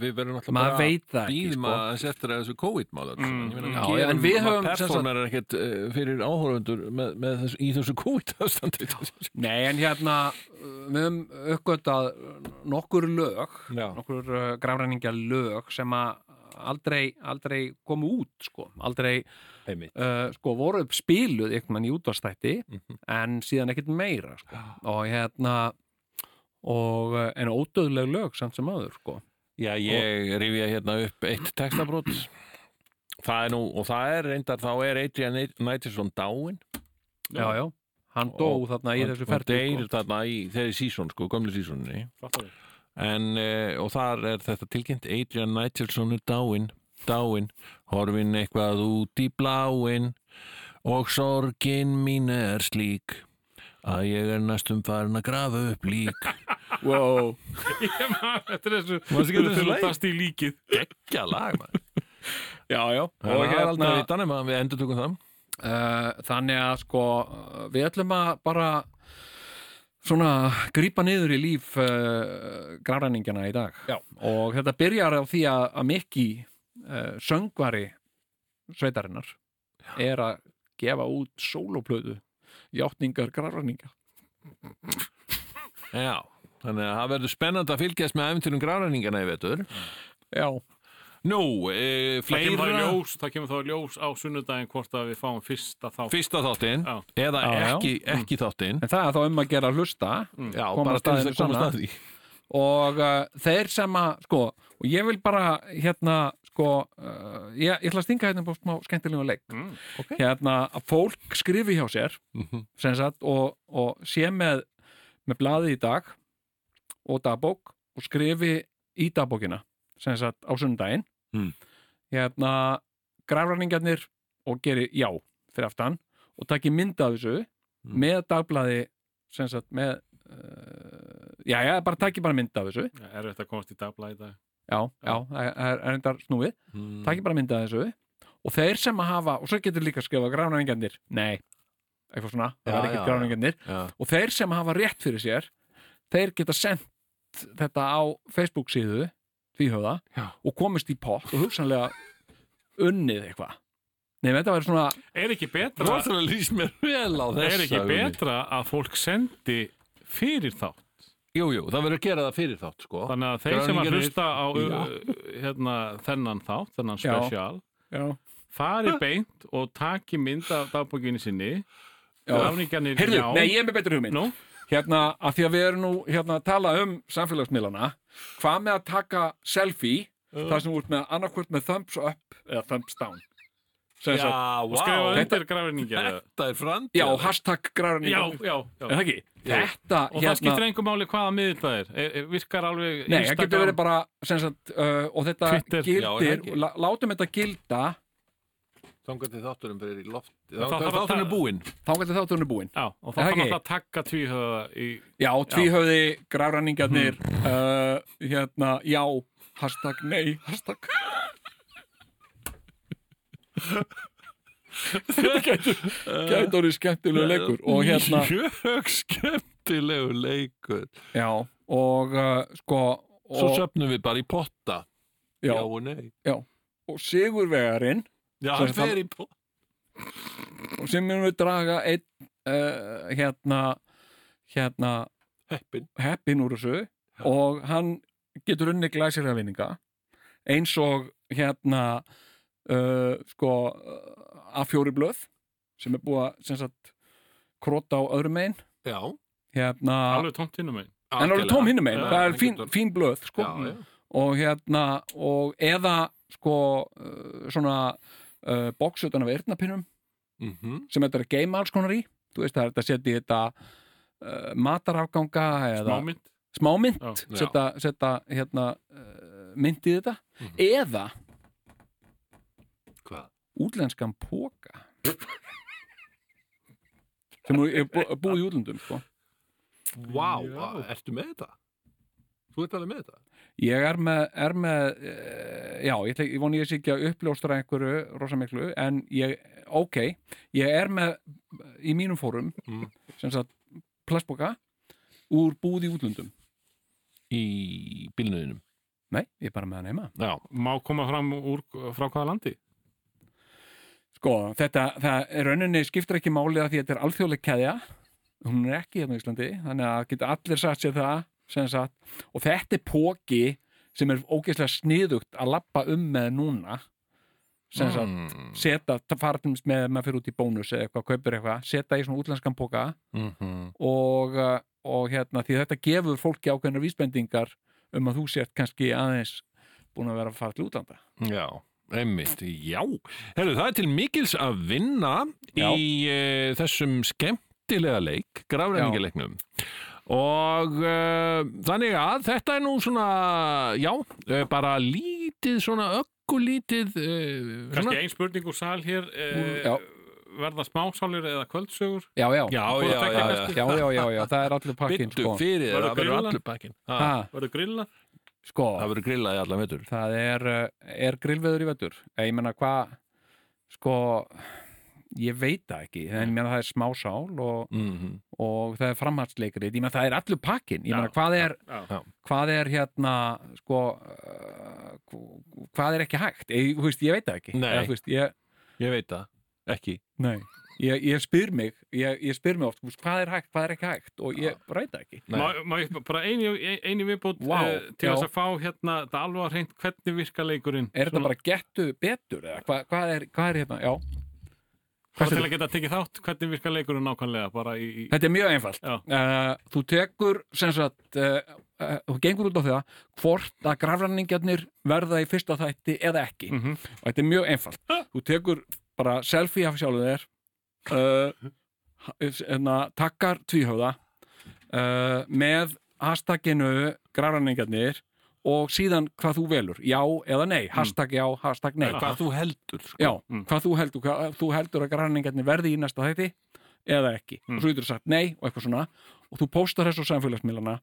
[SPEAKER 1] við verðum alltaf
[SPEAKER 2] maður
[SPEAKER 1] bara
[SPEAKER 2] veit það ekki
[SPEAKER 1] býðum
[SPEAKER 2] sko. Mm.
[SPEAKER 1] að setja þessu COVID-mál öll saman. Ég meina,
[SPEAKER 2] Já,
[SPEAKER 1] gerum-
[SPEAKER 2] en við
[SPEAKER 1] maður
[SPEAKER 2] höfum sem sagt-
[SPEAKER 1] performer er ekkert eh, fyrir áhórundur með, með þessu, í þessu COVID-ástandi
[SPEAKER 2] Nei, en hérna uh, við höfum uppgötað nokkur lög
[SPEAKER 1] Já.
[SPEAKER 2] nokkur uh, grafræningja lög sem að aldrei, aldrei komu út sko, aldrei
[SPEAKER 1] Einmitt.
[SPEAKER 2] uh, sko, voru spiluð einhvern veginn í útvarstætti en síðan ekkert meira sko. og hérna og, uh, en ódöðleg lög samt sem aður sko.
[SPEAKER 1] Já, ég rifja hérna upp eitt textabrót Það er nú, og það er reyndar, þá er Adrian Nætisson dáin
[SPEAKER 2] já, já, hann dó
[SPEAKER 1] Og-
[SPEAKER 2] þarna í þessu
[SPEAKER 1] og
[SPEAKER 2] ferdi
[SPEAKER 1] deyr
[SPEAKER 2] sko.
[SPEAKER 1] þarna í þeirri sísón, sko, gömlu sísóninni
[SPEAKER 3] Þáttaröð.
[SPEAKER 1] en, eh, og þar er þetta tilkynnt Adrian Nætisson er dáin dáin, horfin eitthvað út í bláin og sorgin mín er slík að ég er næstum farin að grafa upp lík
[SPEAKER 2] wow.
[SPEAKER 3] Ég maður, þetta er þessu.
[SPEAKER 1] Manstu ekki eftir þessu lagi?
[SPEAKER 3] Þast í líkið.
[SPEAKER 1] Gekkja lag, maður
[SPEAKER 2] já, já,
[SPEAKER 1] Það
[SPEAKER 2] og
[SPEAKER 1] er aldrei
[SPEAKER 2] hérna
[SPEAKER 1] vitan ef að við endur tökum það
[SPEAKER 2] Uh, þannig að sko uh, við ætlum að bara svona grípa niður í líf uh, grafræningjana í dag Já. og þetta byrjar á því að, að Mikki uh, söngvari sveitarinnar er að gefa út sóloplöðu játningar grafræninga
[SPEAKER 1] Já, þannig að það verður spennandi að fylgjast með æfinturum gráðræningana í vetur.
[SPEAKER 2] Já,
[SPEAKER 1] Nú, e,
[SPEAKER 3] Það kemur þá í
[SPEAKER 1] fleira
[SPEAKER 3] ljós, það kemur þá í ljós á sunnudaginn hvort að við fáum fyrsta þá.
[SPEAKER 1] fyrsta þáttinn,
[SPEAKER 3] Já.
[SPEAKER 1] eða
[SPEAKER 2] Já, já.
[SPEAKER 1] ekki, ekki þáttinn.
[SPEAKER 2] en það er þá um að gera að hlusta
[SPEAKER 1] Mm. Já,
[SPEAKER 2] Koma
[SPEAKER 1] bara til
[SPEAKER 2] staðinu
[SPEAKER 1] þess að komast
[SPEAKER 2] sanna.
[SPEAKER 1] að því.
[SPEAKER 2] og uh, þeir sem að sko, og ég vil bara hérna sko, uh, ég, ég ætla að stinga hérna búst má skemmtilega leik
[SPEAKER 3] Mm,
[SPEAKER 1] ok.
[SPEAKER 2] hérna að fólk skrifi hjá sér
[SPEAKER 1] Mhm.
[SPEAKER 2] sem sagt og, og sé með með blaði í dag og dagbók og skrifi í dagbókina sem sagt á sundaginn
[SPEAKER 1] Mm.
[SPEAKER 2] hérna grafræningarnir og geri já fyrir aftan og taki mynd af þessu
[SPEAKER 1] Mm.
[SPEAKER 2] með dagblaði sem sagt með uh, já já bara taki bara mynd af þessu
[SPEAKER 3] Er þetta komast í dabla í dag?
[SPEAKER 2] já, já, það er- það er endar snúið
[SPEAKER 1] Mm.
[SPEAKER 2] takk ég bara myndið þessu og þeir sem að hafa, og svo getur líka að skrifa gránæringarnir, nei eitthvað svona,
[SPEAKER 1] Já,
[SPEAKER 2] það
[SPEAKER 1] já,
[SPEAKER 2] er ekkert
[SPEAKER 1] já.
[SPEAKER 2] gránæringarnir
[SPEAKER 1] Já.
[SPEAKER 2] og þeir sem hafa rétt fyrir sér þeir geta sendt þetta á Facebook síðu tvíhöfða
[SPEAKER 3] Já.
[SPEAKER 2] og komist í pott og hugsanlega unnið eitthvað Nei, þetta væri svona,
[SPEAKER 3] Er ekki betra
[SPEAKER 1] Rósalega lýst mér vel á þessa
[SPEAKER 3] er ekki
[SPEAKER 1] hugmynd.
[SPEAKER 3] betra að fólk sendi fyrir þá
[SPEAKER 1] Jú, jú, það verður að gera það fyrir þátt sko.
[SPEAKER 3] þannig að þeir sem að
[SPEAKER 1] Gráningarnir-
[SPEAKER 3] hlusta á
[SPEAKER 1] Já.
[SPEAKER 3] uh, hérna, þennan þátt, þennan
[SPEAKER 2] Já.
[SPEAKER 3] spesial
[SPEAKER 2] já,
[SPEAKER 3] fari beint og taki mynd af dagbókinni sinni
[SPEAKER 2] já.
[SPEAKER 3] gráningarnir
[SPEAKER 2] Heyrðu,
[SPEAKER 3] já
[SPEAKER 2] nei, ég er með betri hugmynd
[SPEAKER 3] Nú?
[SPEAKER 2] Hérna, að því að við erum nú hérna að tala um samfélagsmiðlana Hvað með að taka selfie
[SPEAKER 3] Já.
[SPEAKER 2] þar sem þú ert með annarkvort með thumbs up eða thumbs down Sem
[SPEAKER 1] Já,
[SPEAKER 2] sagt,
[SPEAKER 1] vá,
[SPEAKER 3] og skrifa
[SPEAKER 1] þetta,
[SPEAKER 3] undir grafningar já,
[SPEAKER 1] þetta er framtíð
[SPEAKER 2] já hashtag græðan
[SPEAKER 3] já, já,
[SPEAKER 2] En það ekki, þetta hérna,
[SPEAKER 3] og það skiptir engum máli hvaða miðil það er. er er- virkar alveg
[SPEAKER 2] Nei, það getur
[SPEAKER 3] Instagram-
[SPEAKER 2] verið bara sem sagt, uh, og þetta
[SPEAKER 3] Twitter.
[SPEAKER 1] Já, er það
[SPEAKER 2] gildir,
[SPEAKER 1] ekki?
[SPEAKER 2] já, látum þetta gilda
[SPEAKER 1] Þangar til þátturum fyrir í loft
[SPEAKER 3] þá þarf að
[SPEAKER 1] Þátturum er
[SPEAKER 3] ta-
[SPEAKER 1] búinn
[SPEAKER 2] þá getur þátturinn er búinn.
[SPEAKER 3] Já, og
[SPEAKER 2] Er
[SPEAKER 3] það
[SPEAKER 2] það
[SPEAKER 3] þarf
[SPEAKER 2] ekki?
[SPEAKER 3] alltaf að taka tvíhöða í...
[SPEAKER 2] Já, tvíhöfði, græfræningarnir uh, hérna, já hashtag nei, hashtag Þetta gætur gætur orðið skemmtilegu leikur og hérna,
[SPEAKER 1] Mjög skemmtilegu leikur
[SPEAKER 2] já og uh, sko
[SPEAKER 1] Svo
[SPEAKER 2] og,
[SPEAKER 1] söfnum við bara í potta
[SPEAKER 2] já,
[SPEAKER 1] og nei
[SPEAKER 2] og sigurvegarinn
[SPEAKER 1] Já,
[SPEAKER 2] Svo
[SPEAKER 1] hann
[SPEAKER 2] það-
[SPEAKER 1] fer í potta
[SPEAKER 2] og sem munum við draga einn uh, hérna hérna
[SPEAKER 1] Heppin
[SPEAKER 2] heppin úr þessu og hann getur unni glæsilega vinninga eins og hérna uh, sko uh, A4 blöð sem er búið að sem sagt króta á öðrum megin
[SPEAKER 1] Já,
[SPEAKER 2] hérna,
[SPEAKER 3] Alveg tómt innum einn.
[SPEAKER 2] en alveg tóm hinnum megin
[SPEAKER 1] Já,
[SPEAKER 2] það
[SPEAKER 1] hann
[SPEAKER 2] er fín,
[SPEAKER 1] getur-
[SPEAKER 2] fín blöð sko.
[SPEAKER 1] Já, já.
[SPEAKER 2] og hérna og eða sko uh, svona uh, bóksutana af eyrnapinnum
[SPEAKER 1] Mhm.
[SPEAKER 2] sem þetta er að geima alls konar í þú veist það er þetta að setja í þetta uh, matarafganga eða
[SPEAKER 3] Smámynd.
[SPEAKER 2] smámynd
[SPEAKER 3] Já.
[SPEAKER 1] Já.
[SPEAKER 2] setja, setja hérna uh, mynd í þetta
[SPEAKER 3] Mhm.
[SPEAKER 2] eða
[SPEAKER 1] Hvað?
[SPEAKER 2] útlenskan póka sem þú- er bú- búið í útlöndum sko.
[SPEAKER 1] Vá, wow, ertu með þetta? Þú ert alveg með þetta?
[SPEAKER 2] ég er með, er með uh, já, ég, ætla- ég vona ég sé ekki að uppljóstra einhverju rosa miklu en ég, ok, ég er með í mínum fórum
[SPEAKER 1] Mm.
[SPEAKER 3] Mhm.
[SPEAKER 2] sem sagt plastbóka úr búið í útlöndum
[SPEAKER 1] Í bílnuðinum
[SPEAKER 2] nei, ég er bara með hann heima
[SPEAKER 1] Já,
[SPEAKER 3] Má koma fram úr, frá hvaða landi?
[SPEAKER 2] Sko, þetta, það er rauninni skiptir ekki máli að því að þetta er alþjóðleg keðja hún er ekki hérna í Íslandi þannig að geta allir satt sér það sem sagt, og þetta er póki sem er ógeðslega sniðugt að lappa um með núna sem sagt,
[SPEAKER 1] mm.
[SPEAKER 2] seta, ta- fara til dæmis með maður fyrir út í bónus eða eitthvað, kaupir eitthvað, seta í svona útlenskan póka
[SPEAKER 1] mm
[SPEAKER 2] og, uh, og hérna, því þetta gefur fólki ákveðnar vísbendingar um að þú sért kannski aðeins búin að vera að fara til útlanda
[SPEAKER 1] Já, einmitt, já. Herru, það er til mikils að vinna
[SPEAKER 2] Já.
[SPEAKER 1] í uh, þessum skemmtilega leik, grafræðingaleiknum. Og uh, þannig að þetta er nú svona, já, uh, bara lítið svona öggulítið, uh,
[SPEAKER 3] Kannski ein spurning úr sal hér.
[SPEAKER 2] Mm,
[SPEAKER 3] Eh,
[SPEAKER 2] já.
[SPEAKER 3] verða smásálir eða kvöldsögur?
[SPEAKER 2] Já, já, já,
[SPEAKER 1] Já,
[SPEAKER 3] Hvort
[SPEAKER 1] já,
[SPEAKER 3] tveggja
[SPEAKER 1] já, já.
[SPEAKER 3] kannski?
[SPEAKER 2] já, já, já það er allir pakkin
[SPEAKER 1] Byttu
[SPEAKER 2] sko.
[SPEAKER 1] fyrir þér,
[SPEAKER 3] Verður
[SPEAKER 1] það verður
[SPEAKER 3] grillað?
[SPEAKER 1] allur pakkin. Ha,
[SPEAKER 2] Ha,
[SPEAKER 3] Verður grilla?
[SPEAKER 2] sko,
[SPEAKER 1] Það verður grillað í alla metur.
[SPEAKER 2] það er, uh, er grillveður í vettur Eh, ég menna hvað sko, ég veit það ekki en ég menna það er smásál og,
[SPEAKER 1] Mm
[SPEAKER 2] og það er framhaldsleikrit ég menna það er allur pakkin ég
[SPEAKER 3] Já,
[SPEAKER 2] menna hvað er,
[SPEAKER 3] Já.
[SPEAKER 1] Já.
[SPEAKER 2] hvað er hérna sko, uh, hv- hvað er ekki hægt ég, þú veist, ég veit það ekki
[SPEAKER 1] Nei.
[SPEAKER 2] Eða, þú veist, ég,
[SPEAKER 1] Ég veit það, ekki.
[SPEAKER 2] nei. Ég, ég spyr mig ég, ég spyr mig oft, þú veist, hvað er hægt, hvað er ekki hægt og ég reyta ekki
[SPEAKER 1] Nei.
[SPEAKER 3] Má, má ég bara eini, eini viðbútt
[SPEAKER 2] Vá,
[SPEAKER 3] til
[SPEAKER 2] já.
[SPEAKER 3] þess að fá hérna þetta alveg að hreint hvernig virka leikurinn
[SPEAKER 2] er þetta
[SPEAKER 3] Svona-
[SPEAKER 2] bara gettu betur eða hvað, hvað, er, hvað er hérna, já
[SPEAKER 3] bara til
[SPEAKER 2] segirðu?
[SPEAKER 3] að geta tekið þátt hvernig virka leikurinn nákvæmlega bara í, í...
[SPEAKER 2] Þetta er mjög einfalt.
[SPEAKER 3] Já.
[SPEAKER 2] Uh, þú tekur, sem sagt, uh, uh, þú gengur út á það hvort að grafræningarnir verða í fyrsta þætti eða ekki.
[SPEAKER 3] Mhm.
[SPEAKER 2] Og þetta er mjög einfalt. Þú tekur bara selfie af sjálfur þér, uh, hérna, takkar tvíhöfða uh, með hashtaginu grafræningarnir og síðan hvað þú velur, já eða nei,
[SPEAKER 3] Mm.
[SPEAKER 2] hashtag já, hashtag nei.
[SPEAKER 1] Hvað þú heldur, sko.
[SPEAKER 2] Já, mm. hvað þú heldur, hvað þú heldur að græningarnir verði í næsta þætti eða ekki. Og svo getur þú sagt nei og eitthvað svona og þú póstar þessu á samfélagsmiðlana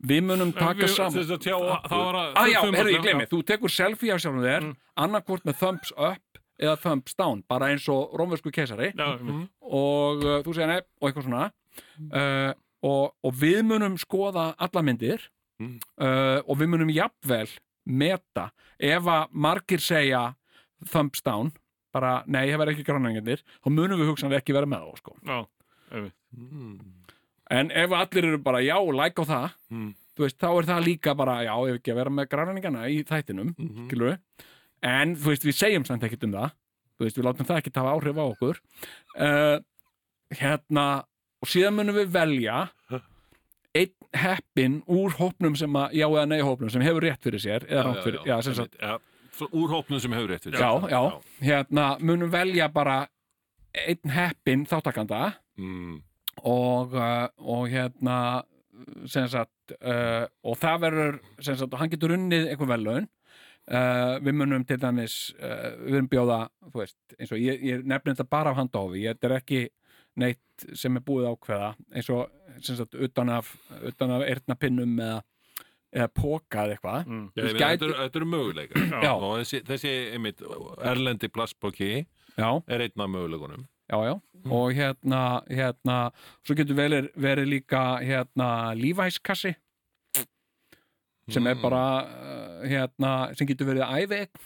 [SPEAKER 2] við munum taka saman
[SPEAKER 3] Þess að tjá okkur. Það var að...
[SPEAKER 2] að já, herru, ég gleymi, þú tekur selfie af sjálfum þér mm. annarkvort með thumbs up eða thumbs down, bara eins og rómversku keisari
[SPEAKER 3] Já, mhm.
[SPEAKER 2] og uh, þú segir nei og eitthvað svona uh, og, og við munum skoða alla myndir
[SPEAKER 3] Mm.
[SPEAKER 2] uh, og við munum jafnvel meta ef að margir segja thumbs down bara nei, það verður ekki grannengarnir þá munum við hugsanlega ekki vera með þá sko.
[SPEAKER 3] já, einmitt.
[SPEAKER 1] Mhm.
[SPEAKER 2] en ef allir eru bara já, like á það
[SPEAKER 3] Mm.
[SPEAKER 2] þú veist, þá er það líka bara já, ef ekki að vera með grannengarna í þættinum mm
[SPEAKER 3] Mhm.
[SPEAKER 2] en þú veist, við segjum samt ekkert um það þú veist, við látum það ekki hafa áhrif á okkur uh, hérna og síðan munum við velja einn heppin úr hópnum sem að, já eða nei hópnum sem hefur rétt fyrir sér eða rátt fyrir, já, sem sagt
[SPEAKER 1] já, svo úr hópnum sem hefur rétt fyrir
[SPEAKER 2] já,
[SPEAKER 1] sér.
[SPEAKER 2] já, hérna munum velja bara einn heppin þáttakanda
[SPEAKER 1] Mm,
[SPEAKER 2] og, uh, og hérna sem sagt uh, og það verður, sem sagt, og hann getur unnið einhver velun uh, við munum til dæmis, uh, við munum bjóða þú veist, eins og ég, ég nefnir þetta bara af handahófi, ég þetta er ekki neitt sem er búið ákveða eins og, sem sagt, utan af, utan af eyrnapinnum eða, eða póka eða eitthvað
[SPEAKER 3] Mm.
[SPEAKER 1] já,
[SPEAKER 2] Þú
[SPEAKER 1] ég meina,
[SPEAKER 2] gæti-
[SPEAKER 1] þetta eru- þetta eru möguleikar
[SPEAKER 2] Já.
[SPEAKER 1] og þessi, þessi einmitt, erlendi plastbóki
[SPEAKER 2] já,
[SPEAKER 1] er einn af möguleikunum
[SPEAKER 2] já, já og hérna, hérna svo getur verið, verið líka hérna lífæskassi sem er bara uh, hérna, sem getur verið æveegn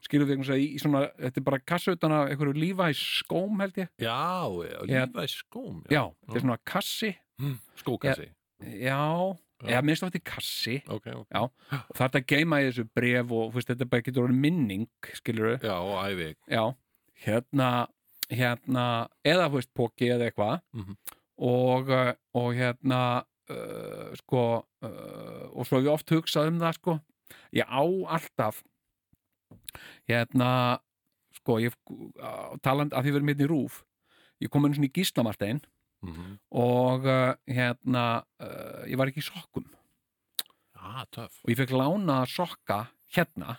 [SPEAKER 2] skilur við einhvers að í, í svona þetta er bara kassi utan af einhverju lífæs skóm held ég,
[SPEAKER 1] Já, já,
[SPEAKER 2] Já.
[SPEAKER 1] lífa í skóm
[SPEAKER 2] já, þetta er svona kassi
[SPEAKER 1] Skókassi,
[SPEAKER 2] já,
[SPEAKER 1] Já.
[SPEAKER 2] eða minnst þetta er kassi
[SPEAKER 1] ok, ok
[SPEAKER 2] og það er að geima í þessu bref og þú veist, þetta bara getur verið minning skilur við,
[SPEAKER 1] Já, og ævi
[SPEAKER 2] já, hérna hérna, eða þú veist póki eða eitthvað
[SPEAKER 1] Mhm.
[SPEAKER 2] og, uh, og hérna uh, sko uh, og svo hef ég oft hugsað um það sko ég á alltaf hérna sko, ég uh, taland að því verið mitt í rúf ég kom einu svona í Gíslamartein
[SPEAKER 1] Mhm.
[SPEAKER 2] og uh, hérna uh, ég var ekki í sokkum
[SPEAKER 1] Ah, töff
[SPEAKER 2] og ég fekk lána að sokka hérna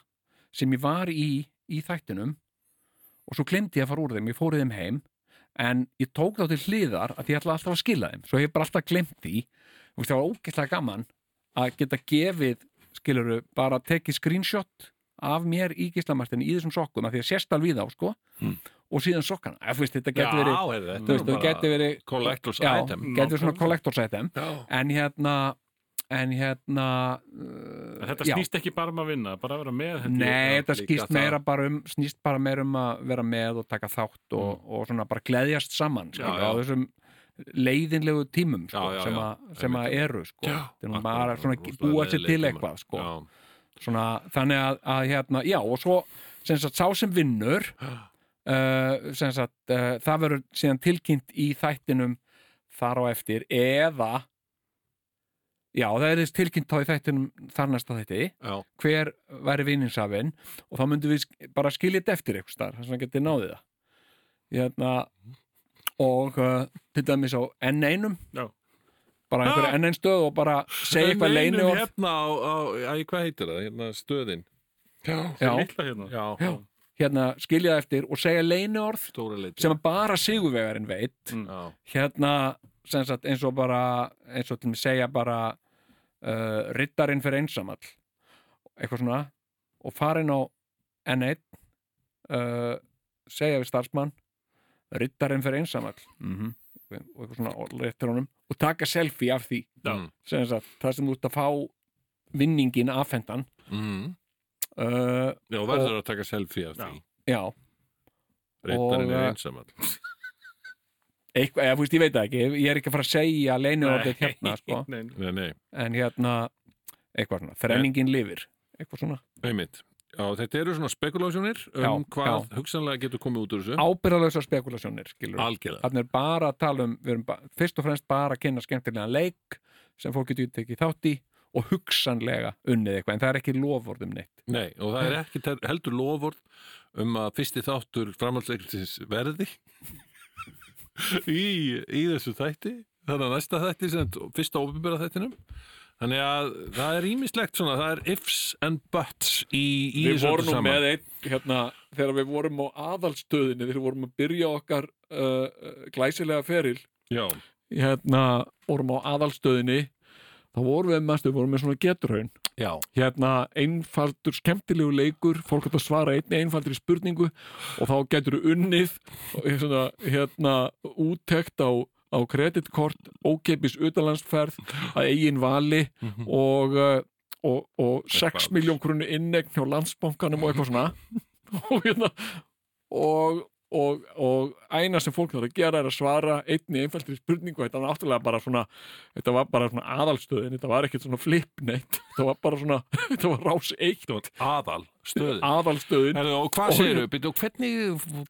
[SPEAKER 2] sem ég var í í þættinum og svo glemdi ég að fara úr þeim, ég fórið þeim heim en ég tók þá til hliðar að ég ætla alltaf að skila þeim, svo ég hef bara alltaf glemt því og það var ógeðslega gaman að geta gefið, skiluru bara tekið screenshot af mér í gislamartin í þessum sokkum af því að sérst alveg í þá, sko
[SPEAKER 1] Mm.
[SPEAKER 2] og síðan sokkana, ef veist, þetta
[SPEAKER 1] Já,
[SPEAKER 2] getur verið
[SPEAKER 1] heyrðu,
[SPEAKER 2] þú
[SPEAKER 1] þetta
[SPEAKER 2] veist,
[SPEAKER 1] er
[SPEAKER 2] það
[SPEAKER 1] bara
[SPEAKER 2] getur verið
[SPEAKER 1] collector's
[SPEAKER 2] já,
[SPEAKER 1] item
[SPEAKER 2] getur verið svona
[SPEAKER 3] Nákvæmlega.
[SPEAKER 2] collector's item
[SPEAKER 1] Já,
[SPEAKER 2] en hérna en hérna
[SPEAKER 3] En
[SPEAKER 2] uh,
[SPEAKER 3] Þetta
[SPEAKER 2] já.
[SPEAKER 3] snýst ekki bara um að vinna, bara að vera með held ég.
[SPEAKER 2] Nei,
[SPEAKER 1] Já,
[SPEAKER 2] þetta
[SPEAKER 1] líka
[SPEAKER 2] skýst
[SPEAKER 1] það.
[SPEAKER 2] meira bara um snýst bara meira um að vera með og taka þátt og, og svona bara gleðjast
[SPEAKER 1] Mm.
[SPEAKER 2] saman
[SPEAKER 1] Já, já.
[SPEAKER 2] skilur, á þessum leiðinlegu tímum sko,
[SPEAKER 1] Já, já,
[SPEAKER 2] sem,
[SPEAKER 1] já.
[SPEAKER 2] að, sem að eru sko.
[SPEAKER 1] Já,
[SPEAKER 2] Þegar maður
[SPEAKER 1] akkurat,
[SPEAKER 2] bara svona
[SPEAKER 1] rosalega
[SPEAKER 2] búa sér
[SPEAKER 1] leiðinlegir
[SPEAKER 2] til
[SPEAKER 1] tímar.
[SPEAKER 2] eitthvað sko.
[SPEAKER 1] já.
[SPEAKER 2] svona, þannig að, að hérna, já, og svo sem sagt, sá sem vinnur uh, sem sagt, uh, það verður síðan tilkynnt í þættinum þar á eftir eða já, það er þess tilkynnt þá í þættinum þar næsta þætti
[SPEAKER 1] já,
[SPEAKER 2] hver væri vinningshafinn og þá myndum við sk- bara skilja þetta eftir eitthvað starf, þess að getið náðið það hérna og uh, til dæmis á enn einum
[SPEAKER 3] Já.
[SPEAKER 2] bara einhverja enn einn stöð og bara segja eitthvað
[SPEAKER 1] Nei,
[SPEAKER 2] leinu
[SPEAKER 1] neinum Hérna á, á, æ, hvað heitir það, hérna stöðin
[SPEAKER 2] já,
[SPEAKER 3] Lilla hérna.
[SPEAKER 1] Já,
[SPEAKER 2] hérna skilja það eftir og segja leinu orð
[SPEAKER 1] stóra leiti
[SPEAKER 2] sem að bara sigurvegarinn veit
[SPEAKER 1] Já,
[SPEAKER 2] hérna sem sagt eins og bara eins og til mig segja bara uh, riddarinn fyrir einsamall eitthvað svona og farin á N1 uh, segja við starfsmann riddarinn fyrir einsamall -hmm.
[SPEAKER 1] Mhm.
[SPEAKER 2] og eitthvað svona og réttir honum og taka selfie af því
[SPEAKER 3] Já.
[SPEAKER 1] Mm.
[SPEAKER 2] sem sagt, það sem þú ert að fá vinningin afhendan
[SPEAKER 1] Mhm.
[SPEAKER 2] uh,
[SPEAKER 1] Já, og verður að taka selfie af
[SPEAKER 3] Já.
[SPEAKER 1] því
[SPEAKER 2] já
[SPEAKER 1] Rittarinn
[SPEAKER 2] Og,
[SPEAKER 1] er
[SPEAKER 2] eh,
[SPEAKER 1] einsamall
[SPEAKER 2] Eitthvað, eða, þú veist, ég veit það ekki, ég er ekki að fara að segja leinu orðið
[SPEAKER 3] Nei,
[SPEAKER 2] hérna, sko
[SPEAKER 3] Nei, nei.
[SPEAKER 1] Nei, nei,
[SPEAKER 2] en hérna eitthvað svona, þrenningin lifir eitthvað svona,
[SPEAKER 1] einmitt Já, þetta eru svona spekulasjónir um
[SPEAKER 2] Já,
[SPEAKER 1] hvað hugsanlega getur komið út úr þessu
[SPEAKER 2] ábyrðalösa spekulasjónir skilur við,
[SPEAKER 1] Algjörlega
[SPEAKER 2] þannig er bara að tala um við erum ba- fyrst og fremst bara að kynna skemmtilega leik sem fólk getur tekið þátt í og hugsanlega unnið eitthvað en það er ekki lofvörðum neitt
[SPEAKER 1] Nei, og það er ekki te- heldur lofvort um að fyrsti þáttur framhaldsleiklsins verði í, í þessu þætti þannig að næsta þætti sem fyrsta ofinbera þættinum þannig að það er ímislegt svona, það er ifs and buts í, í þessu öllu saman
[SPEAKER 2] einn hérna, þegar við vorum á aðalstöðinni þegar við vorum að byrja okkar uh, glæsilega feril
[SPEAKER 1] Já,
[SPEAKER 2] hérna, vorum á aðalstöðinni þá vorum við mest, við vorum með svona geturhaun
[SPEAKER 1] já,
[SPEAKER 2] hérna einfaldur skemmtilegu leikur fólk átt að svara einni einfaldri spurningu og þá getur þú unnið og er svona, hérna úttekt á, á kreditkort ókeipis utanlandsferð að eigin vali og, uh, og, og 6 miljón kronu innegn hjá landsbankanum og eitthvað svona og hérna og Og, og eina sem fólk þarf að gera er að svara einni einfaldri spurningu þetta var náttúrulega bara svona þetta var bara svona aðalstöðin, þetta var ekkert svona flipneitt, þetta var bara svona þetta var rás eitt
[SPEAKER 1] aðal, stöð
[SPEAKER 2] aðalstöðin
[SPEAKER 1] Herðu, og hvað segir þau, byrju, og hvernig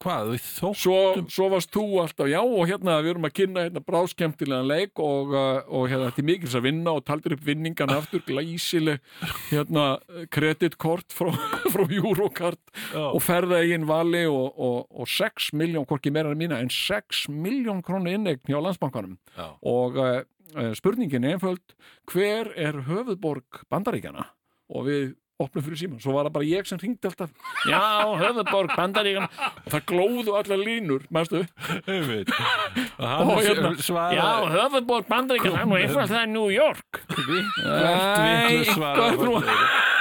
[SPEAKER 1] hvað, við þó
[SPEAKER 2] svo, svo varst þú alltaf, já og hérna við erum að kynna hérna bráskemtilegan leik og, uh, og hérna þetta er mikils að vinna og taldir upp vinningan aftur, glæsileg hérna kreditkort frá, frá Eurocard og ferða eigin vali og, og, og 6 miljón, hvorki meira en mína en 6 miljón krónu innegn hjá landsbankanum
[SPEAKER 1] Já.
[SPEAKER 2] og uh, spurningin er einföld hver er höfuðborg bandaríkjana og við opnum fyrir síman, svo var það bara ég sem ringdi alltaf já, höfuðborg bandaríkjana og það glóðu allar línur, mæstu
[SPEAKER 1] Einmitt. og
[SPEAKER 2] Og hérna,
[SPEAKER 1] hann
[SPEAKER 2] já,
[SPEAKER 1] svaraði
[SPEAKER 2] höfuðborg bandaríkjana, það er nú einföld það er New York
[SPEAKER 1] Hvert
[SPEAKER 2] Nei,
[SPEAKER 1] villu svara
[SPEAKER 2] eitthvað
[SPEAKER 1] fólk?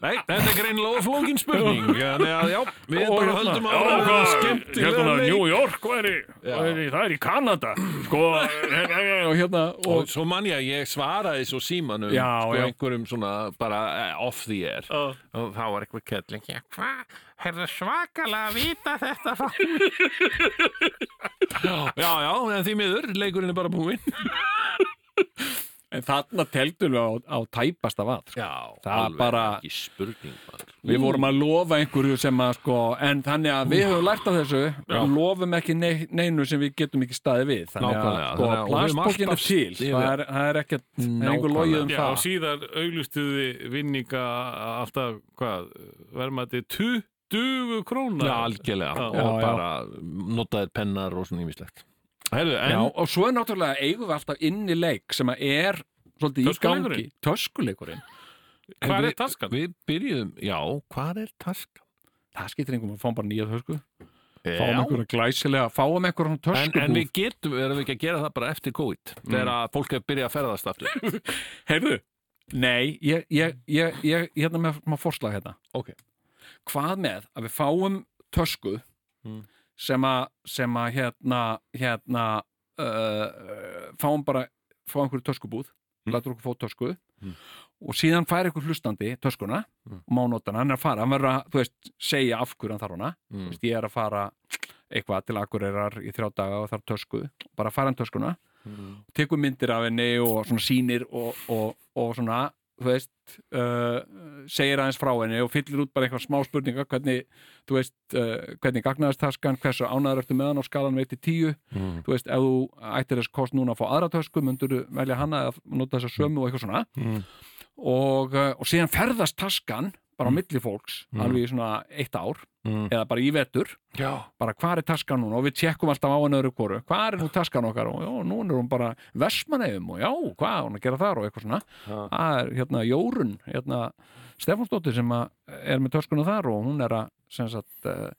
[SPEAKER 1] Nei, þetta er greinilega flókin spurning Þannig að já, við
[SPEAKER 2] Og
[SPEAKER 1] bara
[SPEAKER 2] hérna,
[SPEAKER 1] höldum
[SPEAKER 2] já,
[SPEAKER 1] áfram að skemmtilega
[SPEAKER 2] hérna,
[SPEAKER 1] leik
[SPEAKER 2] New York væri, væri, það er í Kanada sko, og hérna og,
[SPEAKER 1] Og svo man ég að ég svaraði svo símanum
[SPEAKER 2] Já,
[SPEAKER 1] sko,
[SPEAKER 2] já.
[SPEAKER 1] einhverjum svona bara eh, off the air og þá var eitthvað kettling Já, hvað, herðu svakalega að vita þetta frá Já, já, en því miður, leikurinn er bara búinn
[SPEAKER 2] En þarna teltum við á, á tæpasta vað. Sko.
[SPEAKER 1] Já,
[SPEAKER 2] Það bara-
[SPEAKER 1] ekki spurning maður.
[SPEAKER 2] Við vorum að lofa einhverju sem að sko, en þannig að við höfum lært af þessu,
[SPEAKER 1] Já.
[SPEAKER 2] lofum ekki nei, neinu sem við getum ekki staði við. Þannig að
[SPEAKER 1] Nákvæmlega,
[SPEAKER 2] sko,
[SPEAKER 1] þannig að við höfum
[SPEAKER 2] plastbókin er
[SPEAKER 1] alltaf
[SPEAKER 2] til,
[SPEAKER 1] stigið.
[SPEAKER 2] það er, það er ekkert, það er einhver logið um
[SPEAKER 3] Já, og
[SPEAKER 2] það.
[SPEAKER 3] síðar auglustuði vinninga alltaf, hvað, vermaði 20 krónar.
[SPEAKER 1] Já, algjörlega,
[SPEAKER 3] Já.
[SPEAKER 1] og
[SPEAKER 2] Já, já.
[SPEAKER 1] bara notaðir pennar og svona ímislegt Herðu, en
[SPEAKER 2] Já, og svo er náttúrulega eigum við alltaf inn í leik sem að er svolítið í gangi.
[SPEAKER 3] Töskuleikurinn?
[SPEAKER 2] Töskuleikurinn.
[SPEAKER 3] Hvað
[SPEAKER 1] við-
[SPEAKER 3] er taskan?
[SPEAKER 1] Við byrjuðum, já, hvað er taskan?
[SPEAKER 2] Það skiptir einhverjum að fáum bara nýja tösku. Fáum einhverja glæsilega, fáum einhverjum
[SPEAKER 1] En,
[SPEAKER 2] töskubúð.
[SPEAKER 1] en við getum, erum við ekki að gera það bara eftir COVID þegar að fólk er byrjað að ferðast aftur
[SPEAKER 2] Heyrðu, nei, ég, ég, ég, ég hérna með, með forslag hérna.
[SPEAKER 1] Ok.
[SPEAKER 2] Hvað með að við fáum tösku sem að, sem að hérna, hérna, uh, fáum bara, fáum einhverju töskubúð, mm. lætur okkur fá tösku og síðan fær einhver hlustandi töskuna og má nota hana, hann er að fara, hann verður að, þú veist, segja af hverju hann þarf hana,
[SPEAKER 1] Mm.
[SPEAKER 2] þú veist, ég er að fara eitthvað til Akureyrar í þrjá daga og þarf tösku, bara fara hann töskuna
[SPEAKER 1] Mm.
[SPEAKER 2] tekur myndir af henni og svona sýnir og, og, og svona þú veist, uh, segir aðeins frá henni og fyllir út bara eitthvað smá spurninga hvernig, þú veist, uh, hvernig gagnaðist taskan, hversu ánæður ertu með hann á skalan veit til tíu,
[SPEAKER 1] Mm.
[SPEAKER 2] þú veist, ef þú ættir þess kost núna að fá aðra tösku, myndur þú velja hana að nota þessa sömu og eitthvað svona
[SPEAKER 1] Mm.
[SPEAKER 2] og, uh, og síðan ferðast taskan bara á milli fólks, alveg í svona eitt ár,
[SPEAKER 1] Mm.
[SPEAKER 2] eða bara í vetur
[SPEAKER 1] Já,
[SPEAKER 2] bara hvað er taskan núna og við tjekkum alltaf á henni öðru hvoru, hvað er nú taskan okkar og já, núna er hún bara versmanefum og já, hvað er hún að gera þar og eitthvað svona það er hérna Jórun hérna Stefansdóttir sem að er með töskuna þar og hún er að sem sagt, eh,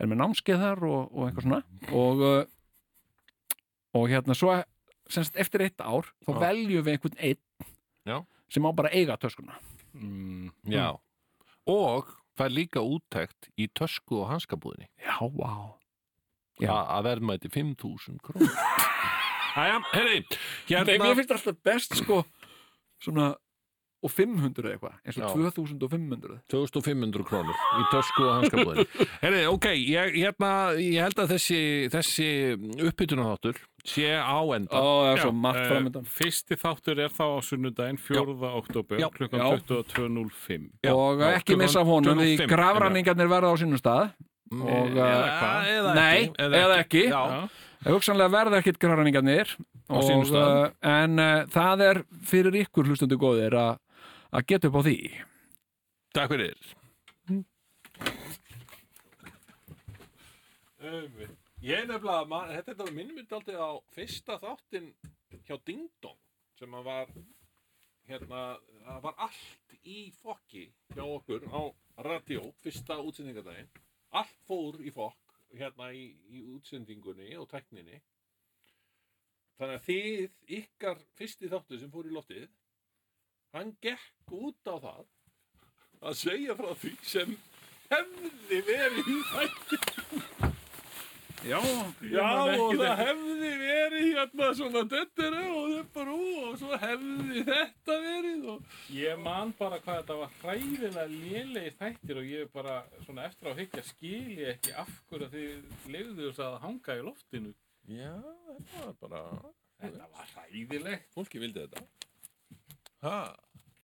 [SPEAKER 2] er með námskeið þar og, og eitthvað svona og, eh, og hérna svo sem sagt, eftir eitt ár þá veljum við einhvern einn
[SPEAKER 1] Já.
[SPEAKER 2] sem á bara að eiga töskuna
[SPEAKER 1] já Og það er líka úttækt í tösku og hanskabúðinni
[SPEAKER 2] já, vá Já.
[SPEAKER 1] Já. að verðmæti 5.000 krónur Æja, herri,
[SPEAKER 2] Nei,
[SPEAKER 1] hérna
[SPEAKER 2] mér finnst alltaf best sko svona og 500 eða eitthvað, eins og
[SPEAKER 1] Já.
[SPEAKER 2] 2500
[SPEAKER 1] 2500 krónur í tösku og hanskabúðinni Herri, ok, ég, hérna, ég held að þessi, þessi uppbytunarþáttur sé á enda
[SPEAKER 2] það er
[SPEAKER 3] Já,
[SPEAKER 2] svo margt
[SPEAKER 3] eh,
[SPEAKER 2] framöndan
[SPEAKER 3] Fyrsti þáttur er þá á sunnudaginn 4. oktober
[SPEAKER 1] Já.
[SPEAKER 3] klukkan
[SPEAKER 2] Já.
[SPEAKER 3] 22.05
[SPEAKER 1] Já,
[SPEAKER 2] og
[SPEAKER 1] já,
[SPEAKER 2] ekki
[SPEAKER 1] klukkan
[SPEAKER 2] missa af honum því
[SPEAKER 1] 25,
[SPEAKER 2] grafræningarnir verða á sínum stað og,
[SPEAKER 1] eða,
[SPEAKER 2] eh,
[SPEAKER 1] hvað? eða
[SPEAKER 2] nei,
[SPEAKER 1] ekki,
[SPEAKER 2] eða ekki.
[SPEAKER 1] Já,
[SPEAKER 2] hugsanlega verða ekkit grafræningarnir
[SPEAKER 1] Á sínum
[SPEAKER 2] og,
[SPEAKER 1] stað.
[SPEAKER 2] eh, en uh, það er fyrir ykkur hlustundu góðir að að geta upp á því
[SPEAKER 1] takk fyrir Ég er nefnilega, man, þetta er þetta minnum mynd aldrei á fyrsta þáttin hjá Ding Dong sem að var hérna, það var allt í fokki hjá okkur á radio, fyrsta útsendingadaginn allt fór í fokk hérna í, í útsendingunni og tækninni þannig að þið, ykkar fyrsti þáttu sem fór í loftið
[SPEAKER 7] hann gekk út á það að segja frá því sem hefði verið í þætti
[SPEAKER 2] Já,
[SPEAKER 7] Já, og það
[SPEAKER 2] hef...
[SPEAKER 7] hefði verið hérna svona döttir og þetta rú og svo hefði þetta verið og...
[SPEAKER 3] Ég man bara hvað þetta var hræðilega lélegi þættir og ég er bara svona eftir á higgja skil ég ekki af hverju þið lefðu þess að hanga í loftinu.
[SPEAKER 7] Já, þetta var bara...
[SPEAKER 3] Þetta var hræðilegt.
[SPEAKER 7] Fólki vildi þetta. Ha?